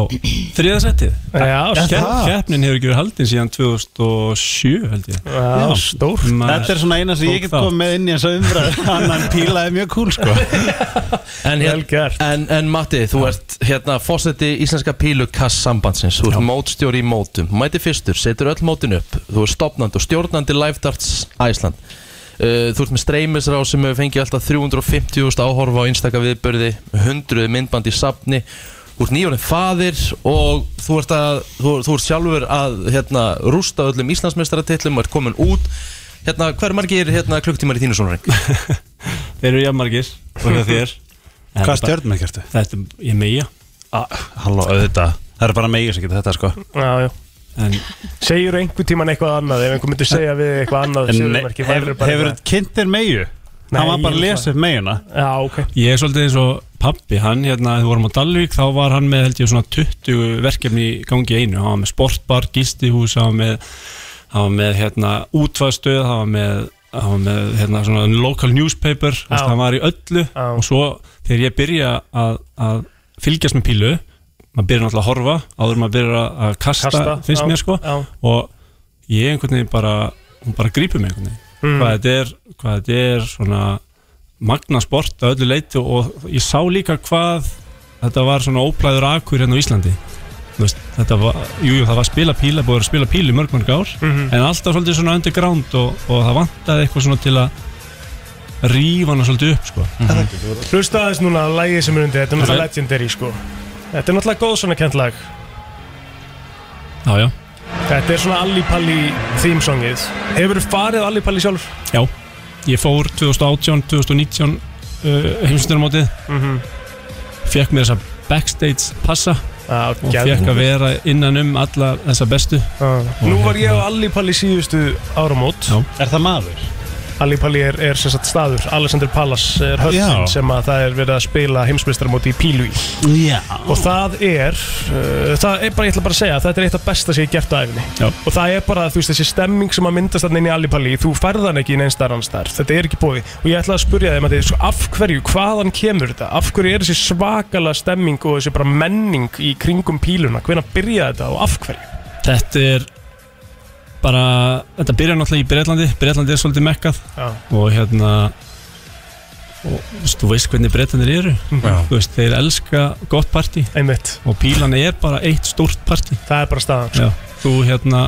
Speaker 14: þriðasettið
Speaker 3: Já, það.
Speaker 14: keppnin hefur ekki verið haldin síðan 2007 held ég
Speaker 3: Já, stórt.
Speaker 13: Þetta er svona eina sem ég get komið með inn í þess að umræða, annan píla er mjög kúl, sko.
Speaker 15: En, hér, en, en Matti, þú ert hérna fósetti íslenska pílukass sambandsins Þú ert mótstjóri í mótum, mæti fyrstur, setur öll mótin upp Þú ert stopnandi og stjórnandi Live Darts Æsland uh, Þú ert með streymisrá sem hefur fengið alltaf 350.000 áhorfa á einstaka viðbörði 100 myndband í safni Þú ert nýjónin faðir og þú ert, að, þú, þú ert sjálfur að hérna, rústa öllum Íslandsmeistaratillum og ert komin út Hérna, hver margir hérna, klukktímar í þínu svona reng?
Speaker 14: Þeir eru jafnmargir og hjá þér En
Speaker 13: Hvað
Speaker 14: þetta-
Speaker 13: stjörnum er kertu?
Speaker 14: Þetta er, ég meia
Speaker 13: Halló, auðvitað, það er bara meigir sem getur þetta, sko.
Speaker 3: Já, já
Speaker 14: en,
Speaker 3: Segir einhver tíman eitthvað annað Ef einhver myndir segja við þig eitthvað annað
Speaker 13: En nei,
Speaker 3: sigurmerki,
Speaker 13: hefur
Speaker 3: værirðu bara
Speaker 13: hefur
Speaker 3: eitthvað-
Speaker 13: kynnt þér meiu? Hann var bara að lesa upp meina
Speaker 3: Já, ok
Speaker 14: Ég er svolítið eins og pappi, hann hérna, þegar við vorum á Dalvík, þá var hann með held ég svona 20 verkefni í gangi í einu, hann var með sportbar, gistihús, hann var með, hann var með hérna útvaðstöð, hann var með, hann var með hérna svona local newspaper, þú veist, hann var í öllu og svo þegar ég byrja að, að fylgjast með pílu, maður byrja náttúrulega að horfa, áður en maður byrja að kasta,
Speaker 3: Kasta,
Speaker 14: finnst
Speaker 3: já,
Speaker 14: mér sko,
Speaker 3: já.
Speaker 14: og ég einhvern veginn bara, hún bara grípur mig einhvern veginn,
Speaker 3: Mm.
Speaker 14: hvað þetta er, hvað þetta er svona magna sport að öllu leiti og ég sá líka hvað þetta var svona óplæður akur hérna á Íslandi Þú veist, þetta var, jújú, jú, það var spila píla búið að spila pílu mörg mörg ár
Speaker 3: Mhm.
Speaker 14: en alltaf svolítið svona underground og, og það vantaði eitthvað svona til að rífa hana svolítið upp sko.
Speaker 3: Hlusta aðeins núna að lægið sem er undir Þetta er náttúrulega legendary sko Þetta er náttúrulega góð svona kent lag
Speaker 14: Já, já
Speaker 3: Þetta er svona Allipalli theme songið Hefur farið á Allipalli sjálf?
Speaker 14: Já, ég fór 2018, 2019 uh, heimstundarmótið
Speaker 3: Mhm.
Speaker 14: fekk mér þessa backstage passa
Speaker 3: ah,
Speaker 14: og fekk að vera innan um alla þessa bestu
Speaker 3: Nú var ég á Allipalli síðustu áramót
Speaker 14: Já.
Speaker 13: Er það maður?
Speaker 3: Allipalli er, er sem sagt staður Alexander Palace er
Speaker 13: Já.
Speaker 3: höllin sem að það er verið að spila heimsmeistaramóti í pílu í
Speaker 13: Já
Speaker 3: Og það er, uh, það er bara, ég ætla bara að segja, þetta er eitt af besta sem ég hef gert á æfinni
Speaker 14: Já.
Speaker 3: Og það er bara, þú veist, þessi stemming sem að myndast þarna inn í Allipalli Þú færðan ekki í neinstar annars þar, þetta er ekki bóði Og ég ætla að spurja þeim að þið, sko, af hverju, hvaðan kemur þetta? Af hverju er þessi svakala stemming og þessi bara menning í kringum píluna? Hvenær byrjaði þetta og af hverju?
Speaker 14: Þetta er bara, þetta byrjar náttúrulega í Breitlandi Breitlandi er svolítið mekkað
Speaker 3: Já.
Speaker 14: og hérna og þú veist, þú veist hvernig Breitlandir eru
Speaker 3: Mhm. Já.
Speaker 14: þú veist, þeir elska gott party
Speaker 3: Einmitt.
Speaker 14: og pílan er bara eitt stórt party
Speaker 3: Það er bara staðan sko.
Speaker 14: Já, þú hérna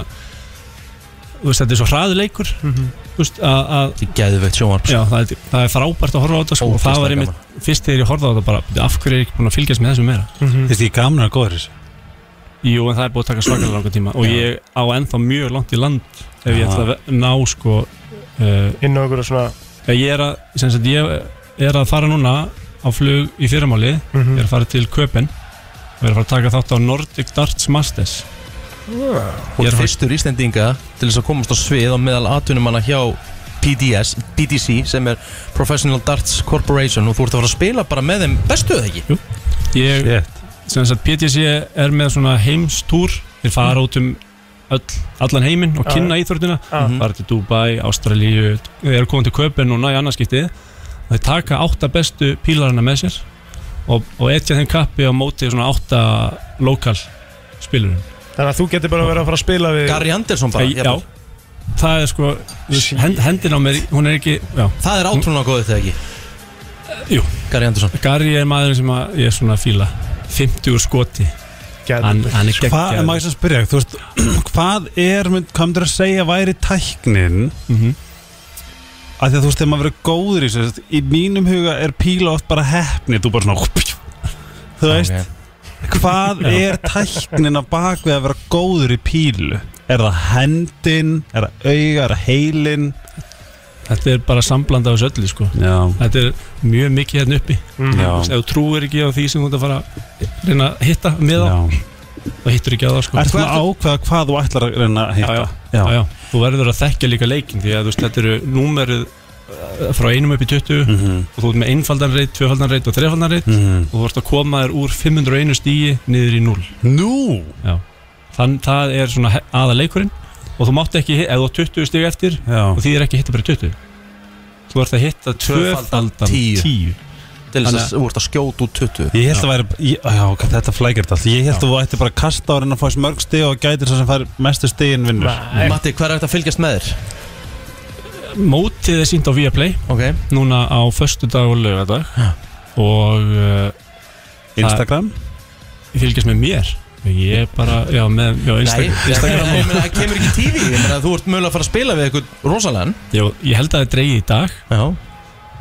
Speaker 14: þú veist, þetta er svo hraðuleikur
Speaker 3: Mhm.
Speaker 14: þú veist, að að-
Speaker 15: Þetta er geðveitt sjónvarp sko.
Speaker 14: Já, það er, það er frábært að horfa á þetta sko, og það var
Speaker 15: Ógeðslega
Speaker 14: einmitt, fyrst þegar ég horfði á þetta bara, "Bíddu, af hverju er ég ekki búin að fylgjast með þessu meira
Speaker 3: Mhm.
Speaker 13: Þetta er gamnar góður þessu
Speaker 14: Jú, en það er búið að taka svakalega langa tíma og
Speaker 13: Já.
Speaker 14: ég á ennþá mjög langt í land ef ég
Speaker 13: Já.
Speaker 14: ætla að ná sko uh,
Speaker 3: inn á einhverju svona
Speaker 14: ég er að, sem sagt, ég er að fara núna á flug í fyrramáli
Speaker 3: Mhm.
Speaker 14: ég er að fara til Köpen og ég er að fara að taka þátt á Nordic Darts Masters
Speaker 3: Ah,
Speaker 15: Hún er fyrstur Íslendinga til þess að komast á svið á meðal atvinnumanna hjá PDS, PDC sem er Professional Darts Corporation og þú ert að fara að spila bara með þeim bestu eða ekki?
Speaker 14: Jú, ég, sem sagt, PTC er með svona heimstúr þeir fara út um öll, allan heiminn og
Speaker 3: Já,
Speaker 14: kynna íþórtina
Speaker 3: Já.
Speaker 14: fara til Dubai, Ástralíu þeir eru komin til Köpen og ná í annarskiptið og þeir taka átta bestu pílarina með sér og, og etja þeim kappi á móti svona átta lokal spilurum
Speaker 3: Þannig að þú getur bara verið að fara að spila við
Speaker 15: Gary Anderson bara, hérna.
Speaker 14: Æ,
Speaker 15: jafnvel.
Speaker 14: Já, það er sko hend, hendin á mér, hún er ekki já. Eh,
Speaker 15: Það er átrúna góðið þegar ekki?
Speaker 14: Jú
Speaker 15: Gary Anderson
Speaker 14: Gary er maður sem að ég er svona að fíla 50 úr skoti hann, hann er
Speaker 13: Sko, Hvað,
Speaker 14: geggjaður.
Speaker 13: en maður sem spyrja, þú veist Hvað er, mynd- hvað myndir að segja væri tæknin
Speaker 14: Mhm.
Speaker 13: Af því að þú veist, þegar maður verið góður í þessu þú veist, Í mínum huga er píla oft bara heppni Þú bara svona Þú veist Hvað
Speaker 14: Já.
Speaker 13: er tæknin á bakvið að vera góður í pílu? Er það hendin? Er það auga? Er það heilin?
Speaker 14: Þetta er bara sambland af þessu öllu sko. Þetta er mjög mikið hérna uppi
Speaker 13: Mhm. Já.
Speaker 14: Ef þú trúir ekki á því sem þú ert að fara að reyna að hitta með á þá hittur ekki á það sko.
Speaker 13: Ertu búin að ákveða hvað þú ætlar að reyna að hitta?
Speaker 14: já, já. Já, já. Þú verður að þekkja líka leikin því að þú veist, þetta eru númerið eh, frá einum upp í 20 og þú ert með einfaldan reit, tvöfaldan reit og þrefaldan reit
Speaker 13: Mhm.
Speaker 14: og þú ert að koma þér úr 501 stíi niður í 0
Speaker 13: Nú?
Speaker 14: Já, þann það er svona he- aða leikurinn og þú mátt ekki, hi- ef þú átt 20 stíi eftir
Speaker 13: Já.
Speaker 14: og því er ekki að hitta bara 20 þú ert að hitta tvöfaldan 10
Speaker 1: Til
Speaker 14: Þannig
Speaker 1: þess að þú ert að skjóta út 20
Speaker 13: Ég held að væri, ég, já, ok, þetta flækir þetta allt Ég held að þú ætti bara að kasta á reyna að fá þessi mörg stig og gætir svo sem fær mestu stigin vinnur
Speaker 1: Nei. Matti, hvað er þetta að fylgjast með þér?
Speaker 14: Mótið er sínt á Viaplay
Speaker 1: okay.
Speaker 14: Núna á föstu dag og lögadag Og uh,
Speaker 13: Instagram?
Speaker 14: það- Fylgjast með mér Ég bara, já, með, já,
Speaker 1: Nei,
Speaker 14: Instagram, Instagram
Speaker 1: Nei, ég meina, það kemur ekki tífi Ég meina, þú ert mögulega að fara að spila við eitthvað rosalega
Speaker 14: já, Ég held að það er dreigið í dag
Speaker 1: Já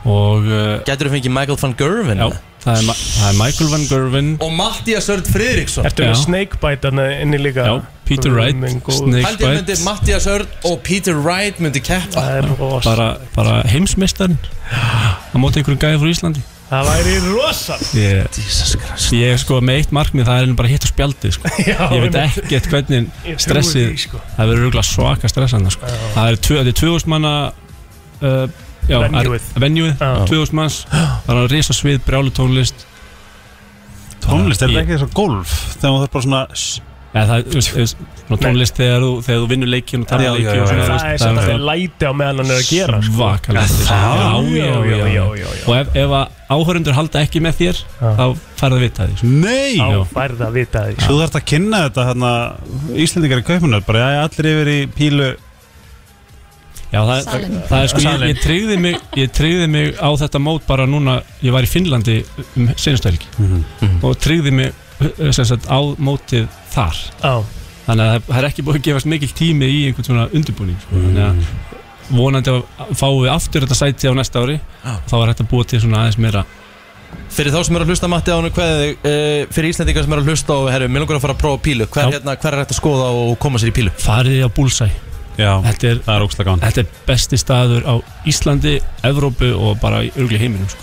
Speaker 14: Og uh,
Speaker 1: Gætur þú fengið Michael van Gervin?
Speaker 14: Já, það er, Ma- það er Michael Van Gervin
Speaker 1: Og Mattias Örd Friðriksson
Speaker 3: Ertu með snakebite hann inni líka?
Speaker 14: Já, Peter Wright,
Speaker 3: Minn góður.
Speaker 14: Snake-
Speaker 1: Haldið myndi Mattias Örd og Peter Wright myndi keppa
Speaker 3: Það er rosa
Speaker 14: Bara, bara heimsmeistarinn Á móti einhverjum gæði frá Íslandi
Speaker 3: Það væri rosa
Speaker 14: Ég,
Speaker 1: Jesus
Speaker 14: ég er sko með eitt markmið Það er henni bara að hitta á spjaldið sko.
Speaker 3: Já,
Speaker 14: Ég veit
Speaker 3: einmitt.
Speaker 14: ekkert hvernig
Speaker 3: Ég trúi
Speaker 14: stressið
Speaker 3: því, sko.
Speaker 14: Það verður rúglega svaka stressandi sko. Það er tvö- þetta er 2000 manna uh, já,
Speaker 3: Venue-ið.
Speaker 14: er- Venue-ið, 2000 manns Það er að risa svið, brjálu tónlist
Speaker 13: Tónlist, er þetta ekki eins og golf? Þegar maður þarf bara svona
Speaker 14: Ja, það er þú veist, svona tónlist þegar þú, þegar þú vinnur leikin og
Speaker 13: Já,
Speaker 14: tapar
Speaker 13: já,
Speaker 14: leikin
Speaker 13: já,
Speaker 14: og svona,
Speaker 13: já.
Speaker 14: þú
Speaker 3: Það
Speaker 14: veist,
Speaker 3: er samt að það
Speaker 14: náttúrulega-
Speaker 3: er læti á meðan hann er að gera sko.
Speaker 14: Svakalega Já,
Speaker 3: Já, það-
Speaker 14: já, já, já,
Speaker 3: já, já.
Speaker 14: Og ef, ef að áhörundur halda ekki með þér þá færðu að vita því sko.
Speaker 13: Nei!
Speaker 14: Já.
Speaker 3: Þá færð að vita því
Speaker 13: Þú þarft að kynna þetta hérna Íslendingar í kaupinu bara já, allir yfir í pílu
Speaker 14: Já, það,
Speaker 13: Salinn.
Speaker 14: það er sko, ég,
Speaker 13: Salinn.
Speaker 14: ég, tryggði mig, ég tryggði mig á þetta mót bara núna ég var í Finnlandi um senstælgi og tryggði mig uh, sem sagt, á mótið þar
Speaker 3: Já.
Speaker 14: þannig að það- það er ekki búið að gefast mikill tími í einhvern svona undirbúning sko. þannig að vonandi að fáum við aftur þetta sæti á næsta ári þá var þetta búið til svona aðeins meira
Speaker 1: Fyrir þá sem eru að hlusta Matti á hann hvað, uh, Fyrir Íslandingar sem eru að hlusta og herru, mér langar að fara að prófa pílu Hver, hérna, hver er hægt að skoða og koma sér í pílu?
Speaker 14: fariði á Bullseye
Speaker 13: Já,
Speaker 14: þetta er,
Speaker 13: það er ógstlega gaman
Speaker 14: Þetta er besti staður á Íslandi, Evrópu og bara í örgli heiminum sko.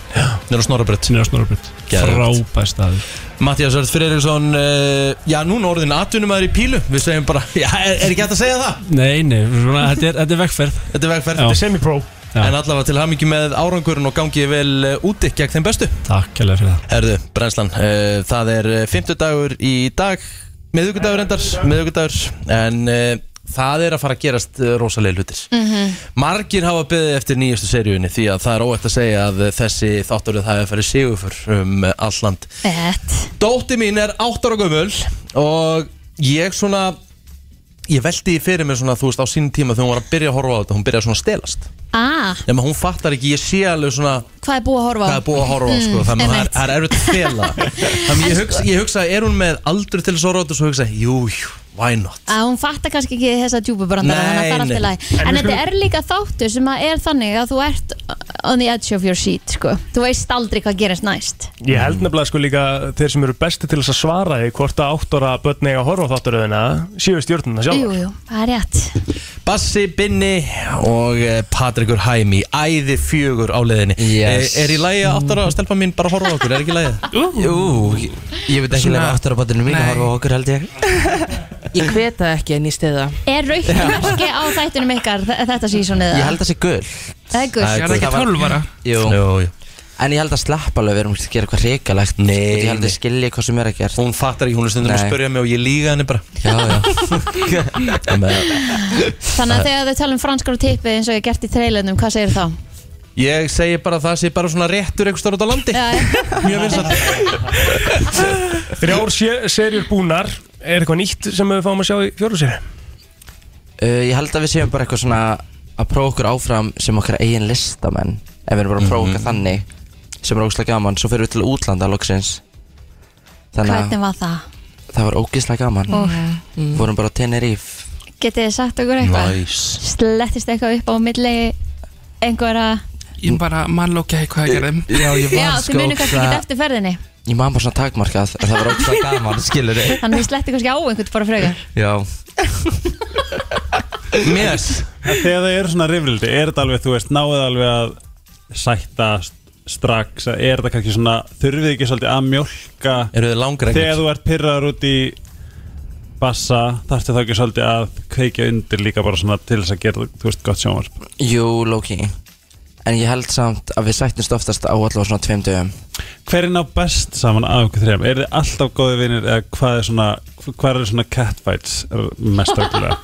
Speaker 1: Nýra Snorrabrödd
Speaker 14: Nýra Snorrabrödd
Speaker 1: Geðveikt.
Speaker 14: Frábær staður
Speaker 1: Mattias Örd Friðriksson uh, Já, núna orðin atvinnumæður í pílu Við segjum bara, já, er, er ekki hægt að segja það?
Speaker 14: Nei, nei, svona, þetta, er, þetta er vegferð
Speaker 1: Þetta er vegferð
Speaker 14: Þetta er
Speaker 3: semi-pro
Speaker 14: Já.
Speaker 1: En allavega til hamingi með árangurinn og gangi vel eh, úti gegn þeim bestu
Speaker 14: Takk kærlega fyrir það
Speaker 1: Herðu, brennslan, uh, það er fymtudagur í dag Miðugudagur endar, miðugudagur En uh, það er að fara að gerast uh, rosalega hlutir
Speaker 2: Mhm.
Speaker 1: Margir hafa beðið eftir nýjastu seríunni Því að það er óætt að segja að eh, þessi þátturðu það hefur farið sigurfur um eh, allt land
Speaker 2: Ett.
Speaker 1: Dótti mín er 8 ára gömul og ég svona ég veldi því fyrir mér svona þú veist á sínum tíma þegar hún var að byrja að horfa á þetta hún byrja svona að stelast
Speaker 2: Ah,
Speaker 1: nema hún fattar ekki, ég sé alveg svona
Speaker 2: hvað er búið að horfa á? Mm,
Speaker 1: hvað er búið að horfa á
Speaker 16: Mm.
Speaker 1: sko, þannig að það er-
Speaker 2: einmitt.
Speaker 1: það er erfitt að fela þannig að ég
Speaker 16: sko-
Speaker 1: hugsa, ég hugsa, er hún með aldur til þess að horfa á þetta og svo hugsa, ég, jú, jú, why not
Speaker 2: að hún fattar kannski ekki þessa djúbubrandara
Speaker 1: Nei,
Speaker 2: þannig að það er
Speaker 1: nei.
Speaker 2: alltaf læg
Speaker 1: En
Speaker 2: en
Speaker 1: við
Speaker 2: þetta
Speaker 1: skulum-
Speaker 2: er líka þáttur sem að er þannig að þú ert on the edge of your seat sko. þú veist aldrei hvað gerist næst
Speaker 3: Ég held nefnilega sko líka þeir sem eru besti til þess að svara því hvort að áttóra börn eiga að horfa á þátturöðina séu stjórnuna sjálf
Speaker 2: jú, jú, það er rétt
Speaker 1: Bassi Binni og eh, Patrikur Hæmi æði fjögur á leðinni
Speaker 16: Yes.
Speaker 1: er, er í lægi aftur að stelpa mín bara að horfa á okkur, er ekki í lægi?
Speaker 16: Jú, ég, ég veit ekki
Speaker 1: Svona-
Speaker 16: lefa aftur á bátinu mín að horfa á okkur held ég Ég hveta ekki en ég stiða
Speaker 2: er raukt merki á þættunum ykkar þ- þetta sísonið
Speaker 16: Ég held að það sé gul
Speaker 2: það er gult
Speaker 16: Jú. En ég held að slappa alveg við erum að gera eitthvað hrikalegt Nei Ég held að skilja hvað sem er að gera
Speaker 1: Hún fattar ekki, hún er stundum að spyrja mig og ég líga henni bara
Speaker 16: Já, já
Speaker 2: þannig að þegar þau tala um franskar og tippi eins og ég gert í trailernum, hvað segir þá?
Speaker 1: Ég segi bara að það sé bara svona réttur einhver stór út á landi Mjög vinsalt
Speaker 3: Þrjár sé- serjur búnar er eitthvað nýtt sem við fáum að sjá í fjóru sér
Speaker 16: uh, Ég held að við séum bara eitthvað svona að prófa okkur áfram sem okkar eigin listamenn Ef við erum bara að prófa okkar þannig sem er ógislega gaman Svo fyrir við til útlanda loksins Þannig
Speaker 2: hvernig
Speaker 16: að
Speaker 2: var það?
Speaker 16: það var ógislega gaman
Speaker 2: Úff.
Speaker 16: Vorum bara á Tenerife
Speaker 2: getið þið sagt okkur eitthvað?
Speaker 16: Nice.
Speaker 2: slettist eitthvað upp á milli einhverja
Speaker 16: Ég bara mann lókja hvað ég gerði Já, ég
Speaker 2: já,
Speaker 16: var
Speaker 2: þið munið kannski
Speaker 16: ógeðslega-
Speaker 2: ekki eftir ferðinni
Speaker 16: Ég man bara svona takmarkað að það var ógslag gaman, skilur þið
Speaker 2: þannig að þið sletti kannski á einhvern bara frekar
Speaker 16: Já
Speaker 1: Yes.
Speaker 13: Þegar það eru svona rifrildi, er þetta alveg, þú veist, náið alveg að sættast strax eða er þetta kannski svona, þurfið þið ekki svolítið að mjólka
Speaker 1: Eru þið langrengur?
Speaker 13: Þegar þú ert pyrraður út í bassa, þarftu þá ekki svolítið að kveikja undir líka bara svona til þess að gera, þú veist, gott sjónvarp
Speaker 16: Jú, Loki En ég held samt að við sættumst oftast á allavega svona tveim dögum
Speaker 13: Hver er ná best saman af okkur þrejum? Er þið alltaf góði vinir eða hvað er svona, hvað er svona catfights mest okkurlega?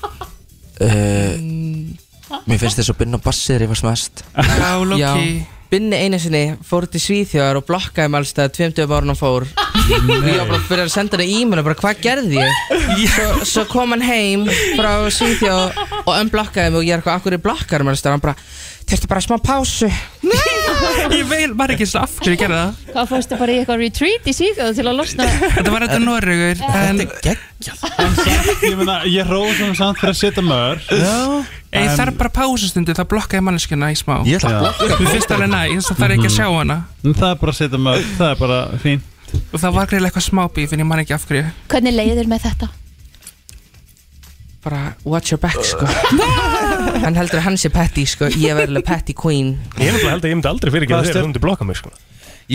Speaker 16: uh, Mér finnst þess að binna bassið rífast mest
Speaker 17: Já, Loki Binni einu sinni fór til Svíþjóðar og blokkaði með allstað 20 ára hann fór og ég var bara að byrja að senda hann e-mail og bara hvað gerði ég svo, svo kom hann heim frá Svíþjóð og umblokkaði mig og ég er eitthvað akkur í blokkar með allstað hann bara þurfti bara smá pásu
Speaker 9: Nei, ég veil bara ekki svo af hverju ég gerði það
Speaker 2: Hvað fórstu bara í eitthvað retreat í Svíþjóð til að losna
Speaker 9: Þetta var þetta Noregur en...
Speaker 13: Ég meina, ég róði svona samt fyrir að setja mör
Speaker 9: Ég þarf bara pásustundu, það blokkaði manneskjana í smá
Speaker 13: Ég ætla að blokka
Speaker 9: Þú finnst alveg næ, þess að það er ekki að sjá hana
Speaker 13: En Mm, það er bara að setja mör, það er bara fín
Speaker 9: Og það var greiðlega eitthvað smábíf en ég man ekki af hverju
Speaker 2: Hvernig leiður með þetta?
Speaker 17: bara watch your back sko hann heldur að hann sé petty sko ég er verðilega petty queen
Speaker 3: Ég nefnilega held að ég myndi aldrei fyrir ekki
Speaker 17: Hvað
Speaker 3: að þeir
Speaker 17: stjórn-
Speaker 3: eru hundi blokka mig sko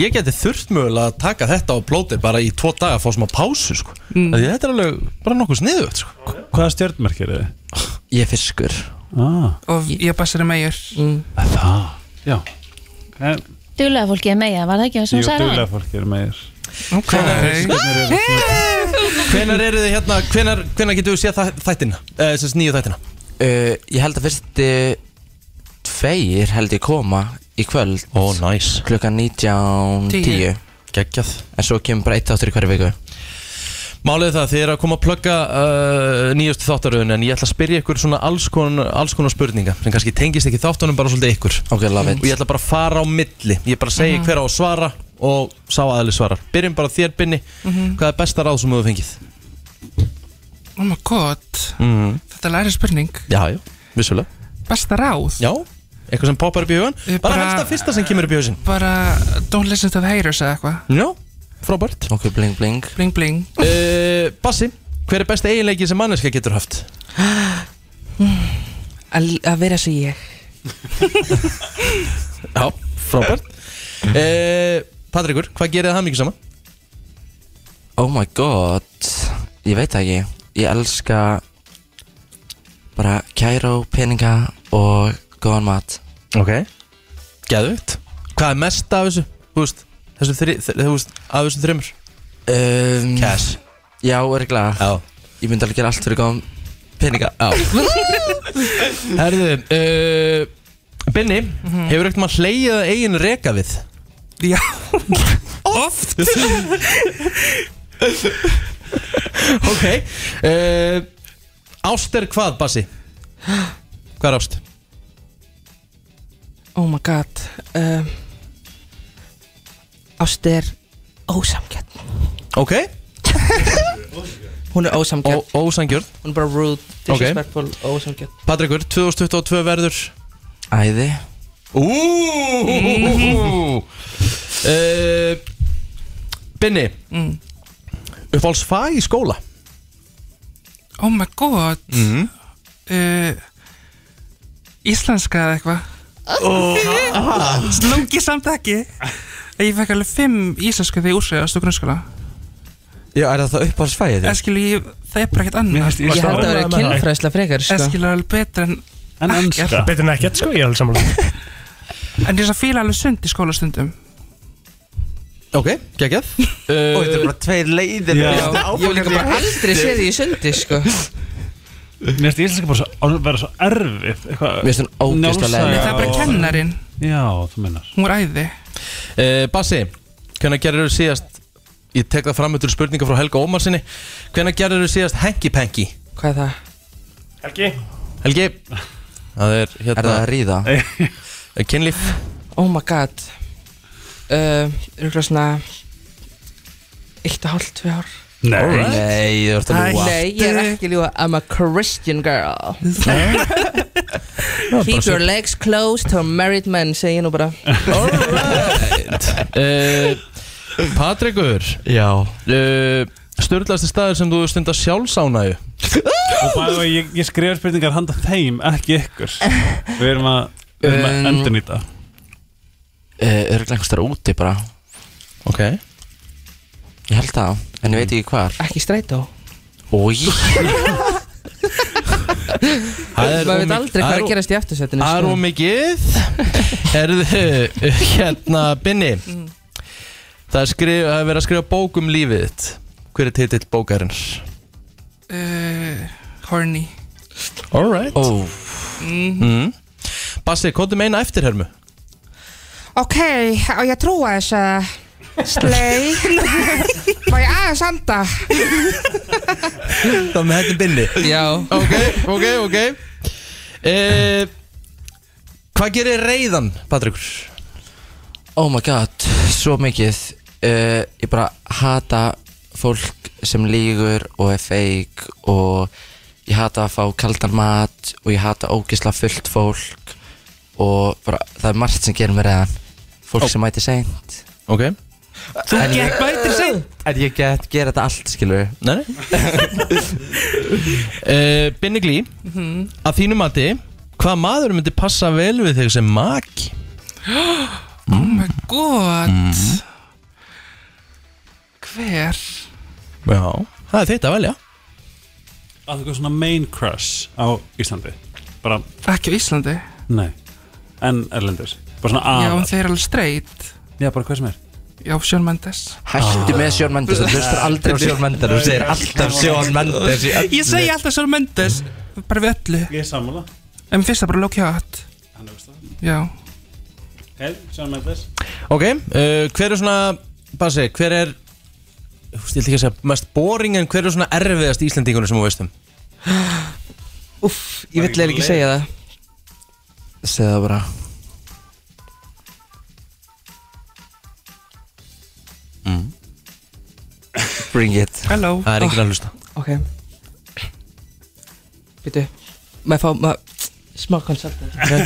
Speaker 1: Ég geti þurft mögulega að taka þetta á plóti bara í tvo daga að fá smá pásu sko. mm. Þetta er alveg bara nokkuð sniðugt sko.
Speaker 13: Hvaða stjörnmerk er þið?
Speaker 16: Ég er fiskur
Speaker 13: ah.
Speaker 9: Og ég bassar með ég
Speaker 2: Mm.
Speaker 13: Það, Ah, já
Speaker 2: Duglega fólki er meia, var það ekki það sem
Speaker 13: Jú,
Speaker 2: hún sagði
Speaker 13: duglega
Speaker 2: aðeins?
Speaker 13: fólk er meir
Speaker 9: Ok
Speaker 1: Hvenar eru þið hérna, hvenar, hvenar getur við séð það- þættina, eh, þess nýju þættina?
Speaker 16: uh, Ég held að fyrst tveir held ég koma í kvöld
Speaker 1: Ó, næs nice.
Speaker 16: Klukkan 19.10
Speaker 1: Tíu. Geggjað
Speaker 16: En svo kemur bara eitt áttur í hverju viku
Speaker 1: Málið er það, þið eru að koma að plugga uh, nýjustu þáttaröðun en ég ætla að spyrja ykkur svona alls konar, alls konar spurninga sem kannski tengist ekki þáttunum bara svolítið ykkur
Speaker 16: Ok, love it
Speaker 1: og ég ætla bara að fara á milli ég bara segi
Speaker 16: Mhm.
Speaker 1: hver á að svara og sá aðli svarar byrjum bara á þér Binni
Speaker 9: Mhm.
Speaker 1: hvað er besta ráð sem þú hefur fengið?
Speaker 9: Oh my god,
Speaker 1: Mm.
Speaker 16: Mhm.
Speaker 9: þetta er læri spurning
Speaker 1: Já, já, vissulega
Speaker 9: Besta ráð
Speaker 1: Já, eitthvað sem poppar upp í hugan
Speaker 9: Ég
Speaker 1: bara
Speaker 9: bara-
Speaker 1: helst að fyrsta sem kemur upp í hugsin
Speaker 9: Bara don't listen to the haters eða eitthvað
Speaker 1: Já, frábært
Speaker 16: Ok, bling bling
Speaker 9: Bling bling
Speaker 1: uh, Bassi, hver er besta eiginleiki sem manneska getur haft?
Speaker 17: að að vera svo ég
Speaker 1: Já, frábært uh, Patrikur, hvað gerir það mikið saman?
Speaker 16: Oh my god Ég veit það ekki Ég elska bara kæró, peninga og góðan mat
Speaker 1: Ok Gæðvitt Hvað er mest af þessu? Þú veist, þessu þri, þri, þú veist, af þessum þreymur
Speaker 16: um,
Speaker 1: Cash
Speaker 16: Já, er ég glad
Speaker 1: Já
Speaker 16: Ég myndi alveg gera allt fyrir góðan peninga Já
Speaker 1: Herðu uh, Binni,
Speaker 17: Mhm.
Speaker 1: hefur ekkert maður hleyið að eigin reka við?
Speaker 9: Já Oft
Speaker 1: Ok uh, Ást er hvað, Bassi? Hvað er ást?
Speaker 17: oh my god um, ást er ósamgjarn
Speaker 1: Ok
Speaker 17: hún er ósamgjarn
Speaker 1: ósamgjörn
Speaker 17: hún er bara rude,
Speaker 1: Ok.
Speaker 17: disrespectful, ósamgjarn
Speaker 1: Patrikur, 2022 verður
Speaker 16: Æði
Speaker 1: Úúúúú uh, Binni
Speaker 9: mm.
Speaker 1: Uppáhalds fag í skóla
Speaker 9: Oh my god
Speaker 1: Mhm.
Speaker 9: uh, Íslenska eða eitthvað
Speaker 1: Oh.
Speaker 10: ah.
Speaker 9: Slungi samt ekki Ég fekk alveg fimm íslensku þegar ég úrsæðast og grunnskóla
Speaker 16: Já, er það það uppáhalds fæðið?
Speaker 9: En skilu, ég, það er bara ekkert annað sko.
Speaker 17: finnst Ég held að vera kynfræðsla frekar, sko.
Speaker 9: En skilu, alveg betra en
Speaker 13: En
Speaker 9: ekkert.
Speaker 3: enska. Betra en ekkert, sko, ég er alveg samanlega
Speaker 9: En ég er svo fíla alveg sund í skólastundum
Speaker 1: Ok, geggjað
Speaker 13: Eh,
Speaker 1: uh,
Speaker 9: Og þetta eru bara
Speaker 1: tveir leiðir
Speaker 9: Já. Ég hef líka bara
Speaker 17: aldrei séð því í sundi sko
Speaker 13: Mér finnst íslenska bara svo, að vera svo erfið
Speaker 1: Mér finnst hún ógeðslega leiðinleg.
Speaker 9: Það er bara kennarin,
Speaker 13: Já, þú minnar
Speaker 9: hún var æði
Speaker 1: uh, Bassi, hvernig gerir þú síðast Ég tek það fram eftir spurninga frá Helga Ómarsinni Hvernig gerir þú síðast Hengi Pengi?
Speaker 17: Hvað er það?
Speaker 3: Helgi
Speaker 1: Helgi Það er hérna Eh,
Speaker 16: Er það að ríða?
Speaker 1: Kynlíf
Speaker 17: Oh my god uh, Rúkla svona Eitt og hálft, tvið ár
Speaker 16: Nei. Alright. Nei, þú ert að
Speaker 17: Æ,
Speaker 16: ljúga.
Speaker 17: Nei, ég er ekki að ljúa I'm a Christian girl Keep your legs closed to married men segi ég nú bara
Speaker 1: Eh, uh, Patrikur
Speaker 16: Já
Speaker 1: uh, Sturðlasti staður sem þú stundar sjálfsánægju
Speaker 13: Og bæði og ég, ég skrifa spurningar handa þeim, ekki ykkur Við erum að, við erum að
Speaker 16: Um,
Speaker 13: endur nýta
Speaker 16: Örgulega eh, einhvers þar úti bara
Speaker 1: Ok
Speaker 16: Ég held það, en ég veit ekki hvar
Speaker 17: Ekki strætó
Speaker 16: Új
Speaker 1: Það er
Speaker 17: Maður
Speaker 1: of
Speaker 17: veit
Speaker 1: mik-
Speaker 17: aldrei
Speaker 1: það
Speaker 17: hvað er
Speaker 1: er
Speaker 17: að
Speaker 1: of-
Speaker 17: gerast í eftirsettinu
Speaker 1: Það er
Speaker 17: sko.
Speaker 1: ómikið Erðu, eh, hérna, Binni Það er skrif, það er verið að skrifa bók um lífið þitt Hver er titill bókarins?
Speaker 9: Uh, horny
Speaker 1: Alright oh.
Speaker 18: Mhm.
Speaker 9: mm.
Speaker 1: mm. Bassi, hvað er meina eftirhermu?
Speaker 18: Ok, á ég að trúa þess að Slei Má ég aðeins anda
Speaker 1: Það með hættum Binni
Speaker 17: Já
Speaker 1: Ok, ok, ok e, Hvað gerir reyðan, Patrikur?
Speaker 16: Oh my god, svo mikið uh, Ég bara hata fólk sem lígur og er feik og ég hata að fá kaldan mat og ég hata ógisla fullt fólk og bara, það er margt sem gerir mér reyðan Fólk sem mæti seint
Speaker 1: Ok
Speaker 16: Þú
Speaker 3: get- mætir
Speaker 16: seint En ég get gera þetta allt, skilur
Speaker 1: Nei, nei e, Binni Glí
Speaker 3: Mhm.
Speaker 1: Að þínu mati, hvað maður myndi passa vel við þig sem maki?
Speaker 9: Oh my god
Speaker 1: Mhm.
Speaker 9: Hver?
Speaker 1: Já, það er þitt að velja
Speaker 13: Að það er svona main crush á Íslandi Bara,
Speaker 9: Ekki á Íslandi
Speaker 13: nei En Erlendur Bara svona
Speaker 9: Já, en
Speaker 13: að
Speaker 9: þeir eru alveg straight
Speaker 13: Já, bara hvað sem er
Speaker 9: Já, Sjón Mendes
Speaker 16: Hættu með Sjón Mendes, þú hlustar aldrei á Sjón Mendes Þú segir alltaf Sjón Mendes í öllu.
Speaker 9: Ég segi alltaf Sjón Mendes Bara við öllu
Speaker 13: Ég er sammála
Speaker 9: En fyrst það bara lókja hatt Já
Speaker 13: Hei, Sjón Mendes
Speaker 1: Ok, uh, hver er svona Bassi, hver er Þú stilt ekki að segja mest boring En hver er svona erfiðast íslendingunum sem þú veist um
Speaker 17: Uff, ég vill eða ekki segja það
Speaker 16: Segðu það bara mm. Bring it
Speaker 9: Hello
Speaker 1: Það er enginn að hlusta
Speaker 17: Oh, Ok Býtu Maður fá maður Smá konsultant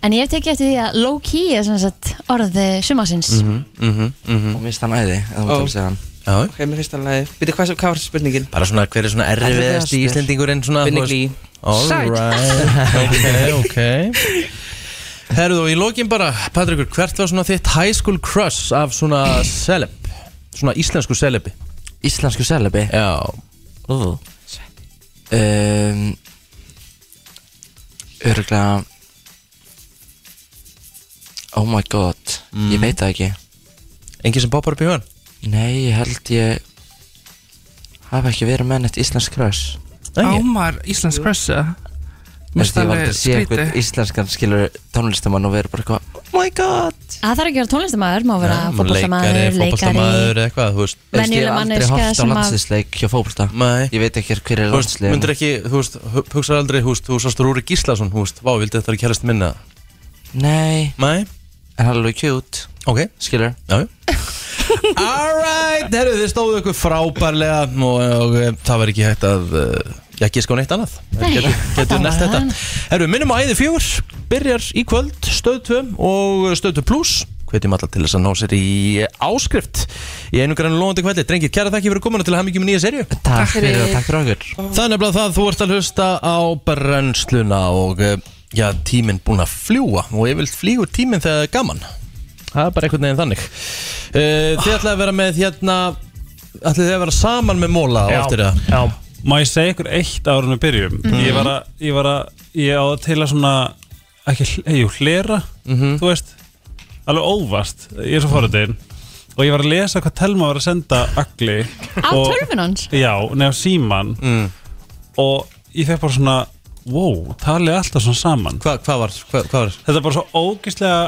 Speaker 2: En ég hef tekið eftir því að low-key er sem sagt eh, orðið sumasins
Speaker 1: mhm, mhm
Speaker 16: Og minnst hann æði, eða maður
Speaker 17: Ó.
Speaker 16: til að segja hann
Speaker 1: Já
Speaker 17: Ok, mér finnst það alveg Býtu, hvað, hvað var spurningin?
Speaker 1: Bara svona, hver er svona erfiðast
Speaker 17: Erfiðasti.
Speaker 1: íslendingurinn svona
Speaker 17: Binni
Speaker 1: þú veist?
Speaker 17: Glí.
Speaker 1: All
Speaker 17: Sæll.
Speaker 1: right Ok, ok Herðu og í lokin bara, Patrikur, hvert var svona þitt high school crush af svona celeb Svona íslensku celebi
Speaker 16: Íslensku selebi?
Speaker 1: Já
Speaker 16: uh. um, Öruglega Oh my god Ég veit það ekki
Speaker 1: Engin Mm. sem poppar upp í hugan?
Speaker 16: Nei, ég held ég hafa ekki verið með neitt íslensk crush
Speaker 9: Ámar Íslands Krössa
Speaker 16: Mér finnst
Speaker 9: finnst
Speaker 16: ég var
Speaker 9: alveg
Speaker 16: að sé
Speaker 9: skrítið.
Speaker 16: eitthvað íslenskan skilur tónlistamann og verið bara eitthvað
Speaker 2: Oh my god Það þarf ekki að vera tónlistamæður, má vera
Speaker 1: leikari,
Speaker 2: fótboltamaður,
Speaker 1: fótboltamaður, eh,
Speaker 2: leikari
Speaker 1: eitthvað, þú veist
Speaker 16: Þú veist,
Speaker 2: Venjuleg
Speaker 16: Ég hef aldrei
Speaker 2: manneskja
Speaker 16: haft á
Speaker 2: sem að-
Speaker 16: landsliðsleik hjá fókbalta
Speaker 1: Nei
Speaker 16: Ég veit ekki hver er
Speaker 1: Þú veist,
Speaker 16: landsliðin
Speaker 1: myndir ekki, þú veist, hu- hugsaðu aldrei, þú veist, þú sást Rúri Gíslason, þú veist, vá, vildi þetta er kjærlist minna
Speaker 16: Nei
Speaker 1: Nei
Speaker 16: En hann er alveg cute
Speaker 1: Ok
Speaker 16: Skilur
Speaker 1: Já, já Alright, herru, þið stóðu ykkur frábærlega og, og eh, það var ekki hægt að uh, ég gíska á neitt annað
Speaker 3: Nei,
Speaker 1: Getur, getur
Speaker 3: þetta
Speaker 1: næst
Speaker 3: var
Speaker 1: þetta
Speaker 3: hann.
Speaker 1: Herru, minnum á æði fjögur byrjar í kvöld, stöð 2 og stöð 2 pluss hvetjum alla til þess að ná sér í áskrift í einu grann lóðandi kveldi drengir, kæra þakki fyrir komuna til að hafa mikið með nýja serju
Speaker 16: Takk fyrir og takk fyrir okkur
Speaker 1: Það er nefnilega það, þú ert að hlusta á brennsluna og eh, já, tíminn búinn að fljúa og ég vil flýgur tíminn þegar það er gaman Það er bara einhvern veginn þannig uh, Þið ætlaði að vera með hérna ætlaði þið að vera saman með Móla á eftir það
Speaker 13: Já Má ég segja ykkur eitt árun við byrjum
Speaker 1: Mhm.
Speaker 13: Ég var að, ég var að, ég á til að svona Ekki, hl- jú, hlera
Speaker 1: Mhm.
Speaker 13: Þú veist, alveg óvast Ég er svo fóruðin Og ég var að lesa hvað Telma var að senda Agli
Speaker 2: Á
Speaker 13: og-
Speaker 2: tölvunni hans?
Speaker 13: Já, nefn síman
Speaker 1: Mm.
Speaker 13: Og ég fekk bara svona Wow, talið alltaf svona saman
Speaker 1: Hva, Hvað var, hva, hva var?
Speaker 13: Þetta er bara svo ógislega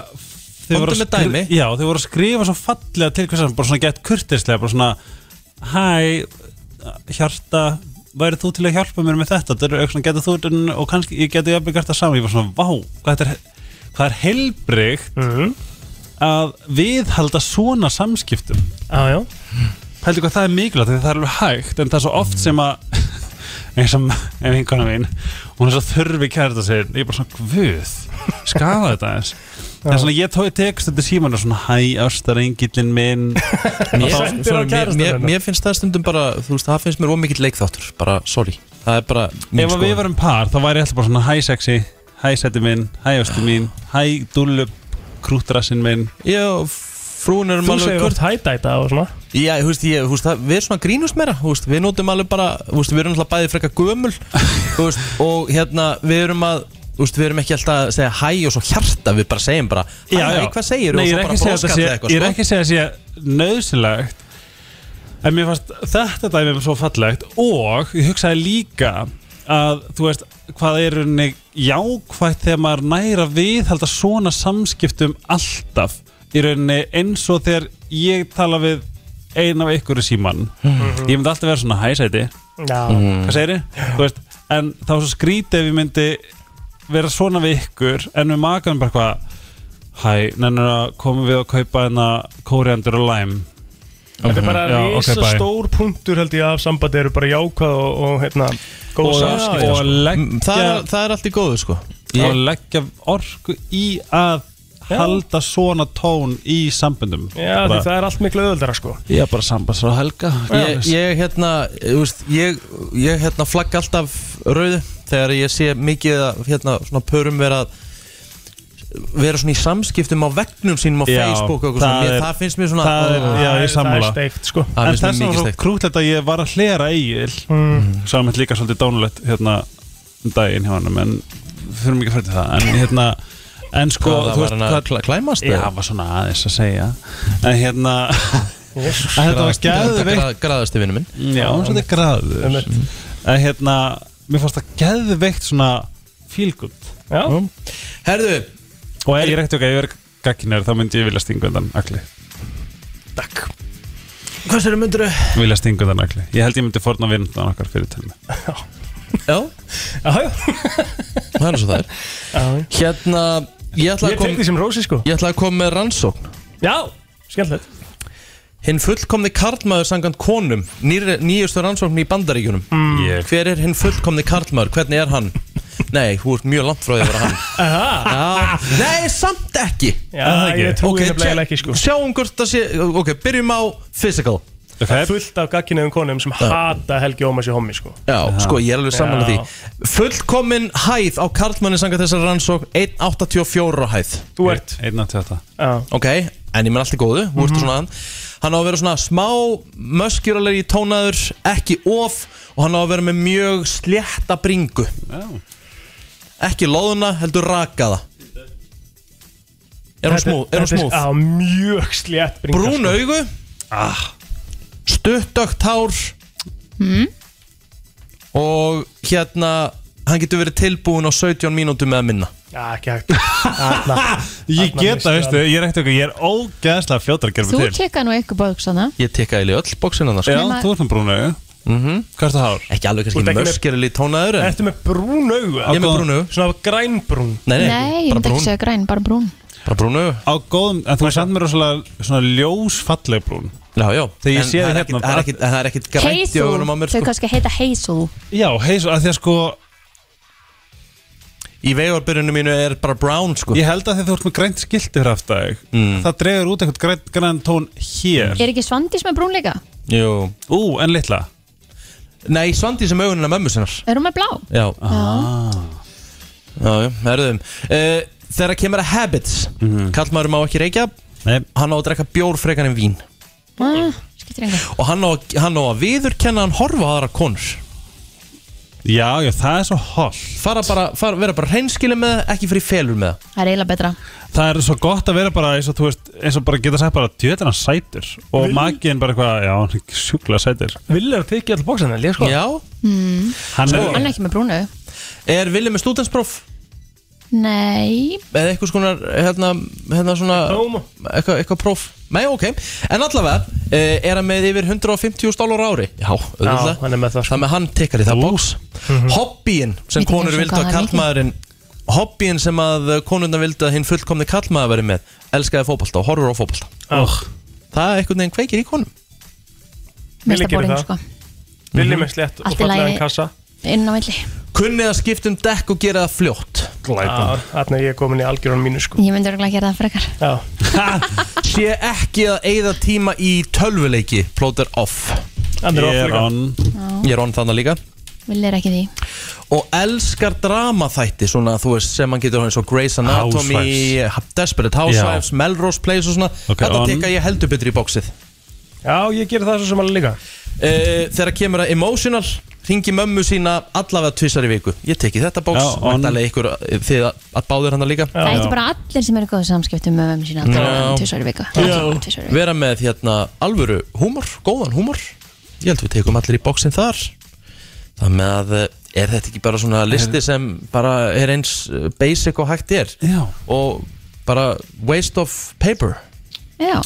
Speaker 1: Komdu með dæmi.
Speaker 13: Já, þau voru að skrifa svo fallega til hversan Bara svona gett kurtislega Bara svona, hæ, hjarta Væri þú til að hjálpa mér með þetta Þetta eru eitthvað svona getur þú þetta Og kannski, ég getur jafnveg gert það saman Ég var svona, vá, hvað þetta er Hvað er helbrikt Að viðhalda svona samskiptum Já, já Pældu hvað það er mikilvægt Þegar það er alveg hægt En það er svo oft sem að eins og en vinkona mín hún er svo þurfi kært að segja ég er bara svona guð, skafa þetta eins það er svona ég tói tekst þetta síman og svona hæ ástarengillin minn
Speaker 1: Mér,
Speaker 13: Og þá-
Speaker 1: svona, mér, mér, mér finnst það stundum bara þú veist, það finnst mér ómikill leikþáttur bara, sorry, það er bara mín
Speaker 13: ef að við
Speaker 1: skoðun.
Speaker 13: varum par þá væri ég alltaf bara svona hæ sexy hæ seti minn, hæ ástu mín hæ dúllu krúttrassin minn
Speaker 1: já, frún erum
Speaker 13: Þú
Speaker 1: alveg
Speaker 13: segir
Speaker 1: hvort
Speaker 3: hætæta og svona
Speaker 1: Já, þú veist, ég, þú veist, það, við erum svona grínust meira þú veist, Við notum alveg bara, þú veist, við erum alltaf bæði frekar gömul þú veist, Og hérna, við erum að Þú veist, við erum ekki alltaf að segja hæ og svo hjarta Við bara segjum bara, hæ, hæ, hvað segir
Speaker 13: Nei, ég er ekki að segja að þetta sé- ég
Speaker 1: sko.
Speaker 13: er ekki að segja að það sé nöðsilegt en mér fannst þetta dæmi var svo fallegt og ég hugsaði líka að þú veist hvað er unni jákvætt þegar maður næra viðhalda svona samskiptum alltaf í rauninni eins og þegar ég tala við einn af ykkur í síman
Speaker 3: Mhm.
Speaker 13: ég myndi alltaf vera svona hæsæti
Speaker 3: Já. Mm.
Speaker 13: hvað segir þið? en þá var svo skrítið ef ég myndi vera svona við ykkur en við makanum bara hvað hæ, nennir að komum við að kaupa hennar kóriandur og læm
Speaker 3: Þetta er bara risastór punktur held ég af sambandi eru bara jákvæð og, og hérna, góð
Speaker 13: Og-
Speaker 3: samskipt
Speaker 13: og leggja-
Speaker 1: það, er- það er allt í góðu, sko
Speaker 13: og leggja orku í að halda svona tón í sambundum
Speaker 3: Já, því það er allt miklu öðuldara sko
Speaker 13: ég er bara sambast á helga
Speaker 1: Ég, ég hérna, þú veist, ég, ég hérna flagg alltaf rauðu þegar ég sé mikið að hérna svona pörum vera að vera svona í samskiptum á vegnum sínum á
Speaker 13: Já,
Speaker 1: Facebook og eitthvað svona,
Speaker 13: það
Speaker 1: mér,
Speaker 13: er-
Speaker 1: það finnst mér svona
Speaker 13: það er, sko. já, ég sammála
Speaker 1: Það
Speaker 13: en
Speaker 1: finnst mér
Speaker 13: þess vegna
Speaker 1: mikið
Speaker 13: var svo
Speaker 1: steikt
Speaker 13: krútlegt að ég var að hlera eigil
Speaker 3: Mm.
Speaker 13: saman líka svolítið dánulegt hérna um daginn hjá hann en við þurfum ekki að fyrir til það en hérna en sko
Speaker 1: Hvað, það
Speaker 13: þú
Speaker 1: var hann að
Speaker 13: hvað-
Speaker 1: kla- klæmast
Speaker 13: já,
Speaker 1: eða?
Speaker 13: það var svona aðeins að segja en hérna en þetta var
Speaker 1: Graðast- gra-
Speaker 13: geðveikt
Speaker 1: graðasti vinnu minn Mm.
Speaker 13: já, svolítið graður en hérna, mér fannst það geðveikt svona fílgund
Speaker 3: já
Speaker 1: Mm. herðu
Speaker 13: og ef ég rekti okkar, ef ég verið gagkinar þá myndi ég vilja stinga undan allir
Speaker 1: Hvað sér myndur þau?
Speaker 13: vilja stinga undan allir ég held ég myndi forna vinnan okkar fyrir til
Speaker 1: Já
Speaker 3: Já, já
Speaker 1: Það er eins og það
Speaker 3: er
Speaker 1: Hérna, ég ætla
Speaker 3: Ég tek því sem rósi sko
Speaker 1: Ég ætla að koma með rannsókn
Speaker 3: Já, skemmtilegt
Speaker 1: Hinn fullkomni karlmaður sangant konum nýr, Nýjustu rannsókn í bandaríkjunum
Speaker 3: Mm.
Speaker 13: Ég-
Speaker 1: Hver er hinn fullkomni karlmaður? Hvernig er hann? Nei, þú ert mjög langt frá því að vera hann Já. Nei, samt ekki
Speaker 3: Já, ég trúi nefnilega ekki, sko.
Speaker 1: Sjáum hvort það sé Ok, byrjum á physical
Speaker 3: Það er fullt af gagkinuðum konum sem hata Helgi Ómars í hommi sko
Speaker 1: Já, sko, ég er alveg saman
Speaker 3: Já.
Speaker 1: að því Fullkomin hæð á karlmanni sanga þessar rannsókn 1.84 á hæð
Speaker 3: Þú ert
Speaker 13: 1.88
Speaker 1: Ok, en ég menn allt í góðu Þú
Speaker 3: Mhm.
Speaker 1: ert svona hann Hann á að vera svona smá möskjuralegi tónaður Ekki of Og hann á að vera með mjög slétta bringu Ekki loðuna, heldur rakaða Er hún
Speaker 3: Þetta-
Speaker 1: smúð? Er hún
Speaker 3: þetta
Speaker 1: smúð?
Speaker 3: Já, mjög slétt bringa,
Speaker 1: Brún
Speaker 3: sko.
Speaker 1: augu ah. Stuttögt hár
Speaker 2: Mm.
Speaker 1: Og hérna Hann getur verið tilbúin á 17 mínútum með að minna
Speaker 3: Já, ekki hægt Þarna-
Speaker 13: Ég
Speaker 3: þarna
Speaker 13: geta,
Speaker 3: misstu
Speaker 13: veistu,
Speaker 3: hann.
Speaker 13: ég er ekkert okkur, ég er ógeðslega fljótar að gera
Speaker 2: Þú
Speaker 13: mig til
Speaker 2: tekka nú eitthvað bóksana
Speaker 1: Ég tekka eða í öll bóksina þar
Speaker 13: Já,
Speaker 2: Nema-
Speaker 13: þú ert með brúnu augu Hvað er það hár?
Speaker 1: Ekki alveg
Speaker 13: Þú ert
Speaker 1: kannski
Speaker 13: ekki með-
Speaker 1: möskjuralegi tónaður en...
Speaker 3: Ertu með brún augu? Sko,
Speaker 1: Ég er með brún augu.
Speaker 3: Svona grænbrún
Speaker 1: Nei,
Speaker 2: Nei, ég myndi ekki segja græn, bara brún
Speaker 1: Bara brúnu
Speaker 13: Á góðum, en þú er samt mér rosalega svona ljósfalleg brún
Speaker 1: Já, já
Speaker 13: Þegar ég
Speaker 1: En
Speaker 13: sé
Speaker 1: það er
Speaker 13: það
Speaker 1: ekkit-
Speaker 13: hérna
Speaker 1: það er ekkit- það er ekkit grænt í augunum á mér
Speaker 2: þau
Speaker 1: sko.
Speaker 2: kannski heita Hazel
Speaker 13: Já, heisu, að því að sko
Speaker 1: Í vegarbyrjunum mínu er bara brown sko
Speaker 13: Ég held að þegar þú ert með grænt skilti fyrir aftur mm. Það dregur út eitthvað grænt, grænt tón hér
Speaker 2: Er ekki Svandís með brún líka?
Speaker 1: Jú
Speaker 13: Ú, en litla
Speaker 1: Nei, Svandi sem augunina mömmu sinnar
Speaker 2: Er hún með blá?
Speaker 1: Já ah. Já, já, erðum uh, Þegar kemur að habits Kallmaður má ekki reykja
Speaker 13: Mhm. Nei.
Speaker 1: Hann á að drekka bjór frekar en vín Mm.
Speaker 2: Ah, skiptir engu
Speaker 1: Og hann á, hann á að viðurkenna hann horfa á aðra konur
Speaker 13: Já, já, það er svo holl
Speaker 1: Fara bara, fara, vera bara reynskilin með það Ekki fyrir felur með það
Speaker 2: Það er eiginlega betra
Speaker 13: Það er svo gott að vera bara eins og þú veist eins og bara geta sagt bara djöðina sætur og
Speaker 3: Vil-
Speaker 13: makiðin bara eitthvað, já, hann er sjúkla sætur
Speaker 3: Villar tekið all bóksana, ég sko
Speaker 1: Já
Speaker 2: mm.
Speaker 13: Hann
Speaker 2: Hann er ekki með brúnu
Speaker 1: Sko, Er Vili með stúdenspróf?
Speaker 2: Nei
Speaker 1: Eða eitthvað skonar, hérna, hérna svona Eitthvað, eitthvað próf Nei, ok En allavega, uh, er hann með yfir 150 dólar ári? Já, auðvitað
Speaker 3: hann er með það sko
Speaker 1: Þannig að hann tekkar í það bóks Hobbyin sem
Speaker 3: Veit ekki
Speaker 1: konur
Speaker 3: einu sinni
Speaker 1: vildu að
Speaker 3: hvað það er mikið.
Speaker 1: kallmaðurinn Hobbyin sem að konurna vildu að hinn fullkomni kallmaður verið með Elskaði fótbolta og horfur á fótbolta
Speaker 3: oh.
Speaker 1: Það er einhvern veginn kveikir í konum
Speaker 2: Mesta boring sko
Speaker 3: Villi með slétt og
Speaker 2: Allt í lagi.
Speaker 3: fallega kassa
Speaker 2: inn á milli
Speaker 1: Mhm. Kunnið að skipta um dekk og gera það fljótt
Speaker 3: Já, Þarna er ég komin í algjörunum mínu sko
Speaker 2: Ég myndi örgulega að gera það frekar
Speaker 3: Já
Speaker 1: Sé ekki að eigða tíma í tölvuleiki Plóter off
Speaker 3: Hann er off Ég er líka. on.
Speaker 1: Ég er on þannig líka
Speaker 2: Vil er ekki því
Speaker 1: Og elskar dramaþætti svona þú veist sem hann getur hann svo Grey's Anatomy Desperate Housewives, Melrose Place og svona Þetta
Speaker 3: on.
Speaker 1: tekka ég heldur betur í bóksið
Speaker 3: Já, ég ger það svo sem alveg líka
Speaker 1: uh, Þegar kemur að emotional Ringi mömmu sína allavega tvissar í viku Ég teki þetta bóks
Speaker 3: Já, on.
Speaker 1: Væntanlega ykkur eh, þið að- að báðir hann líka
Speaker 2: Það eitthvað bara allir sem eru góðu samskiptum með mömmu sína
Speaker 1: Já.
Speaker 2: Tvísar í viku Tvisvar í viku.
Speaker 1: vera með hérna alvöru húmor, góðan húmor ég held við tekum allir í bóksin þar það með að eh, er þetta ekki bara svona listi sem bara er eins eh, basic og hægt er
Speaker 13: Já.
Speaker 1: og bara waste of paper
Speaker 2: Já,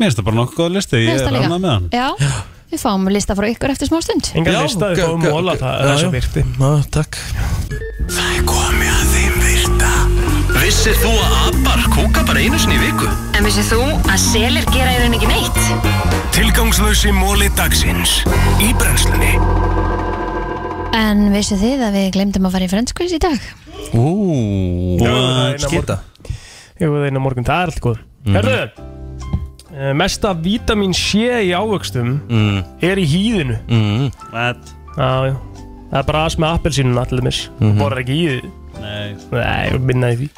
Speaker 13: Mér finnst það bara nokkuð góð listi, ég
Speaker 2: finnst
Speaker 13: er
Speaker 2: það
Speaker 13: rannað með hann
Speaker 2: líka Já, við fáum lista frá ykkur eftir smá stund
Speaker 13: Engan Já, lista, við gö-
Speaker 3: um
Speaker 13: fáum gö- Óla gö- það-
Speaker 3: þessa
Speaker 1: virti Ná, takk
Speaker 19: Það er komið að þeim virta Vissir þú að abar kúka bara einu sinni í viku?
Speaker 20: En vissið þú að selir gera í rauninni ekki neitt?
Speaker 19: Tilgangslösi móli dagsins Í brennslunni
Speaker 2: En vissu þið að við glemdum að fara í frendskvís í dag?
Speaker 1: Ú,
Speaker 3: skita Ég voru það einu morgun, það er allt góð
Speaker 1: Mhm.
Speaker 3: Herðu, eh, mesta vítamin C í ávöxtum
Speaker 1: mm.
Speaker 3: er í hýðinu
Speaker 1: mm.
Speaker 3: Já, já Það er bara aðs með appelsínuna allir mis mm
Speaker 1: Mhm.
Speaker 3: Borðar ekki hýði
Speaker 13: Nei
Speaker 3: Nei, ég minna í því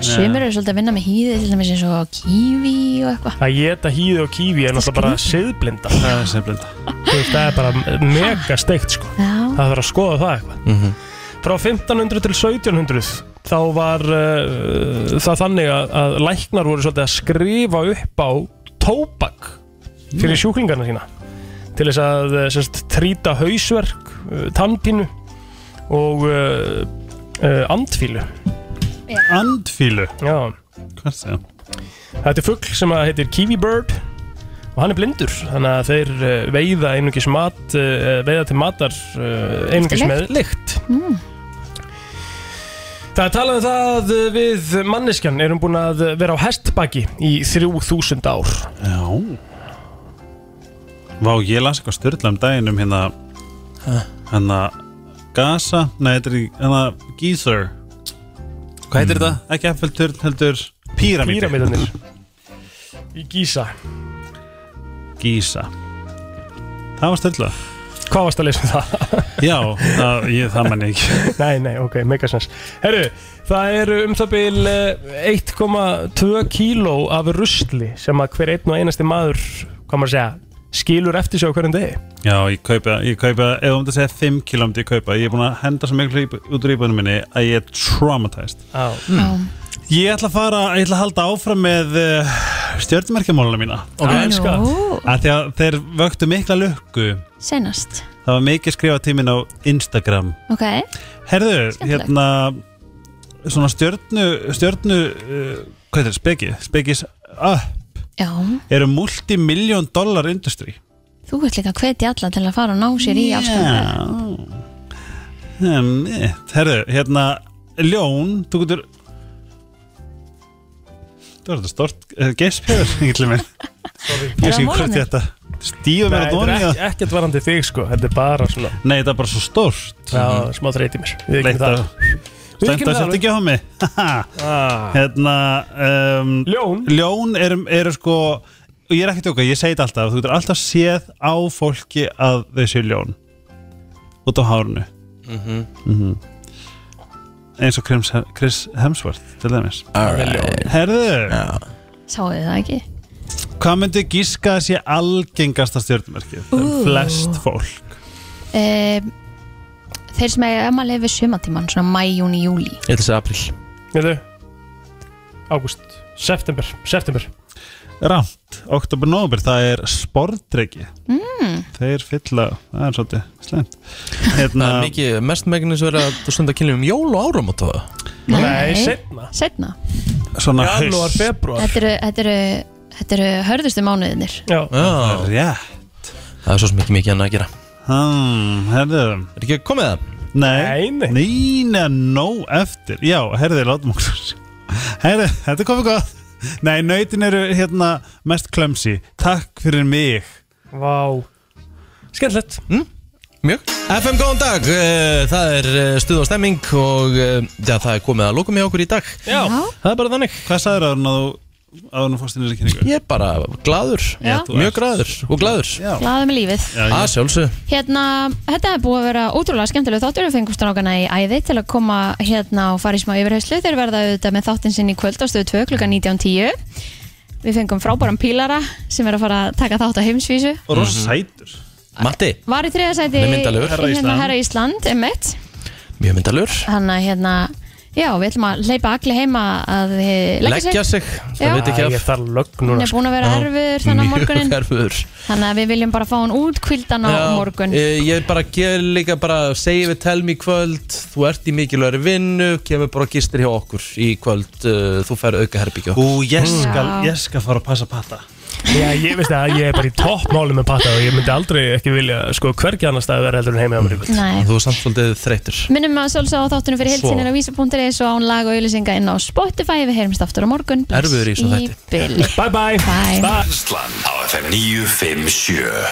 Speaker 2: Sumir eru svolítið að vinna með hýði til dæmis eins og kífi og eitthvað
Speaker 3: Að geta hýði og kífi er náttúrulega bara siðblinda
Speaker 13: Það er siðblinda
Speaker 3: Það er bara mega steikt sko
Speaker 2: Já.
Speaker 3: Það þarf að skoða það eitthvað
Speaker 13: Mhm.
Speaker 3: Frá 1500 til 1700 þá var uh, það þannig að, að læknar voru svolítið að skrifa upp á tóbak fyrir sjúklingarna sína til þess að eh, sem sagt, trýta hausverk, uh, tannpínu og uh, uh, andfílu
Speaker 13: Andfílu?
Speaker 3: Já
Speaker 13: Hvað segja?
Speaker 3: Þetta er fugl sem að heitir Kiwi Bird og hann er blindur þannig að þeir eh, veiða einungis mat eh, veiða til matar eh, einungis með lykt
Speaker 2: mm.
Speaker 3: Það er talað um það eh, við manneskjan erum búin að eh, vera á hestbaki í 3000 ár
Speaker 13: Já Vá, ég las eitthvað styrla um daginn um hérna hérna Gaza, nei þetta er í hérna Gíður Hvað heitir þetta? Ekki Eiffelturn heldur Píramíti
Speaker 3: Píramídarnir. í Gísa
Speaker 13: Gísa Það var styrla
Speaker 3: Hvað varst að lesa um það?
Speaker 13: Já, það, ég, það menn ekki
Speaker 3: Nei, nei, ok, megasens Herru, það eru um það bil eh, 1,2 kíló af rusli sem að hver einn og einasti maður hvað maður að segja, skilur eftir sig á hverjum degi
Speaker 13: Já, ég kaupa, ég kaupa ef þú um þetta segja 5 km ég kaupa ég er búin að henda svo miklu í- út úr íbúinu minni að ég er traumatized
Speaker 3: Já
Speaker 13: Ég ætla að fara, ég ætla að halda áfram með uh, stjörnumerkjamáluna mína
Speaker 3: Ok. Já, elska. Nú.
Speaker 13: Af Því að þeir vöktu mikla lukku
Speaker 2: Senast
Speaker 13: Það var mikið skrifa tíminn á Instagram
Speaker 2: Ok,
Speaker 13: Herðu, hérna Svona stjörnu, stjörnu uh, Hvað er þetta, speki? Spekis upp
Speaker 2: já
Speaker 13: Eru multimiljón dollar industry
Speaker 2: Þú ert líka að hvetja alla til að fara og ná sér í
Speaker 13: Já.
Speaker 2: afsköndar
Speaker 13: um, eh, Herðu, hérna Ljón, þú getur Það var þetta stort uh, Geispjöður, ekki til mér Ég sé ekki hvort þetta Stífa mér
Speaker 3: Nei, þetta
Speaker 13: að
Speaker 3: er
Speaker 13: dóni
Speaker 3: ekki- ekkert varandi þig sko, þetta er bara svona
Speaker 13: Nei, þetta er bara svo stórt
Speaker 3: Já, smá þreyti mér Við ekki það
Speaker 13: Stenda sett ekki á mig
Speaker 3: Ah.
Speaker 13: Hérna um,
Speaker 3: Ljón
Speaker 13: Ljón eru er sko og Ég er ekki tjóka, ég segi þetta alltaf Þú getur alltaf séð á fólki að þau séu ljón Út á hárnu
Speaker 1: Mhm.
Speaker 13: Mhm. Eins og Chris, Chris Hemsworth Til dæmis
Speaker 1: Alright.
Speaker 13: Herðu
Speaker 2: Sáu þið það ekki?
Speaker 13: Hvað myndi gíska að sé algengasta stjórnmerkið?
Speaker 2: Ú.
Speaker 13: Flest fólk
Speaker 2: E, þeir sem eiga um að lifa sumatíman svona mæ, júni, júli
Speaker 1: ég ætla að segja april
Speaker 3: Hérðu Ágúst September September
Speaker 13: Rámt, oktober, november, það er spordreiki
Speaker 2: mm.
Speaker 13: Þeir fylla, það er svolítið slemt hérna,
Speaker 1: Það er mikið, mest megnis verið að þú stundar kynlum um jól og áram á tóða
Speaker 13: Nei,
Speaker 2: Seinna.
Speaker 13: Svona
Speaker 3: Janúar, februar
Speaker 2: Þetta eru, þetta eru, þetta eru hörðustu mánuðinir
Speaker 3: Já,
Speaker 13: rétt
Speaker 1: Það er svo sem ekki mikið annað að gera
Speaker 13: hmm, Herðu Er
Speaker 1: ekki komið það?
Speaker 13: Nei, nei, nei, nóg eftir Já, herðu, látum okkur Herðu, þetta er komið góð Nei, nautin eru hérna mest klömsi Takk fyrir mig
Speaker 3: Vá Skemmtilegt
Speaker 13: mm?
Speaker 1: Hmm? Mjög FM, góðan dag Eh, Það er eh, stuð og stemming og eh, já, það er komið að lóka með okkur í dag
Speaker 13: Já. Já.
Speaker 1: Það er bara þannig
Speaker 13: Hvað sagður að þú að þú fórst inn í þessari kynningu?
Speaker 1: Ég er bara gladur
Speaker 2: Já.
Speaker 1: Mjög gladur og gladur Já,
Speaker 2: Glaðum í lífið
Speaker 1: Að sjálfsög
Speaker 2: Hérna, þetta er búið að vera ótrúlega skemmtilega þáttur við fengum strákana í æði til að koma hérna og fara í smá yfirheyslu þeir verða auðvitað með þáttinn sinn í kvöld á stöðu 2 klukka 19.10 Við fengum frábæran pílara sem er að fara að taka þátt á heimsvísu
Speaker 13: Og rosa sætur
Speaker 1: Mhm. Matti,
Speaker 2: Var í þriðasæti
Speaker 1: Nei, myndarlegur. Herra
Speaker 2: hérna,
Speaker 1: Ísland.
Speaker 2: herra Ísland, emitt
Speaker 1: mjög myndalur
Speaker 2: Þannig að hérna, já, við ætlum að leipa allir heima að eh,
Speaker 1: Leggja sig
Speaker 2: Já.
Speaker 1: Það veit ekki af
Speaker 3: Ég þarf lögn
Speaker 2: Hún er búin að vera erfiður þennan morgunin
Speaker 1: Mjög erfiður
Speaker 2: Þannig að við viljum bara fá hún út kvildan á
Speaker 1: Já,
Speaker 2: morgun
Speaker 1: eh, Ég bara ger líka bara segi við telmi í kvöld Þú ert í mikilværi vinnu Kemur bara og gistir hjá okkur í kvöld eh, Þú fær auka herbyggja
Speaker 13: Ú, ég
Speaker 2: skal- Já. ég
Speaker 13: skal fara að passa patta
Speaker 3: Já, ég veist að ég er bara í toppmáli með patta og ég myndi aldrei ekki vilja sko hvergi annars staði vera heldur en heimi á mér í kvöld.
Speaker 2: Nei.
Speaker 1: Þú er samt svolítið þreytur
Speaker 2: Minnum að sjálfsög á þáttunum fyrir
Speaker 3: Svo.
Speaker 2: heilsinir á vísa.is og án lag og auðlýsinga inn á Spotify við heyrumst aftur á morgun Bless
Speaker 1: Erfiður í þessum
Speaker 2: bili.
Speaker 3: Bye bye
Speaker 2: Bye.
Speaker 4: Brennslan á FM 957